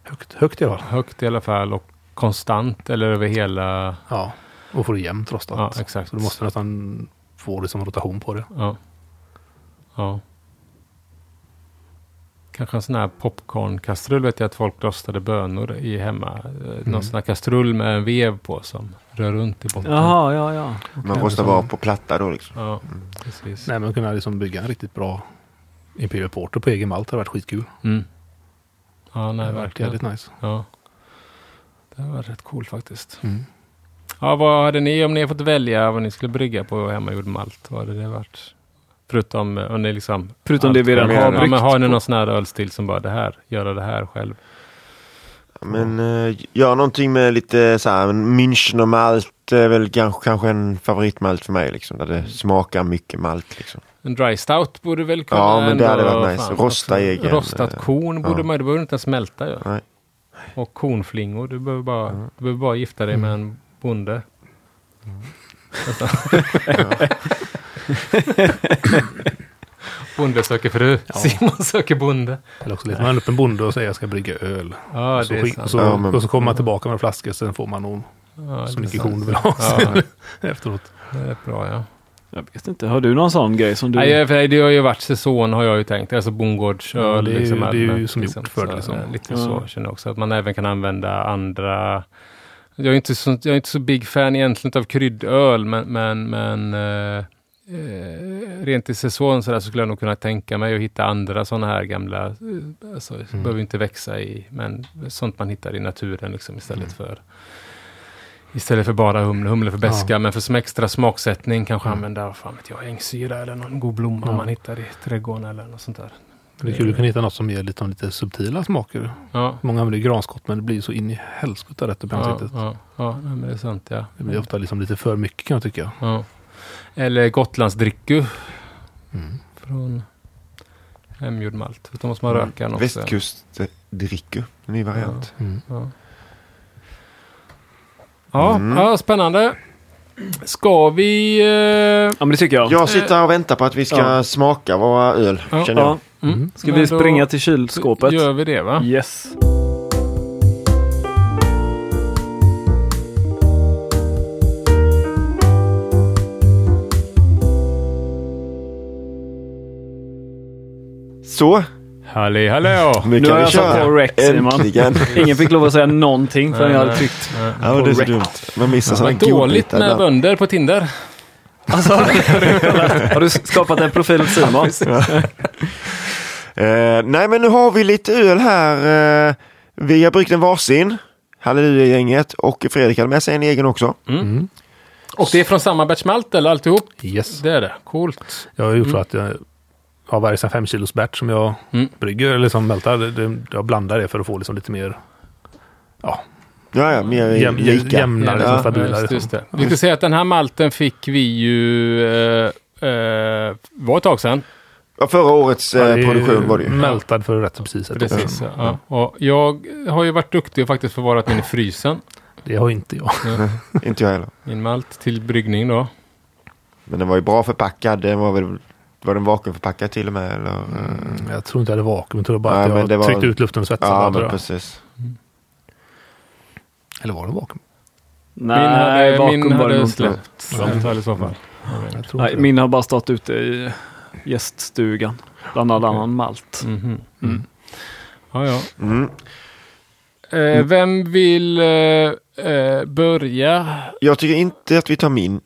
[SPEAKER 4] Högt, högt i alla fall.
[SPEAKER 3] högt i alla fall och konstant eller över hela...
[SPEAKER 4] Ja, och får det jämnt rostat.
[SPEAKER 3] Ja, exakt.
[SPEAKER 4] så du måste nästan få det som rotation på det.
[SPEAKER 3] Ja. ja. Kanske en sån här popcornkastrull vet jag att folk rostade bönor i hemma. Mm. Någon sån här kastrull med en vev på som rör runt i botten.
[SPEAKER 2] Jaha, ja, ja.
[SPEAKER 1] Man rostar bara på platta då liksom.
[SPEAKER 3] Ja, precis.
[SPEAKER 4] Mm. Nej, men kunna liksom bygga en riktigt bra Imperial Porter på egen malt. Det hade varit skitkul.
[SPEAKER 3] Mm. Ja, nej,
[SPEAKER 4] det hade varit
[SPEAKER 3] verkligen.
[SPEAKER 4] jävligt nice.
[SPEAKER 3] Ja. Det var rätt coolt faktiskt.
[SPEAKER 4] Mm.
[SPEAKER 3] Ja, vad hade ni om ni fått välja vad ni skulle brygga på hemmagjord malt? Vad hade det varit? Förutom eh, om ni liksom
[SPEAKER 2] Förutom
[SPEAKER 3] Allt
[SPEAKER 2] det vi redan
[SPEAKER 1] kan
[SPEAKER 2] har
[SPEAKER 1] man göra.
[SPEAKER 3] Ja,
[SPEAKER 2] bryggt.
[SPEAKER 3] men har ni
[SPEAKER 2] på.
[SPEAKER 3] någon sån här ölstil som bara det här, göra det här själv?
[SPEAKER 1] Men eh, gör någonting med lite så här, en München och malt är väl kanske, kanske en favoritmalt för mig liksom. Där det
[SPEAKER 3] Mm.
[SPEAKER 1] smakar mycket malt liksom.
[SPEAKER 3] En dry stout borde väl kunna...
[SPEAKER 1] Ja, men det hade
[SPEAKER 3] ändå-
[SPEAKER 1] varit nice. Rosta
[SPEAKER 3] också.
[SPEAKER 1] egen,
[SPEAKER 3] Rostat
[SPEAKER 1] eh,
[SPEAKER 3] korn borde
[SPEAKER 1] ja.
[SPEAKER 3] man, det behöver inte ens smälta ju.
[SPEAKER 1] Nej.
[SPEAKER 3] Och kornflingor, du behöver bara,
[SPEAKER 1] Mm.
[SPEAKER 3] du behöver bara gifta dig med en bonde. bonde söker fru. Simon söker bonde.
[SPEAKER 4] Eller också letar man upp en bonde och säger jag ska brygga öl.
[SPEAKER 3] Ja,
[SPEAKER 4] och, så,
[SPEAKER 3] det är
[SPEAKER 4] skick-
[SPEAKER 3] sant.
[SPEAKER 4] och, Alltså, så,
[SPEAKER 1] Ja, men-
[SPEAKER 4] och så kommer man tillbaka med en flaska sen får man nog
[SPEAKER 3] ja, det
[SPEAKER 4] så
[SPEAKER 3] är
[SPEAKER 4] mycket
[SPEAKER 3] sant.
[SPEAKER 4] korn du vill ha
[SPEAKER 3] Ja,
[SPEAKER 4] efteråt.
[SPEAKER 3] det är bra ja.
[SPEAKER 2] Jag vet inte, har du någon sån grej som du...
[SPEAKER 3] Nej, jag- för det har ju varit säsong har jag ju tänkt. Alltså bondgårdsöl.
[SPEAKER 4] Ja, det är ju-
[SPEAKER 3] liksom,
[SPEAKER 4] det är ju
[SPEAKER 3] allmänt,
[SPEAKER 4] som gjort för det,
[SPEAKER 3] Så,
[SPEAKER 4] liksom.
[SPEAKER 3] eh, Lite
[SPEAKER 2] Ja.
[SPEAKER 3] så känner jag också. Att man även kan använda andra... Jag är inte så, jag är inte så big fan egentligen av kryddöl, men, men, men eh, eh, rent i säsong så, där så skulle jag nog kunna tänka mig att hitta andra sådana här gamla, eh, alltså,
[SPEAKER 4] Mm.
[SPEAKER 3] behöver inte växa i, men sånt man hittar i naturen liksom,
[SPEAKER 4] Mm.
[SPEAKER 3] istället för Istället för bara humle, humle för beska, men för som extra smaksättning kanske
[SPEAKER 4] Mm.
[SPEAKER 3] använda, vad fan vet jag, ängsyra eller någon god blomma
[SPEAKER 4] Ja.
[SPEAKER 3] man hittar i trädgården eller något sånt där.
[SPEAKER 4] Men det är kul att kunna hitta något som ger lite, lite subtila smaker.
[SPEAKER 3] Ja.
[SPEAKER 4] Många använder ju granskott men det blir ju så in i helskotta rätt upp i
[SPEAKER 3] Ja,
[SPEAKER 4] ansiktet.
[SPEAKER 3] ja, ja, nej, men det är sant ja.
[SPEAKER 4] Det blir ofta liksom lite för mycket kan jag tycka.
[SPEAKER 3] ja. Eller Gotlandsdricku
[SPEAKER 4] Mm.
[SPEAKER 3] från hemgjord malt. Då måste
[SPEAKER 1] Mm.
[SPEAKER 3] man röka den också.
[SPEAKER 1] Västkustdricku, en ny variant.
[SPEAKER 4] Mm.
[SPEAKER 3] Ja, ja,
[SPEAKER 1] Mm.
[SPEAKER 3] ja spännande. Ska vi... Eh,
[SPEAKER 2] Ja, men det tycker jag.
[SPEAKER 1] Jag sitter här och väntar på att vi ska
[SPEAKER 2] Ja.
[SPEAKER 1] smaka våra öl,
[SPEAKER 3] Ja.
[SPEAKER 1] känner jag.
[SPEAKER 2] Ja. Ska vi
[SPEAKER 3] men då
[SPEAKER 2] springa till kylskåpet?
[SPEAKER 3] Gör vi det va?
[SPEAKER 2] Yes.
[SPEAKER 1] Så,
[SPEAKER 3] Halli hallå!
[SPEAKER 1] nu
[SPEAKER 2] Nu
[SPEAKER 1] kan
[SPEAKER 2] har
[SPEAKER 1] vi
[SPEAKER 2] jag satt
[SPEAKER 1] köra.
[SPEAKER 2] på Rex, Simon.
[SPEAKER 1] Äntligen.
[SPEAKER 2] Ingen fick lov att säga någonting förrän jag hade tryckt.
[SPEAKER 1] Ja, men det är så
[SPEAKER 2] Correct.
[SPEAKER 1] dumt. Man missar sådana
[SPEAKER 3] Vad dåligt
[SPEAKER 1] godbitar.
[SPEAKER 3] med
[SPEAKER 1] ibland.
[SPEAKER 3] bönder på Tinder.
[SPEAKER 2] Alltså, har du kollat? har du skapat en profil åt Simon?
[SPEAKER 1] Eh, nej, men nu har vi lite öl här. Eh, vi har bryggt en varsin. Halleluja-gänget. Och Fredrik hade med sig en egen också.
[SPEAKER 4] Mm.
[SPEAKER 3] Och det är från samma batch malt eller alltihop?
[SPEAKER 4] Yes.
[SPEAKER 3] Det är det. Coolt.
[SPEAKER 4] Jag har gjort så att jag av varje sån här fem kilos batch som jag
[SPEAKER 3] Mm.
[SPEAKER 4] brygger eller som mältar, det, det, jag blandar det för att få liksom lite mer
[SPEAKER 1] Ja, ja, mer
[SPEAKER 4] jäm, jäm,
[SPEAKER 1] lika.
[SPEAKER 4] jämnare,
[SPEAKER 1] Ja,
[SPEAKER 4] liksom, stabilare.
[SPEAKER 3] just,
[SPEAKER 4] Liksom.
[SPEAKER 3] just det. Vi ska säga att den här malten fick vi ju... Eh, eh, var ett tag sedan.
[SPEAKER 1] Ja, Förra årets
[SPEAKER 4] Ja,
[SPEAKER 1] eh,
[SPEAKER 4] det är
[SPEAKER 1] produktion var det ju.
[SPEAKER 4] Mältad för rätt och precis ett år
[SPEAKER 3] Precis.
[SPEAKER 4] sedan.
[SPEAKER 3] Ja. Och jag har ju varit duktig och faktiskt förvarat min i frysen.
[SPEAKER 4] Det har inte jag.
[SPEAKER 1] Inte jag heller.
[SPEAKER 3] Min malt till bryggning då.
[SPEAKER 1] Men den var ju bra förpackad. Den var väl... Var den vakuumförpackad till och med? Eller?
[SPEAKER 4] Jag tror inte jag hade vakuum. Jag tror bara
[SPEAKER 1] Mm. Nej,
[SPEAKER 4] att
[SPEAKER 1] men
[SPEAKER 4] jag
[SPEAKER 1] det var-
[SPEAKER 4] tryckte ut luften och svetsade.
[SPEAKER 1] Ja,
[SPEAKER 4] tror
[SPEAKER 1] men
[SPEAKER 4] jag.
[SPEAKER 1] precis.
[SPEAKER 4] Eller var det vakuum?
[SPEAKER 2] Nej,
[SPEAKER 3] min hade, min
[SPEAKER 2] vakuum var det
[SPEAKER 3] hade
[SPEAKER 2] nog inte.
[SPEAKER 3] släppt.
[SPEAKER 4] Ja.
[SPEAKER 3] Samtal i så fall.
[SPEAKER 4] Jag tror
[SPEAKER 2] Nej,
[SPEAKER 4] inte
[SPEAKER 2] min har bara stått ute i gäststugan. Bland all annan malt.
[SPEAKER 3] Mhm.
[SPEAKER 2] Mm.
[SPEAKER 3] Ja, ja.
[SPEAKER 1] Mm.
[SPEAKER 3] Eh, vem vill eh, eh, börja?
[SPEAKER 1] Jag tycker inte att vi tar min.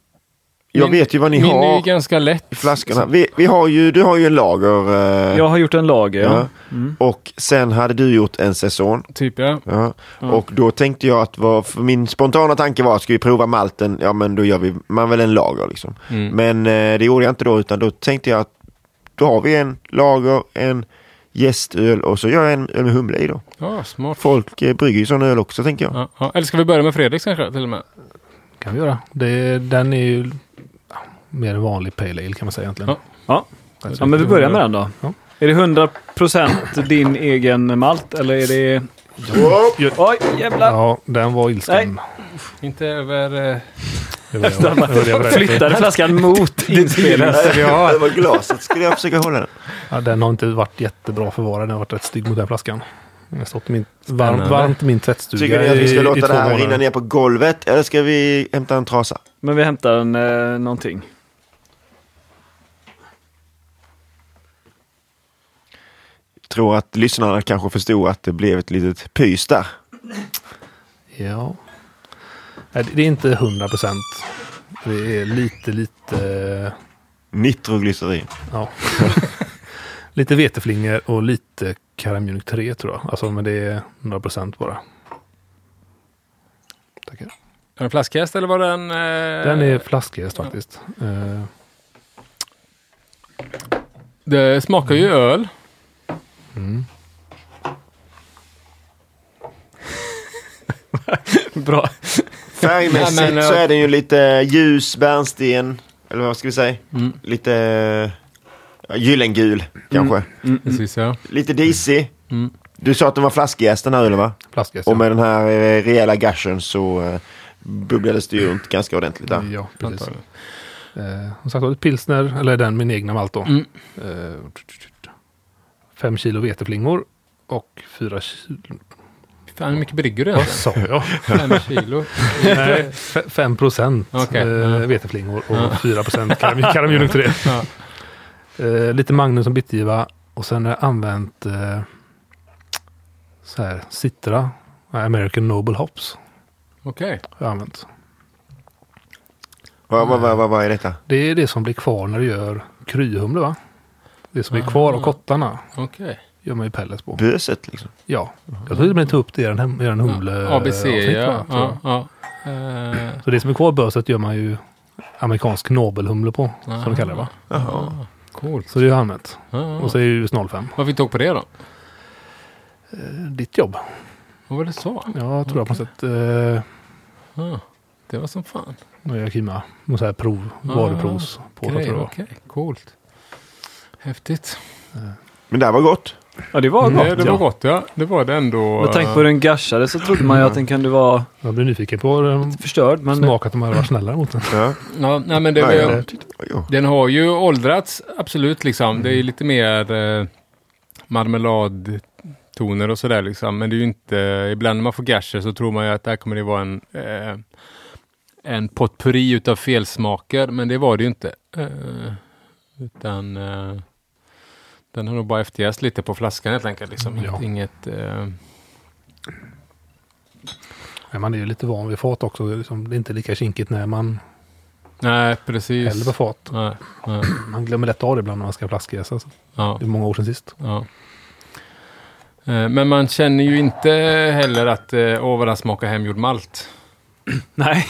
[SPEAKER 1] Jag
[SPEAKER 3] Min-
[SPEAKER 1] vet ju vad ni
[SPEAKER 3] Min är
[SPEAKER 1] har
[SPEAKER 3] ju ganska lätt.
[SPEAKER 1] i flaskorna. Vi, vi har ju, du har ju en lager. eh,
[SPEAKER 2] Mm. Jag har gjort en lager, ja.
[SPEAKER 1] Ja.
[SPEAKER 2] Mm.
[SPEAKER 1] Och sen hade du gjort en säsong.
[SPEAKER 3] Typ ja.
[SPEAKER 1] Ja.
[SPEAKER 3] Ja.
[SPEAKER 1] Och då tänkte jag att vad, för min spontana tanke var att ska vi prova malten, ja men då gör vi man väl en lager liksom.
[SPEAKER 3] Mm.
[SPEAKER 1] Men eh, det gjorde jag inte då utan då tänkte jag att då har vi en lager, en gästöl och så gör jag en öl med humle i då.
[SPEAKER 3] Ja, smart.
[SPEAKER 1] Folk eh, brygger ju sån öl också tänker jag.
[SPEAKER 3] Ja, ja. Eller ska vi börja med Fredrik kanske till och med?
[SPEAKER 4] det. kan vi göra. Det, den är ju ja, mer en vanlig pale ale kan man säga egentligen.
[SPEAKER 3] Ja.
[SPEAKER 2] Ja.
[SPEAKER 4] Alltså,
[SPEAKER 2] ja, men vi börjar med den då.
[SPEAKER 4] Ja.
[SPEAKER 2] Är det 100% din egen malt eller är det... Oj, jävlar!
[SPEAKER 4] Ja, den var ilsken.
[SPEAKER 3] Inte över... Eh,
[SPEAKER 4] Det var det jag- det var det jag var rädd för.
[SPEAKER 2] Flyttade flaskan mot inspelaren.
[SPEAKER 1] Det var glaset skulle jag försöka hålla den.
[SPEAKER 4] Ja, den har inte varit jättebra förvarad. Den har varit rätt stygg mot den flaskan. Den har stått i min, varmt,
[SPEAKER 3] Spännande.
[SPEAKER 4] varmt i min tvättstuga
[SPEAKER 1] Tycker ni att vi
[SPEAKER 4] i-
[SPEAKER 1] ska
[SPEAKER 4] i
[SPEAKER 1] låta
[SPEAKER 4] två
[SPEAKER 1] det här
[SPEAKER 4] månader.
[SPEAKER 1] rinna ner på golvet eller ska vi hämta en trasa?
[SPEAKER 2] Men vi hämtar en, eh, någonting.
[SPEAKER 1] Tror att lyssnarna kanske förstod att det blev ett litet pys där.
[SPEAKER 4] Ja. Nej, det är inte 100 procent. Det är lite, lite...
[SPEAKER 1] Nitroglycerin.
[SPEAKER 4] Ja. lite veteflingor och lite karamjölk 3 tror jag. Alltså, men det är 100 procent bara. Tackar.
[SPEAKER 3] är det en flaskhäst eller var den... Eh,
[SPEAKER 4] Den är flaskjäst faktiskt. Eh,
[SPEAKER 3] Det smakar
[SPEAKER 4] Mm.
[SPEAKER 3] ju öl.
[SPEAKER 2] Bra.
[SPEAKER 1] Färgmässigt
[SPEAKER 3] Nej, men,
[SPEAKER 1] så
[SPEAKER 3] eh,
[SPEAKER 1] är den ju lite ljus bärnsten. Eller vad ska vi säga?
[SPEAKER 3] Mm.
[SPEAKER 1] Lite ja, gyllengul kanske.
[SPEAKER 4] Mm.
[SPEAKER 3] Precis ja.
[SPEAKER 1] Lite disig.
[SPEAKER 3] Mm.
[SPEAKER 1] Du sa att den var flaskjäst den här ölen va?
[SPEAKER 4] flaskjäst.
[SPEAKER 1] Och med den här eh, rejäla gashen så eh, bubblades det ju runt ganska ordentligt
[SPEAKER 4] ja.
[SPEAKER 1] där.
[SPEAKER 3] Mm.
[SPEAKER 4] ja, precis.
[SPEAKER 3] antagligen.
[SPEAKER 4] Eh, som sagt var det pilsner, eller den min egna malt då.
[SPEAKER 3] Mm.
[SPEAKER 4] Eh, fem kilo veteflingor och fyra kilo...
[SPEAKER 3] Fan hur mycket brygger du
[SPEAKER 4] Vad
[SPEAKER 3] egentligen?
[SPEAKER 4] sa jag?
[SPEAKER 3] Fem kilo?
[SPEAKER 4] Nej, fe- fem procent
[SPEAKER 3] Okej,
[SPEAKER 4] eh,
[SPEAKER 3] ja.
[SPEAKER 4] veteflingor
[SPEAKER 3] Ja.
[SPEAKER 4] och fyra procent karamjölk 3.
[SPEAKER 3] Ja.
[SPEAKER 4] Eh, lite Magnum som bitgiva och sen har jag använt eh, så här, Citra, eh, American Noble Hops.
[SPEAKER 3] Okej.
[SPEAKER 4] Har jag använt.
[SPEAKER 1] Vad vad- vad- vad- vad är detta?
[SPEAKER 4] Det är det som blir kvar när du gör kryhumle va? Det som är kvar av kottarna
[SPEAKER 3] Okej.
[SPEAKER 4] gör man ju pellets på.
[SPEAKER 1] Böset liksom.
[SPEAKER 4] Ja, jag tror till och med tog upp det i den, hem- i den humle...
[SPEAKER 3] ABC
[SPEAKER 4] avsnitt,
[SPEAKER 3] ja.
[SPEAKER 4] va, tror jag.
[SPEAKER 3] ja, ja. Eh,
[SPEAKER 4] Så det som är kvar i böset gör man ju amerikansk nobelhumle på, som
[SPEAKER 3] Aha.
[SPEAKER 4] de kallar det va?
[SPEAKER 1] Jaha.
[SPEAKER 3] Coolt.
[SPEAKER 4] Så det är ju använt.
[SPEAKER 3] Ja, ja.
[SPEAKER 4] Och så är det US 05.
[SPEAKER 3] Vad fick du tag på det då?
[SPEAKER 4] Ditt jobb?
[SPEAKER 3] Vad var det så?
[SPEAKER 4] Ja, jag tror jag på något sätt. eh,
[SPEAKER 3] Ja, det var som fan.
[SPEAKER 4] När jag kimmade. Någon sån här prov,
[SPEAKER 3] Ah,
[SPEAKER 4] varuprovs på det
[SPEAKER 3] Grej,
[SPEAKER 4] tror jag.
[SPEAKER 3] Okej, coolt. Häftigt.
[SPEAKER 1] Men det här var gott.
[SPEAKER 2] Ja, det var
[SPEAKER 3] Nej,
[SPEAKER 2] gott.
[SPEAKER 3] det var
[SPEAKER 4] ja.
[SPEAKER 3] gott ja. Det var det ändå.
[SPEAKER 2] Med tanke på hur den gashade så trodde man ju att den kunde vara
[SPEAKER 4] Jag blir nyfiken på um,
[SPEAKER 2] förstörd. Men
[SPEAKER 4] smak att de hade varit snällare mot den.
[SPEAKER 1] Ja.
[SPEAKER 3] Ja, nej, men det,
[SPEAKER 1] Nej,
[SPEAKER 3] var-
[SPEAKER 1] jag tyckte det var gott.
[SPEAKER 3] Den har ju åldrats, absolut. Liksom. Det är
[SPEAKER 1] Mm.
[SPEAKER 3] lite mer eh, marmeladtoner och sådär. Liksom. Men det är ju inte... Ibland när man får gasher så tror man ju att det här kommer det vara en, eh, en potpurri utav felsmaker. Men det var det ju inte. Eh, utan eh, den har nog bara efterjäst lite på flaskan helt enkelt. Liksom.
[SPEAKER 4] Ja.
[SPEAKER 3] Inget... Eh,
[SPEAKER 4] Men man är ju lite van vid fat också. Det är, liksom, det är inte lika kinkigt när man
[SPEAKER 3] nej, precis.
[SPEAKER 4] häller på fat.
[SPEAKER 3] Nej, nej,
[SPEAKER 4] Man glömmer lätt av det ibland när man ska flaskjäsa. så
[SPEAKER 3] ja.
[SPEAKER 4] Det är många år sedan sist.
[SPEAKER 3] Ja. Eh, Men man känner ju inte heller att eh, åh vad den smakar hemgjord malt.
[SPEAKER 2] nej,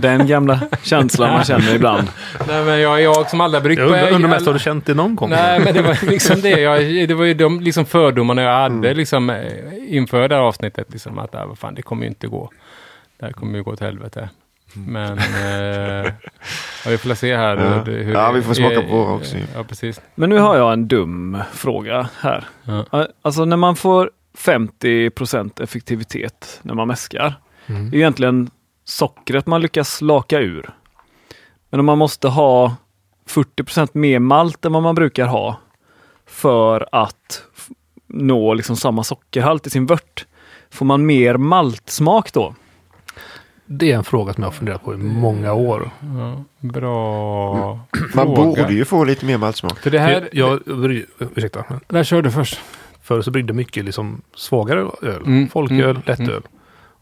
[SPEAKER 2] den gamla känslan man känner ibland.
[SPEAKER 3] Nej men jag, jag som aldrig har bryggt
[SPEAKER 4] Jag undrar, undrar mest, har
[SPEAKER 3] alla-
[SPEAKER 4] du känt det någon gång?
[SPEAKER 3] Nej men det var liksom det. Jag, det var ju de liksom fördomarna jag hade liksom, eh, inför det här avsnittet. Liksom, att ah, vad fan, det kommer ju inte gå. Det här kommer ju gå åt helvete. Men eh, ja, vi får väl se här.
[SPEAKER 1] Ja.
[SPEAKER 3] hur- hur-
[SPEAKER 1] Ja, vi får smaka på våra
[SPEAKER 3] eh,
[SPEAKER 1] också.
[SPEAKER 3] Ja, precis.
[SPEAKER 2] Men nu har jag en dum fråga här.
[SPEAKER 3] Ja.
[SPEAKER 2] Alltså när man får 50 effektivitet när man mäskar.
[SPEAKER 4] Mm.
[SPEAKER 2] Det är ju egentligen sockret man lyckas laka ur. Men om man måste ha 40 mer malt än vad man brukar ha för att f- nå liksom samma sockerhalt i sin vört. Får man mer maltsmak då?
[SPEAKER 4] Det är en fråga som jag har funderat på i många år.
[SPEAKER 3] Ja, bra
[SPEAKER 1] Man
[SPEAKER 3] fråga.
[SPEAKER 1] borde ju få lite mer maltsmak.
[SPEAKER 3] För det här,
[SPEAKER 4] Mm. Jag, jag, bry- ursäkta, men
[SPEAKER 3] där kör du först.
[SPEAKER 4] förr så bryggde jag mycket liksom svagare öl.
[SPEAKER 3] Mm,
[SPEAKER 4] Folköl,
[SPEAKER 3] mm,
[SPEAKER 4] lättöl.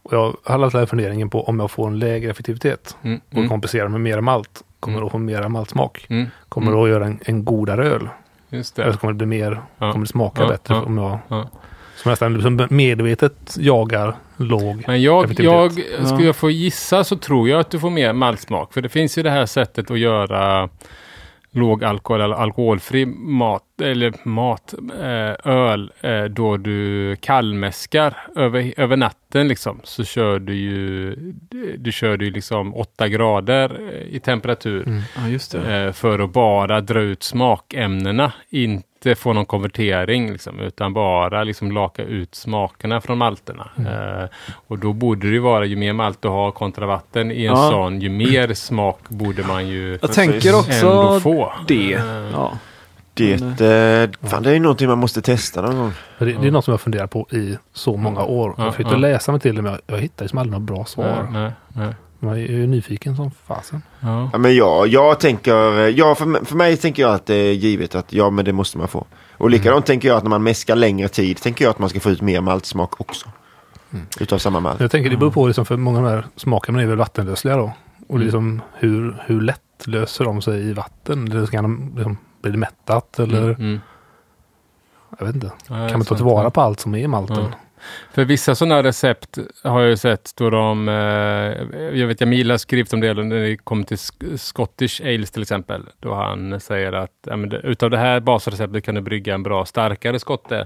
[SPEAKER 4] Och jag hade alltid den här funderingen på om jag får en lägre effektivitet
[SPEAKER 3] Mm,
[SPEAKER 4] och kompenserar med mer malt. Kommer då få mera maltsmak?
[SPEAKER 3] Mm,
[SPEAKER 4] Kommer då göra en, en godare öl?
[SPEAKER 3] just
[SPEAKER 4] Eller
[SPEAKER 3] det.
[SPEAKER 4] så kommer det bli mer,
[SPEAKER 3] Ja.
[SPEAKER 4] kommer det smaka
[SPEAKER 3] Ja,
[SPEAKER 4] bättre
[SPEAKER 3] ja,
[SPEAKER 4] om jag...
[SPEAKER 3] ja.
[SPEAKER 4] Som nästan liksom medvetet jagar låg.
[SPEAKER 3] Men jag, jag,
[SPEAKER 4] Effektivitet.
[SPEAKER 3] skulle jag få gissa så tror jag att du får mer maltsmak. För det finns ju det här sättet att göra låg alkohol eller alkoholfri mat, eller mat, eh, öl, eh, då du kallmäskar över, över natten liksom. Så kör du ju, du kör ju liksom 8 grader eh, i temperatur.
[SPEAKER 2] Ja, just
[SPEAKER 3] Eh, för att bara dra ut smakämnena, inte få någon konvertering, liksom, utan bara liksom laka ut smakerna från malterna.
[SPEAKER 4] Mm.
[SPEAKER 3] Eh, och då borde det ju vara, ju mer malt du har kontra vatten i en
[SPEAKER 2] Ja.
[SPEAKER 3] sån, ju mer smak borde man ju
[SPEAKER 2] Jag tänker
[SPEAKER 4] Alltså,
[SPEAKER 3] ändå
[SPEAKER 2] också
[SPEAKER 3] få.
[SPEAKER 2] det.
[SPEAKER 3] Eh,
[SPEAKER 2] Ja.
[SPEAKER 1] Det, eh, fan, det är ju någonting man måste testa någon gång.
[SPEAKER 4] Det, det är något som jag funderar på i så många år.
[SPEAKER 3] Ja,
[SPEAKER 4] jag har försökt
[SPEAKER 3] ja.
[SPEAKER 4] att läsa mig till det, men jag, jag hittar liksom aldrig något bra
[SPEAKER 3] Nej,
[SPEAKER 4] svar.
[SPEAKER 3] nej, nej.
[SPEAKER 4] Man är ju nyfiken som fasen.
[SPEAKER 3] Ja.
[SPEAKER 1] Ja, men jag, jag tänker, eh, ja, för, m- för mig tänker jag att det är givet att ja, men det måste man få. Och likadant tänker jag att när man mäskar längre tid tänker jag att man ska få ut mer maltsmak också. Utav samma malt.
[SPEAKER 4] Jag tänker det beror
[SPEAKER 2] Mm.
[SPEAKER 4] på, liksom, för många av de här smakerna är väl vattenlösliga då. Och det är liksom hur, hur lätt löser de sig i vatten? Eller kan de, liksom, blir det mättat? Eller,
[SPEAKER 3] Mm, mm.
[SPEAKER 4] Jag vet inte.
[SPEAKER 3] Ja,
[SPEAKER 4] Kan man ta
[SPEAKER 3] sant,
[SPEAKER 4] tillvara
[SPEAKER 3] sant.
[SPEAKER 4] på allt som är i malten?
[SPEAKER 2] Mm.
[SPEAKER 3] Ja. För vissa sådana recept har jag ju sett då de, eh, jag vet Jamila skrivit om det när det kom till sk- Scottish Ales till exempel, då han säger att ja, men, det- utav det här basreceptet kan du brygga en bra starkare skotte.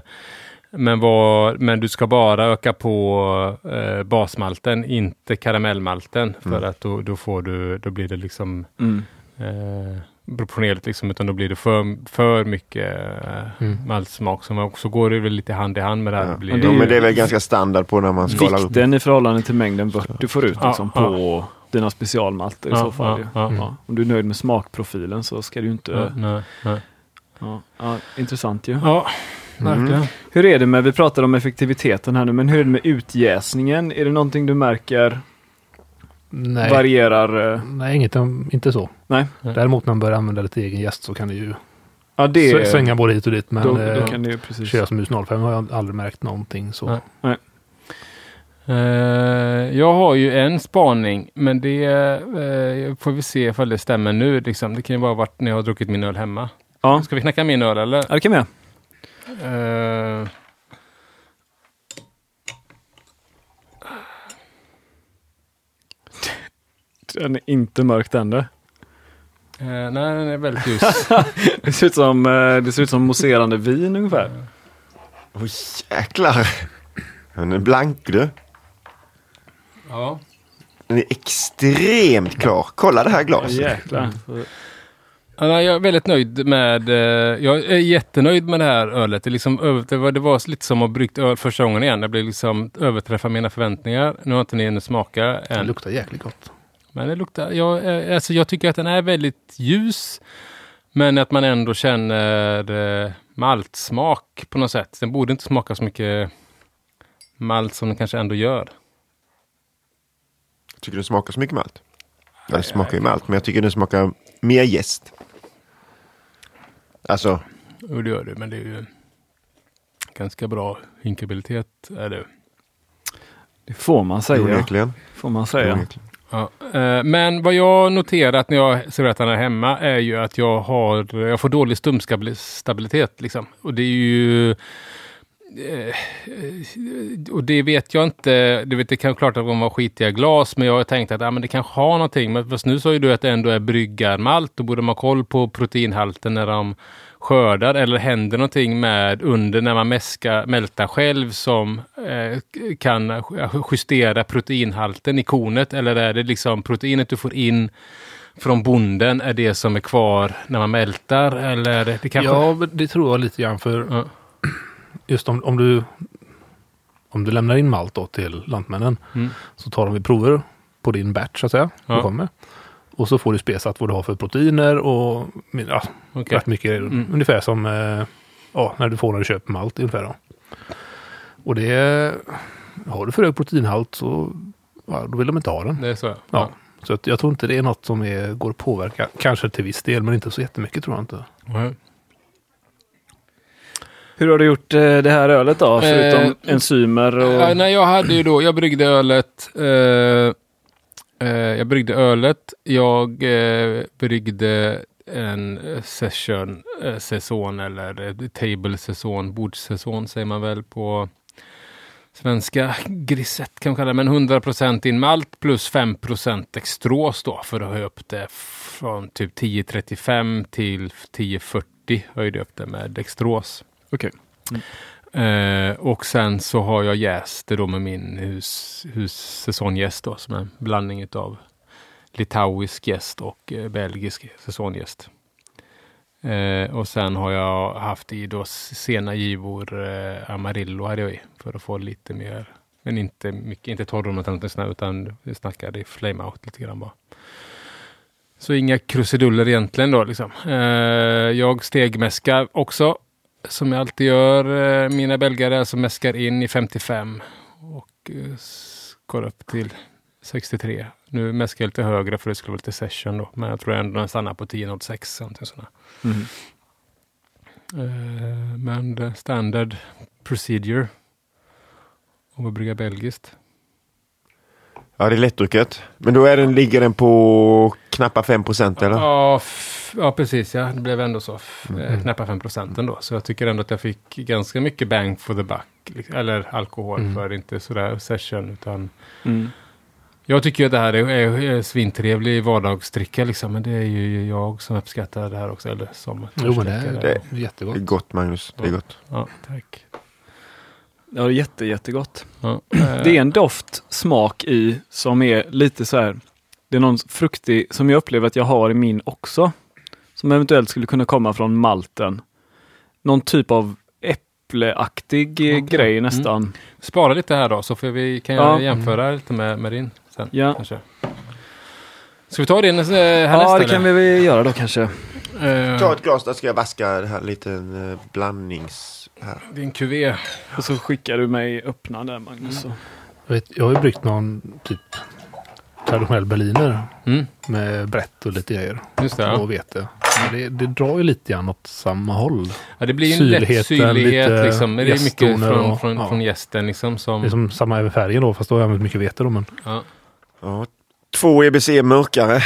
[SPEAKER 3] Men, vad, men du ska bara öka på eh, basmalten, inte karamellmalten, för
[SPEAKER 1] Mm.
[SPEAKER 3] att då, då, får du, då blir det liksom
[SPEAKER 2] Mm.
[SPEAKER 3] eh, proportionerligt, liksom, utan då blir det för, för mycket eh, maltsmak. som också går det väl lite hand i hand med det här.
[SPEAKER 1] Mm. Ja.
[SPEAKER 3] Det blir-
[SPEAKER 1] Ja, men det är väl ganska standard på när man skalar upp.
[SPEAKER 2] Vikten i förhållande till mängden vört du får ut
[SPEAKER 3] Ja,
[SPEAKER 2] liksom,
[SPEAKER 3] ja.
[SPEAKER 2] på dina specialmalter i så fall. ju.
[SPEAKER 3] Ja,
[SPEAKER 4] Mm.
[SPEAKER 3] ja,
[SPEAKER 2] Om du är nöjd med smakprofilen så ska du ju inte...
[SPEAKER 3] ja, nej, nej.
[SPEAKER 2] Ja, ja, intressant ju.
[SPEAKER 3] ja
[SPEAKER 2] Mm.
[SPEAKER 3] verkligen.
[SPEAKER 2] Hur är det med, vi pratade om effektiviteten här nu, men hur är det med utjäsningen? Är det någonting du märker
[SPEAKER 4] Nej,
[SPEAKER 2] varierar? eh,
[SPEAKER 4] Nej inget, inte så.
[SPEAKER 2] Nej.
[SPEAKER 4] Däremot när man börjar använda lite egen gäst så kan det ju
[SPEAKER 2] Ja, det
[SPEAKER 4] sv- svänga både hit och dit. Men
[SPEAKER 2] då,
[SPEAKER 4] eh,
[SPEAKER 2] då kan det ju precis...
[SPEAKER 4] kör jag som US 05 har jag aldrig märkt någonting så.
[SPEAKER 3] Nej. Eh, jag har ju en spaning, men det eh, får vi se ifall det stämmer nu. Liksom. Det kan ju bara ha varit när jag har druckit min öl hemma.
[SPEAKER 2] Ja,
[SPEAKER 3] Ska vi knacka min öl eller?
[SPEAKER 2] ja det kan vi göra.
[SPEAKER 3] Eh,
[SPEAKER 2] Den är inte mörkt ännu.
[SPEAKER 3] Eh, nej, den är väldigt ljus.
[SPEAKER 2] Det ser ut som, eh, det ser ut som mousserande vin ungefär.
[SPEAKER 1] Åh jäklar! Den är blank du.
[SPEAKER 3] ja.
[SPEAKER 1] Den är extremt klar. Kolla det här glaset.
[SPEAKER 2] Jäklar.
[SPEAKER 3] Ja, nej, jag är väldigt nöjd med, eh, jag är jättenöjd med det här ölet. Det, är liksom, över- det, var, det var lite som att bryggt öl första gången igen. Det blev liksom överträffa mina förväntningar. Nu har inte ni hunnit smaka
[SPEAKER 4] Den
[SPEAKER 3] än.
[SPEAKER 4] luktar jäkligt gott.
[SPEAKER 3] Men det luktar, jag, eh, alltså, jag tycker att den är väldigt ljus. Men att man ändå känner eh, maltsmak på något sätt. Den borde inte smaka så mycket malt som den kanske ändå gör.
[SPEAKER 1] Tycker du den smakar så mycket malt? Den smakar ju malt, men jag tycker den smakar mer jäst. Alltså,
[SPEAKER 3] Jo, det gör det, men det är ju ganska bra hinkabilitet. Är det.
[SPEAKER 2] Det får man säga.
[SPEAKER 1] onekligen.
[SPEAKER 2] Får man säga.
[SPEAKER 1] Onekligen.
[SPEAKER 3] Ja, eh, men vad jag noterat när jag serverat den här hemma är ju att jag, har, jag får dålig stumstabilitet. Liksom. Och det är ju... eh, Och det vet jag inte. Du vet, det kan klart att de var skitiga glas, men jag har tänkt att ah, men det kanske har någonting. Men fast nu sa ju du att det ändå är bryggarmalt. Då borde man ha koll på proteinhalten när de skördar eller händer någonting med under när man mäska, mältar själv som eh, kan justera proteinhalten i kornet eller är det liksom proteinet du får in från bonden är det som är kvar när man mältar eller är det, det kanske...
[SPEAKER 4] Ja, men det tror jag lite grann för
[SPEAKER 3] Ja.
[SPEAKER 4] just om, om du om du lämnar in malt då till Lantmännen
[SPEAKER 3] Mm.
[SPEAKER 4] så tar de ju prover på din batch så att säga.
[SPEAKER 3] Ja.
[SPEAKER 4] Du kommer. Och så får du spesat vad du har för proteiner och ja,
[SPEAKER 3] Okej.
[SPEAKER 4] rätt mycket.
[SPEAKER 3] Mm.
[SPEAKER 4] Ungefär som eh, ja, när du får när du köper malt ungefär. Då. Och det har du för hög proteinhalt så ja, då vill de inte ha den.
[SPEAKER 3] Det är så. Ja.
[SPEAKER 4] Ja. Så att jag tror inte det är något som är, går att påverka. Kanske till viss del men inte så jättemycket tror jag inte.
[SPEAKER 3] Mhm.
[SPEAKER 2] Hur har du gjort eh, det här ölet då? Förutom
[SPEAKER 3] Eh,
[SPEAKER 2] enzymer
[SPEAKER 3] Ja,
[SPEAKER 2] och...
[SPEAKER 3] nej, jag hade ju då, jag bryggde ölet. Eh, eh, jag bryggde ölet. Jag eh, bryggde en eh, session, eh, säsong eller eh, table säsong, bordssäsong säger man väl på svenska. Grisett kan man kalla det, men 100% in malt plus 5% extros då för att höja upp det från typ 10.35 till 10.40 höjde jag upp det med extros.
[SPEAKER 2] Okej.
[SPEAKER 3] Eh, och sen så har jag jäst det då med min hus, hussäsongjäst då, som är en blandning av litauisk jäst och eh, belgisk säsongjäst. Eh, och sen har jag haft i då sena givor eh, Amarillo hade jag i för att få lite mer, men inte mycket, inte torrrummet eller någonting sånt där, utan vi snackade i flame out lite grann bara. Så inga krusiduller egentligen då liksom. Eh, jag stegmäskar också som jag alltid gör, eh, mina belgare, alltså mäskar in i 55 och eh, s- går upp till 63. Nu mäskar jag lite högre för det skulle vara lite session då, men jag tror ändå den stannar på 10.06. någonting sånt där.
[SPEAKER 2] Mm.
[SPEAKER 3] Eh, Men det är standard procedure om att brygga belgiskt.
[SPEAKER 1] Ja, det är lättdrucket. Men då är den, ligger den på knappt 5 procent eller?
[SPEAKER 3] Ja, f- ja, precis. Ja. Det blev ändå så. F- eh, Knappa 5 procent ändå. Så jag tycker ändå att jag fick ganska mycket bang for the buck. liksom. Eller alkohol
[SPEAKER 4] Mm.
[SPEAKER 3] för inte sådär session. Utan
[SPEAKER 2] Mm.
[SPEAKER 3] jag tycker ju att det här är, är, är svintrevlig vardagsdricka. Liksom, men det är ju jag som uppskattar det här också. Eller som
[SPEAKER 4] Jo men det
[SPEAKER 3] förstärker
[SPEAKER 4] är jättegott.
[SPEAKER 1] Det är gott Magnus, det är gott.
[SPEAKER 3] Ja, tack.
[SPEAKER 2] Ja, det är jätte, jättegott.
[SPEAKER 3] Ja.
[SPEAKER 2] Det är en doft, smak i som är lite så här. Det är någon fruktig som jag upplever att jag har i min också. Som eventuellt skulle kunna komma från malten. Någon typ av äppleaktig eh,
[SPEAKER 3] Okej. Mm.
[SPEAKER 2] grej nästan.
[SPEAKER 3] eh, Spara lite här då, så får vi, kan jag
[SPEAKER 2] Ja.
[SPEAKER 3] jämföra lite med, med din sen.
[SPEAKER 2] Ja.
[SPEAKER 3] Kanske. Ska vi ta din eh, härnäst? Eh,
[SPEAKER 2] Ja, det kan vi väl göra då kanske.
[SPEAKER 1] Ta ett glas, där ska jag vaska det här liten eh, blandnings... Här.
[SPEAKER 3] Din kuvé.
[SPEAKER 2] Och så skickar du mig öppna där Magnus.
[SPEAKER 3] Mm.
[SPEAKER 2] så-
[SPEAKER 4] Jag, vet, jag har ju bryggt någon typ traditionell berliner
[SPEAKER 3] Mm,
[SPEAKER 4] med brett och lite grejer.
[SPEAKER 3] just det. Ja.
[SPEAKER 4] Och vete. Men Det, det drar ju lite grann åt samma håll.
[SPEAKER 3] Ja, det blir ju en
[SPEAKER 4] Syrligheten,
[SPEAKER 3] lätt syrlighet
[SPEAKER 4] lite
[SPEAKER 3] liksom. Men Det är mycket
[SPEAKER 4] jästtoner
[SPEAKER 3] från,
[SPEAKER 4] och-
[SPEAKER 3] från,
[SPEAKER 4] ja.
[SPEAKER 3] från gästen liksom. Som,
[SPEAKER 4] Det är som samma över färgen då, fast då har jag använt mycket vete då. Men
[SPEAKER 3] ja.
[SPEAKER 1] Ja. Två EBC mörkare,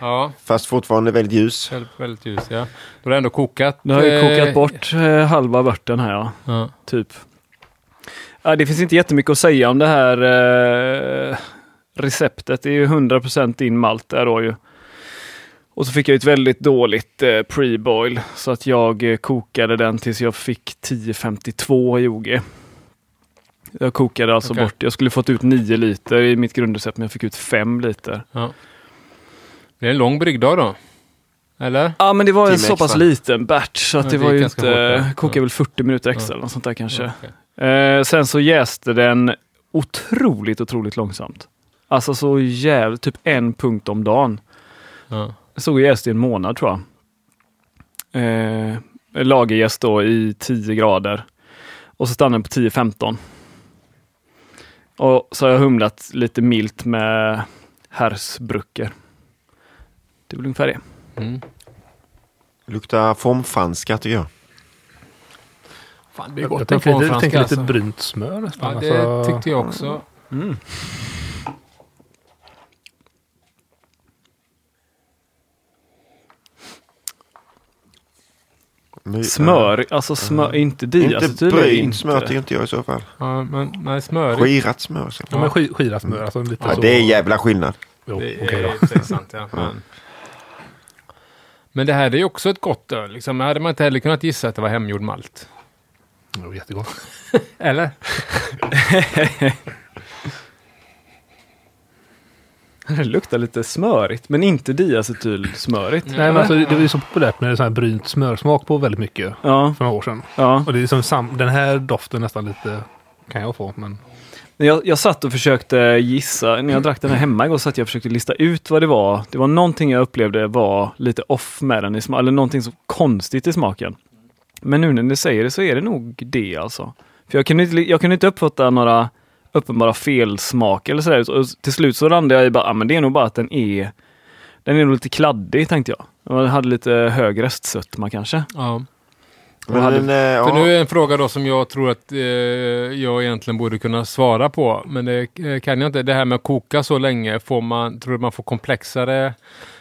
[SPEAKER 3] ja,
[SPEAKER 1] fast fortfarande väldigt ljus.
[SPEAKER 3] väldigt, väldigt ljus ja. Då har det ändå kokat.
[SPEAKER 2] Nu har jag
[SPEAKER 3] eh,
[SPEAKER 2] kokat bort eh, halva vörten här ja.
[SPEAKER 3] Ja.
[SPEAKER 2] Typ. Ja, det finns inte jättemycket att säga om det här eh, receptet. Det är ju 100% din malt där då ju. Och så fick jag ett väldigt dåligt eh, pre-boil så att jag eh, kokade den tills jag fick 10.52 i OG. Jag kokade alltså
[SPEAKER 3] Okej.
[SPEAKER 2] bort, jag skulle fått ut 9 liter i mitt grundrecept men jag fick ut 5 liter.
[SPEAKER 3] Det är en lång bryggdag då. Eller?
[SPEAKER 2] Ja men det var en
[SPEAKER 1] Timme
[SPEAKER 2] så pass
[SPEAKER 1] extra.
[SPEAKER 2] liten batch så att
[SPEAKER 3] Ja,
[SPEAKER 2] det,
[SPEAKER 3] det
[SPEAKER 2] var
[SPEAKER 3] gick
[SPEAKER 2] ju
[SPEAKER 3] ganska
[SPEAKER 2] inte,
[SPEAKER 3] hårt, ja.
[SPEAKER 2] kokade
[SPEAKER 3] Ja.
[SPEAKER 2] väl 40 minuter extra
[SPEAKER 3] Ja.
[SPEAKER 2] eller något sånt där kanske.
[SPEAKER 3] Ja, okej.
[SPEAKER 2] Eh, sen så jäste den otroligt, otroligt långsamt. Alltså så jävligt, typ en punkt om dagen.
[SPEAKER 3] Ja.
[SPEAKER 2] Såg jäst i en månad tror jag. Eh, lagerjäst då i 10 grader. Och så stannade den på 10-15. Och så har jag humlat lite milt med Hersbrucker. Det är väl ungefär det.
[SPEAKER 3] Mm.
[SPEAKER 1] Luktar formfranska tycker jag.
[SPEAKER 3] Fan, det är
[SPEAKER 4] Jag,
[SPEAKER 3] gott
[SPEAKER 4] jag
[SPEAKER 3] med
[SPEAKER 4] tänker, lite,
[SPEAKER 3] formfranska,
[SPEAKER 4] tänker lite
[SPEAKER 3] alltså.
[SPEAKER 4] brynt smör nästan.
[SPEAKER 3] Ja, det
[SPEAKER 4] alltså,
[SPEAKER 3] tyckte jag också.
[SPEAKER 1] Nu-
[SPEAKER 2] Smör, alltså smör, inte
[SPEAKER 1] eh, Inte
[SPEAKER 2] diacetyl. är det
[SPEAKER 1] brynt smör tycker inte jag i så fall.
[SPEAKER 3] Ja, men, nej, smörig.
[SPEAKER 1] Skirat smör. Så.
[SPEAKER 4] ja, men sk, skira smör. Alltså lite
[SPEAKER 1] Ja,
[SPEAKER 4] så.
[SPEAKER 1] det är jävla skillnad.
[SPEAKER 4] Jo,
[SPEAKER 3] Det
[SPEAKER 4] okej
[SPEAKER 3] är
[SPEAKER 4] då.
[SPEAKER 3] i och för sig sant, ja. Men- Men det här är ju också ett gott öl. Liksom. Hade man inte heller kunnat gissa att det var hemgjord malt.
[SPEAKER 4] Jo, jättegott.
[SPEAKER 3] Eller?
[SPEAKER 2] Det luktar lite smörigt, men inte diacetylsmörigt.
[SPEAKER 4] Nej, men alltså, det var ju så populärt med sån här brynt smörsmak på väldigt mycket
[SPEAKER 2] Ja,
[SPEAKER 4] för några år sedan.
[SPEAKER 2] ja.
[SPEAKER 4] Och det är liksom sam, den här doften nästan lite kan jag få, men
[SPEAKER 2] Jag, jag satt och försökte gissa, när jag drack den här hemma igår, satt jag och försökte lista ut vad det var. Det var någonting jag upplevde var lite off med den i smaken, eller någonting så konstigt i smaken. Men nu när ni säger det så är det nog det alltså. För jag kunde inte, jag kunde inte uppfatta några uppenbara felsmaker eller sådär. Och till slut så landade jag i bara, ah, men det är nog bara att den är, den är nog lite kladdig tänkte jag. Den hade lite hög röstsötma kanske.
[SPEAKER 3] Ja.
[SPEAKER 1] Men,
[SPEAKER 2] hade-
[SPEAKER 1] eh, ja,
[SPEAKER 3] För nu är en fråga då som jag tror att eh, jag egentligen borde kunna svara på. Men det eh, kan jag inte. Det här med att koka så länge, får man, tror du man får komplexare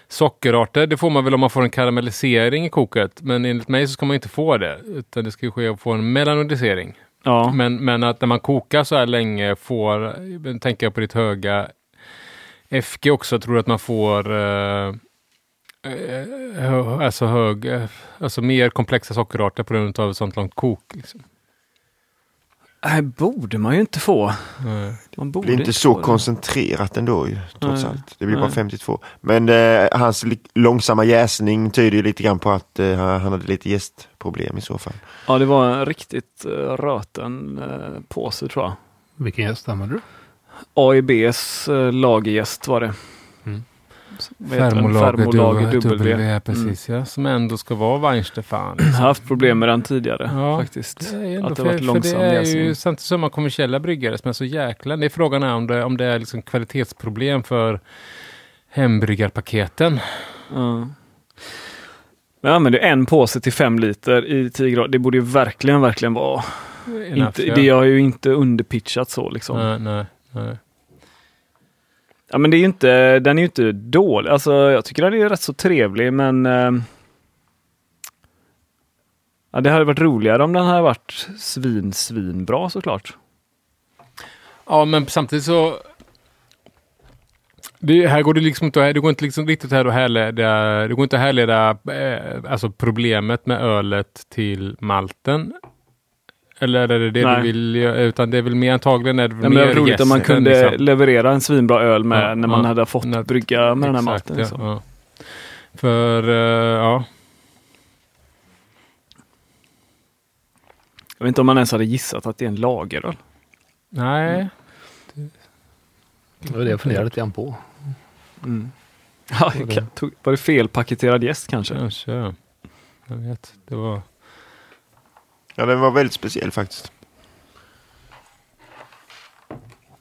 [SPEAKER 3] sockerarter? Det får man väl om man får en karamellisering i koket. Men enligt mig så ska man inte få det. Utan det ska ju ske att få en melanodisering.
[SPEAKER 2] Ja.
[SPEAKER 3] Men, men att när man kokar så här länge får, nu tänker jag på ditt höga FG också, tror du att man får eh, eh, alltså hög, eh, alltså mer komplexa sockerarter på grund av ett sånt långt kok? Liksom.
[SPEAKER 2] Nej, Äh, borde man ju inte få.
[SPEAKER 3] Nej.
[SPEAKER 2] Man
[SPEAKER 1] det
[SPEAKER 2] borde
[SPEAKER 1] blir inte så
[SPEAKER 2] få det.
[SPEAKER 1] koncentrerat ändå ju, trots
[SPEAKER 2] Nej.
[SPEAKER 1] allt. Det blir bara
[SPEAKER 2] Nej.
[SPEAKER 1] 52. Men eh, hans li- långsamma jäsning tyder ju lite grann på att eh, han hade lite jästproblem i så fall.
[SPEAKER 2] Ja, det var en riktigt uh, röten eh, påse tror jag.
[SPEAKER 4] vilken gäst använder du?
[SPEAKER 2] AIBs uh, lagergäst var det.
[SPEAKER 4] Mm.
[SPEAKER 2] Så- vad heter den? Mm.
[SPEAKER 3] W, precis ja. Som ändå ska vara Weinstefan.
[SPEAKER 2] Jag har haft problem med den tidigare
[SPEAKER 3] Ja,
[SPEAKER 2] faktiskt.
[SPEAKER 3] Det är ändå
[SPEAKER 2] Att det har
[SPEAKER 3] fel,
[SPEAKER 2] varit
[SPEAKER 3] för det
[SPEAKER 2] långsam
[SPEAKER 3] är ju
[SPEAKER 2] jäsning.
[SPEAKER 3] samtidigt som man kommersiella bryggare som är så jäkla... Det är frågan är om det, om det är liksom kvalitetsproblem för hembryggarpaketen.
[SPEAKER 2] Ja. Men jag använde ju en påse till fem liter i 10 grader. Det borde ju verkligen, verkligen vara. Inte,
[SPEAKER 3] ja.
[SPEAKER 2] det har ju inte underpitchat så liksom.
[SPEAKER 3] Nej, nej, nej.
[SPEAKER 2] Ja, men det är ju inte, den är ju inte dålig. Alltså, jag tycker den är rätt så trevlig, men... Eh, ja, det hade varit roligare om den hade varit svin, svinbra såklart.
[SPEAKER 3] Ja, men samtidigt så... Det, här går det liksom inte, det går inte liksom riktigt här att härleda, det går inte att härleda eh, alltså problemet med ölet till malten. Eller är det det
[SPEAKER 2] Nej.
[SPEAKER 3] du vill göra? Utan det är väl mer antagligen är det
[SPEAKER 2] Det
[SPEAKER 3] mer
[SPEAKER 2] hade varit roligt om man
[SPEAKER 3] gästen,
[SPEAKER 2] kunde
[SPEAKER 3] liksom.
[SPEAKER 2] leverera en svinbra öl med
[SPEAKER 3] Ja,
[SPEAKER 2] när man
[SPEAKER 3] ja.
[SPEAKER 2] hade fått
[SPEAKER 3] När-
[SPEAKER 2] brygga med den här
[SPEAKER 3] Exakt,
[SPEAKER 2] malten.
[SPEAKER 3] ja,
[SPEAKER 2] Liksom.
[SPEAKER 3] ja. För, eh, ja.
[SPEAKER 2] Jag vet inte om man ens hade gissat att det är en lageröl. Mm.
[SPEAKER 3] Nej.
[SPEAKER 4] Det var det jag funderade lite grann på.
[SPEAKER 3] Mm.
[SPEAKER 2] Ja, jag kan- tog, var det felpaketerad gäst kanske?
[SPEAKER 3] Kanske. Jag vet. Det var...
[SPEAKER 1] Ja, den var väldigt speciell faktiskt.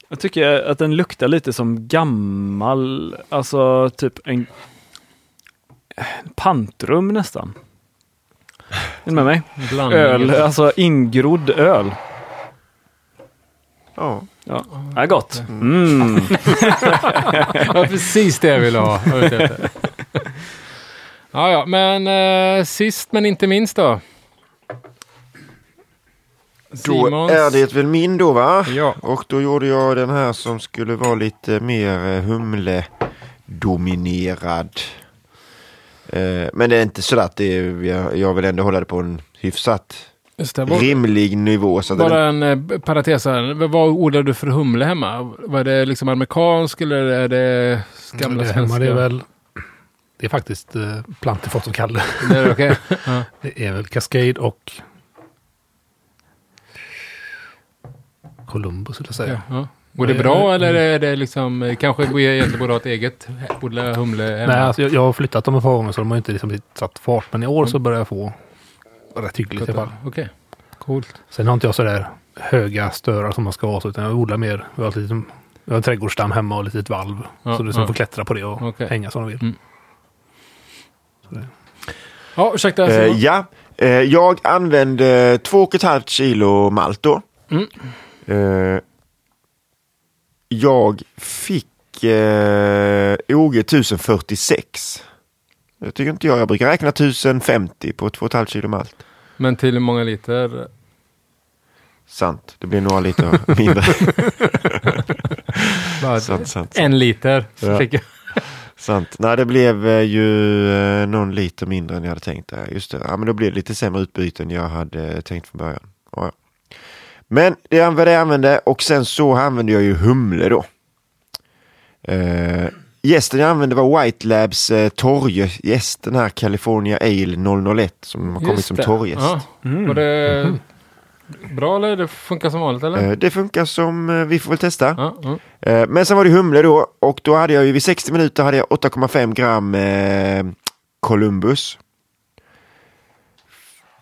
[SPEAKER 2] Jag tycker att den luktar lite som gammal, alltså typ en pantrum nästan. Är ni med mig?
[SPEAKER 3] Blandning.
[SPEAKER 2] Öl, alltså ingrodd öl.
[SPEAKER 1] Ja.
[SPEAKER 2] Ja, ja gott. Mm.
[SPEAKER 3] Det var precis det jag ville ha. Jag vet inte. ja, ja, men eh, sist men inte minst då.
[SPEAKER 1] Då
[SPEAKER 3] Simons.
[SPEAKER 1] är det väl min då va?
[SPEAKER 3] Ja.
[SPEAKER 1] Och då gjorde jag den här som skulle vara lite mer eh, humledominerad. Eh, men det är inte så att det är, jag, jag vill ändå hålla det på en hyfsat
[SPEAKER 3] Just det, var,
[SPEAKER 1] rimlig nivå. Så att det,
[SPEAKER 3] bara en eh, parentes här. Vad- Vad odlar du för humle hemma? Var det liksom amerikansk eller är det gamla
[SPEAKER 4] det,
[SPEAKER 3] svenska?
[SPEAKER 4] hemma, det är väl... Det är faktiskt eh, plantifat som kallar det.
[SPEAKER 3] Det är okej. ja.
[SPEAKER 4] Det är väl Cascade och... Columbus vill jag säga.
[SPEAKER 3] Ja, ja. Går det bra eller är det liksom, eh, kanske borde jag egentligen borde ha ett eget, odla humle hemma?
[SPEAKER 4] Nej, alltså, jag, jag har flyttat dem ett par gånger så de har inte liksom riktigt satt fart. Men i år
[SPEAKER 3] Mm.
[SPEAKER 4] så börjar jag få rätt hyggligt i alla fall.
[SPEAKER 3] Okej, coolt.
[SPEAKER 4] Sen har inte jag sådär höga störar som man ska ha så, utan jag odlar mer. Jag har, ett litet, jag har en trädgårdsstam hemma och ett litet valv.
[SPEAKER 3] Ja,
[SPEAKER 4] så du liksom
[SPEAKER 3] ja.
[SPEAKER 4] får klättra på det och
[SPEAKER 3] Okej.
[SPEAKER 4] hänga som du vill.
[SPEAKER 3] Mm. Ja, ursäkta
[SPEAKER 1] eh,
[SPEAKER 3] Simon.
[SPEAKER 1] ja, eh, jag använde två och ett halvt kilo malt då.
[SPEAKER 3] Mm.
[SPEAKER 1] Eh, jag fick eh, OG 1046. Jag tycker inte jag, jag brukar räkna 1050 på två och ett halvt kilo malt.
[SPEAKER 3] Men till hur många liter?
[SPEAKER 1] Sant, det blir några lite mindre.
[SPEAKER 3] Bara
[SPEAKER 1] sant, sant,
[SPEAKER 3] en liter.
[SPEAKER 1] Ja.
[SPEAKER 3] Ja. Fick jag.
[SPEAKER 1] sant. Nej, det blev eh, ju eh, någon liter mindre än jag hade tänkt. där. Just det, ja, men då blev det lite sämre utbyte än jag hade eh, tänkt från början. Ja, ja. Men det var det jag använde och sen så använde jag ju humle då. Eh, gästen jag använde var White Labs eh, torrgäst, den här California Ale 001 som har kommit
[SPEAKER 3] Just
[SPEAKER 1] som
[SPEAKER 3] det.
[SPEAKER 1] torrgäst. Mhm.
[SPEAKER 3] Ja. Var det bra eller det funkar som vanligt eller?
[SPEAKER 1] Eh, det funkar som, eh, vi får väl testa.
[SPEAKER 3] Ja, ja.
[SPEAKER 1] Eh, Men sen var det humle då och då hade jag ju vid 60 minuter hade jag 8,5 gram eh, Columbus.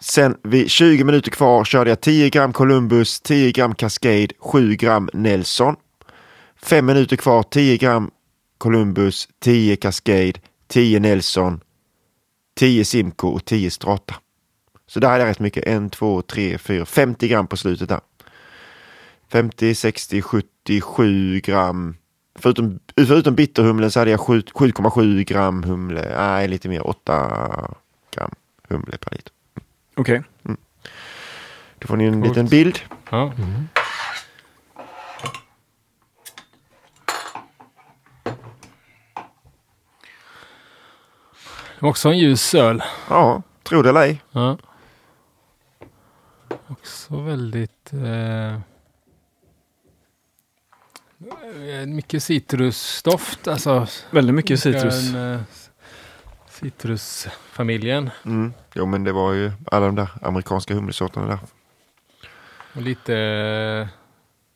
[SPEAKER 1] Sen vid 20 minuter kvar körde jag 10 gram Columbus, 10 gram Cascade, 7 gram Nelson. 5 minuter kvar 10 gram Columbus, 10 Cascade, 10 Nelson, 10 Simco och 10 Strata. Så där hade jag rätt mycket. 1, 2, 3, 4, 50 gram på slutet där. 50, 60, 77 gram. Förutom, förutom bitterhumlen så hade jag sju- 7,7 gram humle. Nej, lite mer. 8 gram humle per liter.
[SPEAKER 2] Okej.
[SPEAKER 1] Då får ni en
[SPEAKER 3] Coolt.
[SPEAKER 1] liten bild.
[SPEAKER 3] Ja. Mm. Också en ljus öl.
[SPEAKER 1] Ja, tro det eller ej.
[SPEAKER 3] Ja. Också väldigt... Eh, eh, mycket citrusdoft. Alltså,
[SPEAKER 2] Väldigt mycket citrus.
[SPEAKER 3] Den, eh, citrusfamiljen.
[SPEAKER 1] Mm. Jo, men det var ju alla de där amerikanska humlesorterna där.
[SPEAKER 3] Och lite eh,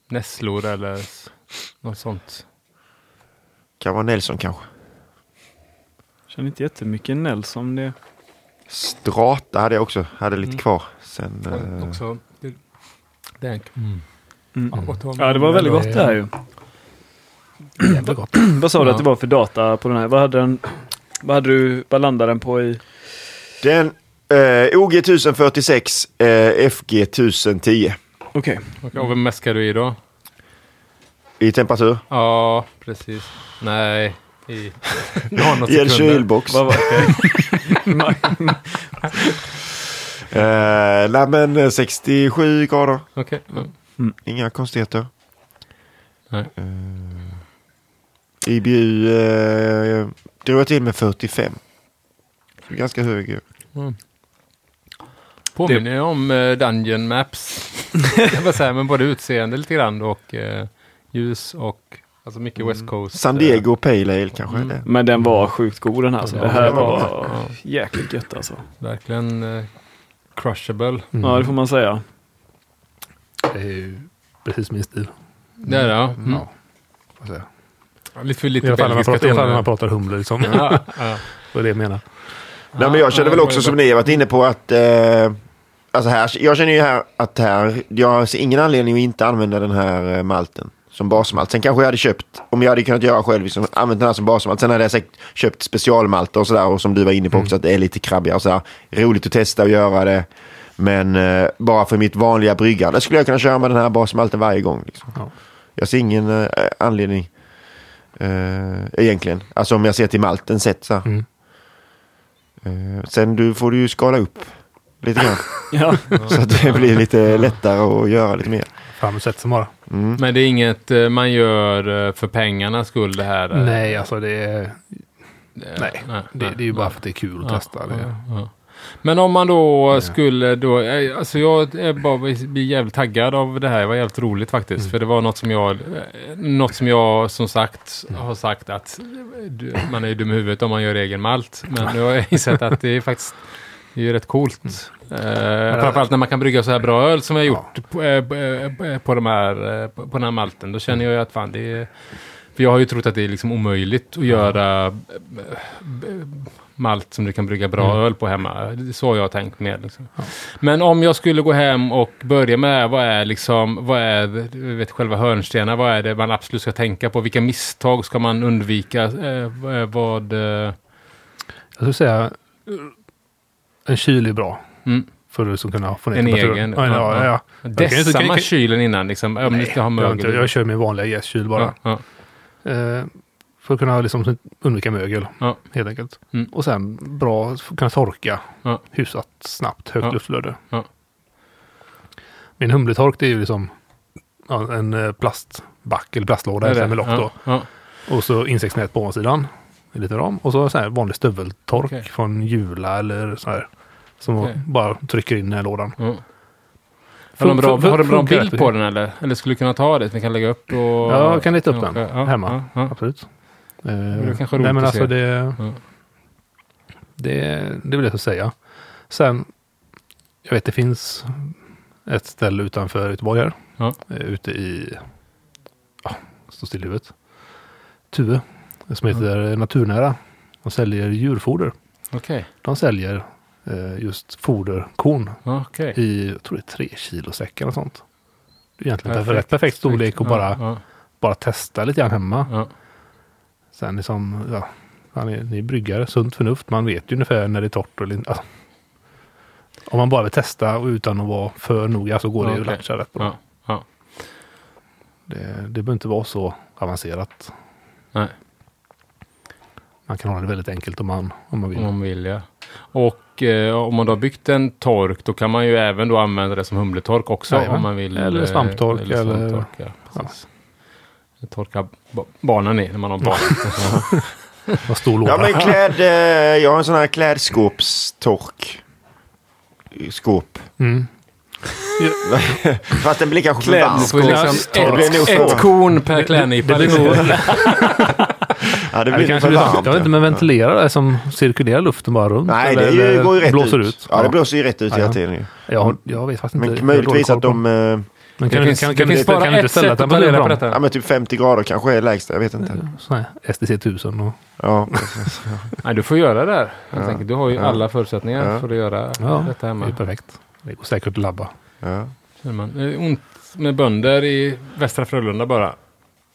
[SPEAKER 3] nässlor eller s- något sånt.
[SPEAKER 1] Kan vara Nelson kanske.
[SPEAKER 2] Känner inte jättemycket Nelson. Det...
[SPEAKER 1] Strata hade jag också. Hade lite
[SPEAKER 3] Mm.
[SPEAKER 1] kvar. Sen, eh,
[SPEAKER 3] Också. Det, det,
[SPEAKER 2] Mm.
[SPEAKER 3] gott att ha
[SPEAKER 2] Ja, det var
[SPEAKER 3] med.
[SPEAKER 2] väldigt gott det här ju.
[SPEAKER 3] Mm.
[SPEAKER 4] Jävla gott.
[SPEAKER 2] Vad sa du
[SPEAKER 3] Ja.
[SPEAKER 2] att det var för data på den här? Vad hade, den, vad hade du, vad landade den på i?
[SPEAKER 1] den eh, OG 1046, eh, FG 1010
[SPEAKER 2] Okej.
[SPEAKER 3] Okej, Och vad mäskar du i då?
[SPEAKER 1] i temperatur.
[SPEAKER 3] Ja, precis. Nej, i något
[SPEAKER 1] I en kylbox.
[SPEAKER 2] Vad var det?
[SPEAKER 1] Eh, nej men eh, 67 grader.
[SPEAKER 3] Okej. Mm.
[SPEAKER 1] Inga konstigheter.
[SPEAKER 3] Nej.
[SPEAKER 1] Eh, IBU eh, drog jag till med 45. Så Ganska hög. eh, ju.
[SPEAKER 3] Påminner ju om eh, Dungeon Maps. jag bara säga, men både utseende lite grann och eh, ljus och alltså mycket West Coast.
[SPEAKER 1] Mm. San Diego Pale Ale kanske.
[SPEAKER 3] Mm.
[SPEAKER 1] Eller?
[SPEAKER 2] Men den var sjukt god den här. Så
[SPEAKER 3] Ja,
[SPEAKER 2] det här
[SPEAKER 3] den var
[SPEAKER 2] var
[SPEAKER 3] Ja,
[SPEAKER 2] jäkligt gött alltså.
[SPEAKER 3] verkligen eh, crushable.
[SPEAKER 4] Mm.
[SPEAKER 2] Ja, det får man säga.
[SPEAKER 4] Det är ju precis min stil.
[SPEAKER 3] Det är det, ja. Mm.
[SPEAKER 4] Ja, får jag säga.
[SPEAKER 3] Lite för
[SPEAKER 4] I
[SPEAKER 3] lite
[SPEAKER 4] alla fall när man
[SPEAKER 3] belgiska
[SPEAKER 4] pratar, i alla fall när
[SPEAKER 3] toner.
[SPEAKER 4] man pratar humle liksom.
[SPEAKER 3] Ja, ja.
[SPEAKER 4] Vad är det jag menar.
[SPEAKER 1] Nej, men jag känner
[SPEAKER 3] Ja,
[SPEAKER 1] väl
[SPEAKER 3] det
[SPEAKER 1] också
[SPEAKER 3] var ju
[SPEAKER 1] som
[SPEAKER 3] bra.
[SPEAKER 1] ni har varit inne på att eh, alltså här, jag känner ju här att här, jag ser ingen anledning att inte använda den här eh, malten som basmalt. Sen kanske jag hade köpt, om jag hade kunnat göra själv, liksom, använt den här som basmalt. Sen hade jag säkert köpt specialmalter och sådär och som du var inne på också att det är lite krabbiga och sådär. Roligt att testa och göra det. Men eh, bara för mitt vanliga bryggande skulle jag kunna köra med den här basmalten varje gång. Liksom.
[SPEAKER 4] Ja.
[SPEAKER 1] Jag ser ingen eh, anledning eh, egentligen. Alltså om jag ser till malten sett så. här.
[SPEAKER 4] Mm.
[SPEAKER 1] Eh, sen du får du ju skala upp lite grann.
[SPEAKER 2] Ja.
[SPEAKER 1] så att det blir lite lättare att göra lite mer. Mm.
[SPEAKER 4] Fram och sätt som bara.
[SPEAKER 3] Men det är inget eh, man gör eh, för pengarnas skull det här. eh.
[SPEAKER 4] Nej, alltså det är... Nej, det, det är ju bara för att det är kul att
[SPEAKER 3] Ja,
[SPEAKER 4] testa. Det.
[SPEAKER 3] ja, ja. Men om man då skulle då, eh, alltså jag är bara blir jävligt taggad av det här. Det var jävligt roligt faktiskt.
[SPEAKER 4] Mm.
[SPEAKER 3] För det var något som jag, eh, något som jag som sagt
[SPEAKER 4] Mm.
[SPEAKER 3] har sagt att du- man är ju dum i huvudet om man gör egen malt. Men nu har jag insett att det är faktiskt det är ju rätt coolt. Eh, framförallt när man kan brygga så här bra öl som jag gjort på, eh, på, eh, på, de här, eh, på på den här malten. Då känner jag ju att fan det är... För jag har ju trott att det är liksom omöjligt att göra eh, b- malt som du kan brygga bra öl på hemma. Det är så jag har tänkt mer. Liksom. Men om jag skulle gå hem och börja med det här, vad är liksom, vad är du vet, själva hörnstenar, vad är det man absolut ska tänka på? Vilka misstag ska man undvika? Eh, vad- vad... Eh,
[SPEAKER 4] Jag skulle säga eh, en kyl är bra.
[SPEAKER 3] mm.
[SPEAKER 4] För att liksom kunna få ner
[SPEAKER 3] En
[SPEAKER 4] temperaturen.
[SPEAKER 3] egen,
[SPEAKER 4] Ja, ja,
[SPEAKER 3] ja,
[SPEAKER 4] ja. kan ju inte-
[SPEAKER 3] Dessa
[SPEAKER 4] kan-
[SPEAKER 3] man
[SPEAKER 4] kan-
[SPEAKER 3] kylen innan liksom, om du ska ha
[SPEAKER 4] Jag, har inte,
[SPEAKER 3] mögel.
[SPEAKER 4] jag kör min vanliga jästkyl bara.
[SPEAKER 3] ja, ja.
[SPEAKER 4] Eh, för att kunna liksom undvika mögel
[SPEAKER 3] Ja.
[SPEAKER 4] helt enkelt.
[SPEAKER 3] Mm.
[SPEAKER 4] Och sen bra, för att kunna torka
[SPEAKER 3] Ja.
[SPEAKER 4] hyfsat snabbt, högt
[SPEAKER 3] Ja.
[SPEAKER 4] luftflöde.
[SPEAKER 3] Ja.
[SPEAKER 4] Min humletork det är ju liksom ja, en eh, plastback eller
[SPEAKER 3] Det
[SPEAKER 4] plastlåda
[SPEAKER 3] är
[SPEAKER 4] eller
[SPEAKER 3] det.
[SPEAKER 4] med lock
[SPEAKER 3] ja,
[SPEAKER 4] då.
[SPEAKER 3] ja.
[SPEAKER 4] Och så insektsnät på ovansidan. i Lite ram. Och så, så här vanlig stöveltork
[SPEAKER 3] Okej.
[SPEAKER 4] från Jula eller så här. Som
[SPEAKER 3] Okej.
[SPEAKER 4] bara trycker in i den här lådan.
[SPEAKER 3] Ja. Har du en bra,
[SPEAKER 4] Fun- fun-
[SPEAKER 3] har du en bra
[SPEAKER 4] funkar
[SPEAKER 3] bild
[SPEAKER 4] det?
[SPEAKER 3] på den eller? Eller skulle du kunna ta det? Vi kan lägga upp och...
[SPEAKER 4] Ja, jag kan leta upp den
[SPEAKER 3] Ja,
[SPEAKER 4] hemma.
[SPEAKER 3] Ja, ja.
[SPEAKER 4] Absolut. Eh,
[SPEAKER 3] det kanske är roligt
[SPEAKER 4] nej, men
[SPEAKER 3] att se.
[SPEAKER 4] alltså det,
[SPEAKER 3] Ja.
[SPEAKER 4] det... Det vill jag så säga. Sen, jag vet det finns ett ställe utanför Göteborg här.
[SPEAKER 3] Ja.
[SPEAKER 4] Eh, Ute i... Ja, står still i huvudet. Tuve. Som heter Naturnära. De säljer djurfoder.
[SPEAKER 3] Okej.
[SPEAKER 4] De säljer eh, just foderkorn
[SPEAKER 3] Ja, Okej.
[SPEAKER 4] i, jag tror det är tre kilo säckar och sånt. Det är egentligen perfekt,
[SPEAKER 3] Perfekt.
[SPEAKER 4] perfekt, storlek och
[SPEAKER 3] Ja,
[SPEAKER 4] bara,
[SPEAKER 3] ja,
[SPEAKER 4] bara testa lite grann hemma.
[SPEAKER 3] ja.
[SPEAKER 4] Sen liksom, ja, han är, ni är bryggare, sunt förnuft. Man vet ju ungefär när det är torrt eller inte. Alltså, om man bara vill testa och utan att vara för noga så går det
[SPEAKER 3] Ja,
[SPEAKER 4] ju att
[SPEAKER 3] okej.
[SPEAKER 4] latcha rätt bra.
[SPEAKER 3] ja, ja.
[SPEAKER 4] Det, det behöver inte vara så avancerat.
[SPEAKER 3] Nej.
[SPEAKER 4] Man kan hålla det väldigt enkelt om man, om man vill.
[SPEAKER 3] Om man vill ja. Och eh, om man då har byggt en tork då kan man ju även då använda det som humletork också
[SPEAKER 4] Jajamän.
[SPEAKER 3] om man vill.
[SPEAKER 4] Eller
[SPEAKER 3] eh,
[SPEAKER 4] svamptork, eller-
[SPEAKER 3] svamptork, ja, precis. Torka ba- barnen i när man har barn.
[SPEAKER 4] Vad stor låda.
[SPEAKER 1] Ja men kläd, eh, jag har en sån här klädskåpstork. Skåp.
[SPEAKER 4] mm.
[SPEAKER 1] Fast den blir kanske för varm.
[SPEAKER 3] Du får ju liksom
[SPEAKER 1] Det blir nog
[SPEAKER 3] ett,
[SPEAKER 1] för
[SPEAKER 3] ett
[SPEAKER 1] varmt.
[SPEAKER 3] korn per klädnypa.
[SPEAKER 4] det blir
[SPEAKER 3] liksom.
[SPEAKER 1] Ja, det
[SPEAKER 4] Ja, det
[SPEAKER 1] blir nog
[SPEAKER 4] kanske
[SPEAKER 1] för
[SPEAKER 4] blir varmt.
[SPEAKER 1] varmt.
[SPEAKER 4] Jag vet inte,
[SPEAKER 1] ja.
[SPEAKER 4] men ventilera det som cirkulerar luften bara runt.
[SPEAKER 1] Nej, det
[SPEAKER 4] eller-
[SPEAKER 1] är ju,
[SPEAKER 4] eller eh,
[SPEAKER 1] går ju rätt
[SPEAKER 4] blåser ut.
[SPEAKER 1] Ja, det blåser ju rätt ut
[SPEAKER 4] Ja,
[SPEAKER 1] hela
[SPEAKER 4] ja.
[SPEAKER 1] tiden. ju.
[SPEAKER 4] Jag, har- jag vet faktiskt inte.
[SPEAKER 1] Men
[SPEAKER 4] jag har dålig
[SPEAKER 1] möjligtvis
[SPEAKER 4] koll
[SPEAKER 1] att
[SPEAKER 4] på-
[SPEAKER 1] de... Eh,
[SPEAKER 4] Men
[SPEAKER 3] Det
[SPEAKER 4] kan,
[SPEAKER 3] finns,
[SPEAKER 4] kan,
[SPEAKER 3] det
[SPEAKER 4] kan,
[SPEAKER 3] finns
[SPEAKER 4] du,
[SPEAKER 3] bara
[SPEAKER 4] kan du
[SPEAKER 3] ett
[SPEAKER 4] ställa
[SPEAKER 3] sätt att ta
[SPEAKER 4] temperaturen
[SPEAKER 3] reda
[SPEAKER 4] bra?
[SPEAKER 3] på detta.
[SPEAKER 1] ja men typ 50 grader kanske är lägsta. Jag vet inte.
[SPEAKER 4] Sån här STC 1000 och...
[SPEAKER 1] Ja.
[SPEAKER 3] Nej, du får göra det här. helt enkelt. Du har ju alla förutsättningar
[SPEAKER 1] Ja.
[SPEAKER 3] för att göra
[SPEAKER 4] Ja,
[SPEAKER 3] detta
[SPEAKER 4] det är
[SPEAKER 3] hemma.
[SPEAKER 4] ju perfekt. Det går säkert att labba.
[SPEAKER 1] ja.
[SPEAKER 3] Känner man. Det är ont med bönder i Västra Frölunda bara.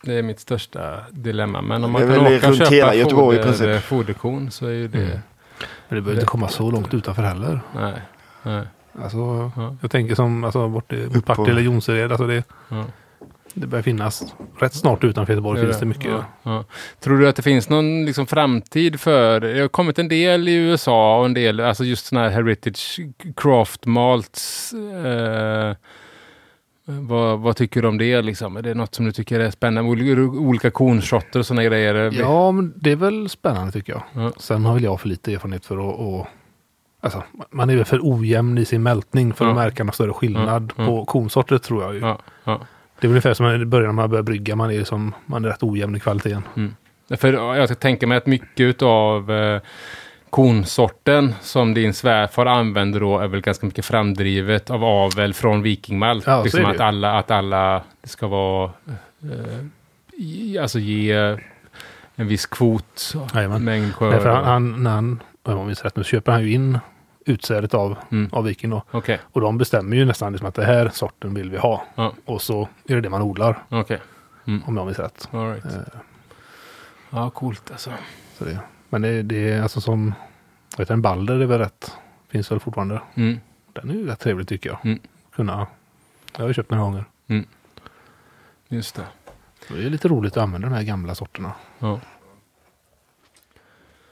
[SPEAKER 3] Det är mitt största dilemma. Men om man
[SPEAKER 1] Det är
[SPEAKER 3] kan
[SPEAKER 1] väl
[SPEAKER 3] åka och
[SPEAKER 1] runt
[SPEAKER 3] köpa
[SPEAKER 1] hela Göteborg i
[SPEAKER 3] foder,
[SPEAKER 1] princip.
[SPEAKER 3] foderkorn så är ju det...
[SPEAKER 4] Mm. Men det behöver inte komma så långt utanför heller.
[SPEAKER 3] Nej. nej
[SPEAKER 4] Alltså,
[SPEAKER 3] Ja.
[SPEAKER 4] Jag tänker som alltså, bort i
[SPEAKER 1] Upp
[SPEAKER 4] mot Partille
[SPEAKER 1] på-
[SPEAKER 4] eller Jonsered. Alltså det,
[SPEAKER 3] ja.
[SPEAKER 4] det börjar finnas. Rätt snart utanför Göteborg
[SPEAKER 3] är
[SPEAKER 4] finns det mycket.
[SPEAKER 3] Ja, ja. Tror du att det finns någon liksom framtid för... Det har kommit en del i USA och en del, alltså just sådana här heritage craft malts. Eh, vad, vad tycker du om det liksom? Är det något som du tycker är spännande? Olika, olika kornsorter och sådana grejer?
[SPEAKER 4] Ja, men det är väl spännande tycker jag.
[SPEAKER 3] Ja.
[SPEAKER 4] Sen har väl jag för lite erfarenhet för att... Och, alltså, man är väl för ojämn i sin mältning för att
[SPEAKER 3] Ja.
[SPEAKER 4] märka någon större skillnad
[SPEAKER 3] Mm, mm.
[SPEAKER 4] på konsorter tror jag ju.
[SPEAKER 3] Ja, ja.
[SPEAKER 4] Det är väl ungefär som i början när man börjar brygga. Man är, liksom, man är rätt ojämn i kvaliteten.
[SPEAKER 3] För jag ska tänka mig att mycket av eh, kornsorten som din svärfar använder då är väl ganska mycket framdrivet av avel från vikingmalt.
[SPEAKER 4] Ja, så är
[SPEAKER 3] liksom
[SPEAKER 4] det
[SPEAKER 3] att
[SPEAKER 4] ju.
[SPEAKER 3] alla, att alla det ska vara, eh, ge- alltså ge en viss kvot,
[SPEAKER 4] Jajamän.
[SPEAKER 3] mängd skörd.
[SPEAKER 4] Nej, för han, han, när han, om jag minns rätt nu, så köper han ju in utsädet av,
[SPEAKER 3] Mm.
[SPEAKER 4] av viken då.
[SPEAKER 3] Okej,
[SPEAKER 4] Och de bestämmer ju nästan liksom att det här sorten vill vi ha.
[SPEAKER 3] Ja.
[SPEAKER 4] Och så är det det man odlar,
[SPEAKER 3] okej.
[SPEAKER 4] om jag minns rätt.
[SPEAKER 3] All right.
[SPEAKER 4] Eh.
[SPEAKER 3] Ja, coolt alltså.
[SPEAKER 4] Så det, men det, det är alltså som, jag vet en balder är väl rätt, finns väl fortfarande.
[SPEAKER 3] Mm.
[SPEAKER 4] Den är ju rätt trevlig tycker jag.
[SPEAKER 3] Mm.
[SPEAKER 4] Kunna, jag har ju köpt några gånger.
[SPEAKER 3] Just det.
[SPEAKER 4] Så Det är lite roligt att använda de här gamla sorterna.
[SPEAKER 3] Ja.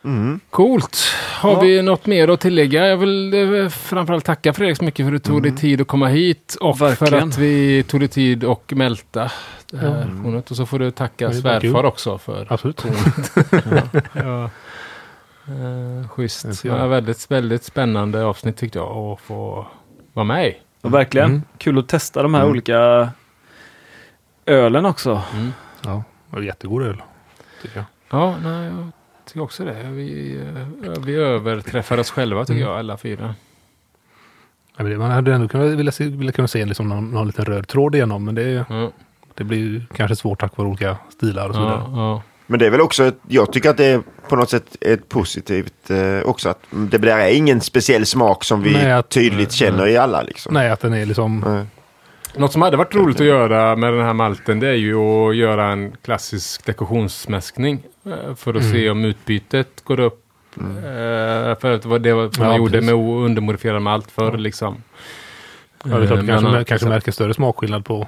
[SPEAKER 1] Mm.
[SPEAKER 3] Coolt! Har
[SPEAKER 1] Ja.
[SPEAKER 3] vi något mer att tillägga? Jag vill eh, framförallt tacka Fredrik så mycket för att du tog dig
[SPEAKER 4] Mm.
[SPEAKER 3] tid att komma hit och för
[SPEAKER 2] Verkligen.
[SPEAKER 3] att vi tog dig tid och mälta det här Mm. kornet. Och så får du tacka
[SPEAKER 4] Det var
[SPEAKER 3] svärfar
[SPEAKER 4] kul.
[SPEAKER 3] också för
[SPEAKER 4] Absolut.
[SPEAKER 3] kornet. ja. Eh,
[SPEAKER 4] Det
[SPEAKER 3] schysst.
[SPEAKER 4] får jag.
[SPEAKER 3] Ja, väldigt, väldigt spännande avsnitt tyckte jag att få vara med i.
[SPEAKER 2] Och verkligen.
[SPEAKER 4] Mm.
[SPEAKER 2] Kul att testa de här
[SPEAKER 1] Mm.
[SPEAKER 2] olika ölen också.
[SPEAKER 3] Mm.
[SPEAKER 4] Ja, det var jättegod öl. Tycker jag.
[SPEAKER 3] Ja, nej, jag tycker också det. Vi, eh, vi överträffar oss själva tycker
[SPEAKER 4] Mm.
[SPEAKER 3] jag, alla fyra.
[SPEAKER 4] Ja, men det- Man hade ändå kunnat vilja se, vilja kunna se liksom någon, någon liten röd tråd igenom, men det,
[SPEAKER 3] Ja,
[SPEAKER 4] det blir ju kanske svårt tack vare olika stilar och så vidare.
[SPEAKER 3] ja, ja.
[SPEAKER 1] Men det är väl också, ett, jag tycker att det är på något sätt ett positivt eh, också. att Det där är ingen speciell smak som vi
[SPEAKER 4] Nej, att-
[SPEAKER 1] tydligt känner i alla liksom. Eh,
[SPEAKER 4] Nej, att den är liksom...
[SPEAKER 1] Nej.
[SPEAKER 3] Något som hade varit roligt att göra med den här malten det är ju att göra en klassisk dekorationsmäskning. eh, För att
[SPEAKER 4] Mm.
[SPEAKER 3] se om utbytet går upp.
[SPEAKER 1] mm.
[SPEAKER 3] Eh, För att det var det var- man
[SPEAKER 4] Ja,
[SPEAKER 3] gjorde
[SPEAKER 4] precis.
[SPEAKER 3] med o- undermodifierad malt förr liksom.
[SPEAKER 4] Ja, det är klart,
[SPEAKER 3] Eh,
[SPEAKER 4] vi kanske,
[SPEAKER 3] men,
[SPEAKER 4] mär- kanske märker större smakskillnad på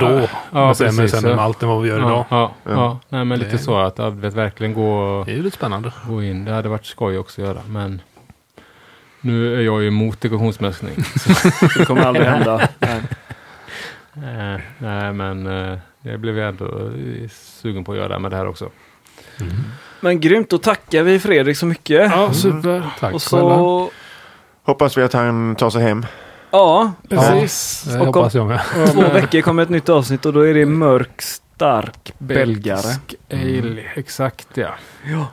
[SPEAKER 4] då.
[SPEAKER 3] ja,
[SPEAKER 4] men sen, men
[SPEAKER 3] precis,
[SPEAKER 4] sen med
[SPEAKER 3] ja.
[SPEAKER 4] allt än vad vi gör
[SPEAKER 3] ja,
[SPEAKER 4] idag.
[SPEAKER 3] ja, ja.
[SPEAKER 1] Ja.
[SPEAKER 3] Nej, men lite
[SPEAKER 4] Det-
[SPEAKER 3] så att ja, du vet, verkligen gå,
[SPEAKER 4] Det är ju lite spännande.
[SPEAKER 3] gå in. Det hade varit skoj också att göra. Men nu är jag ju emot dekorationsmäskning.
[SPEAKER 2] Det kommer aldrig hända. Nej.
[SPEAKER 3] Eh, Nej, men eh, det blev jag ändå eh, sugen på att göra med det här också.
[SPEAKER 2] Men grymt, då tackar vi Fredrik så mycket.
[SPEAKER 3] Ja, super.
[SPEAKER 4] Mm. Tack
[SPEAKER 2] och
[SPEAKER 4] själva.
[SPEAKER 2] så...
[SPEAKER 1] Hoppas vi att han tar sig hem.
[SPEAKER 2] Ja,
[SPEAKER 3] Precis.
[SPEAKER 4] Det
[SPEAKER 2] och om-
[SPEAKER 4] hoppas jag med.
[SPEAKER 2] två veckor kommer ett nytt avsnitt och då är det mörk, stark belgare.
[SPEAKER 3] Belgisk ale, exakt ja.
[SPEAKER 2] Ja.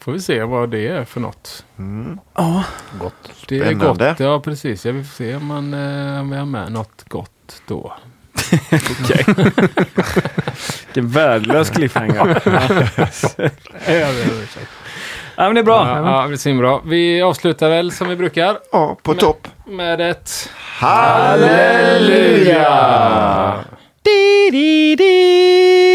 [SPEAKER 3] Får vi se vad det är för något.
[SPEAKER 1] Mm.
[SPEAKER 2] Ja,
[SPEAKER 4] Gott.
[SPEAKER 3] Det är
[SPEAKER 1] Spännande.
[SPEAKER 3] gott, ja precis. Jag vill se om, man, eh, om vi har med något gott då.
[SPEAKER 2] okej. Vilken värdelös cliffhanger. Ja, men det är bra.
[SPEAKER 3] Ja, ja, det ser bra. Vi avslutar väl som vi brukar
[SPEAKER 1] Ja, på topp.
[SPEAKER 3] med ett...
[SPEAKER 1] Halleluja!
[SPEAKER 3] Di, di, di.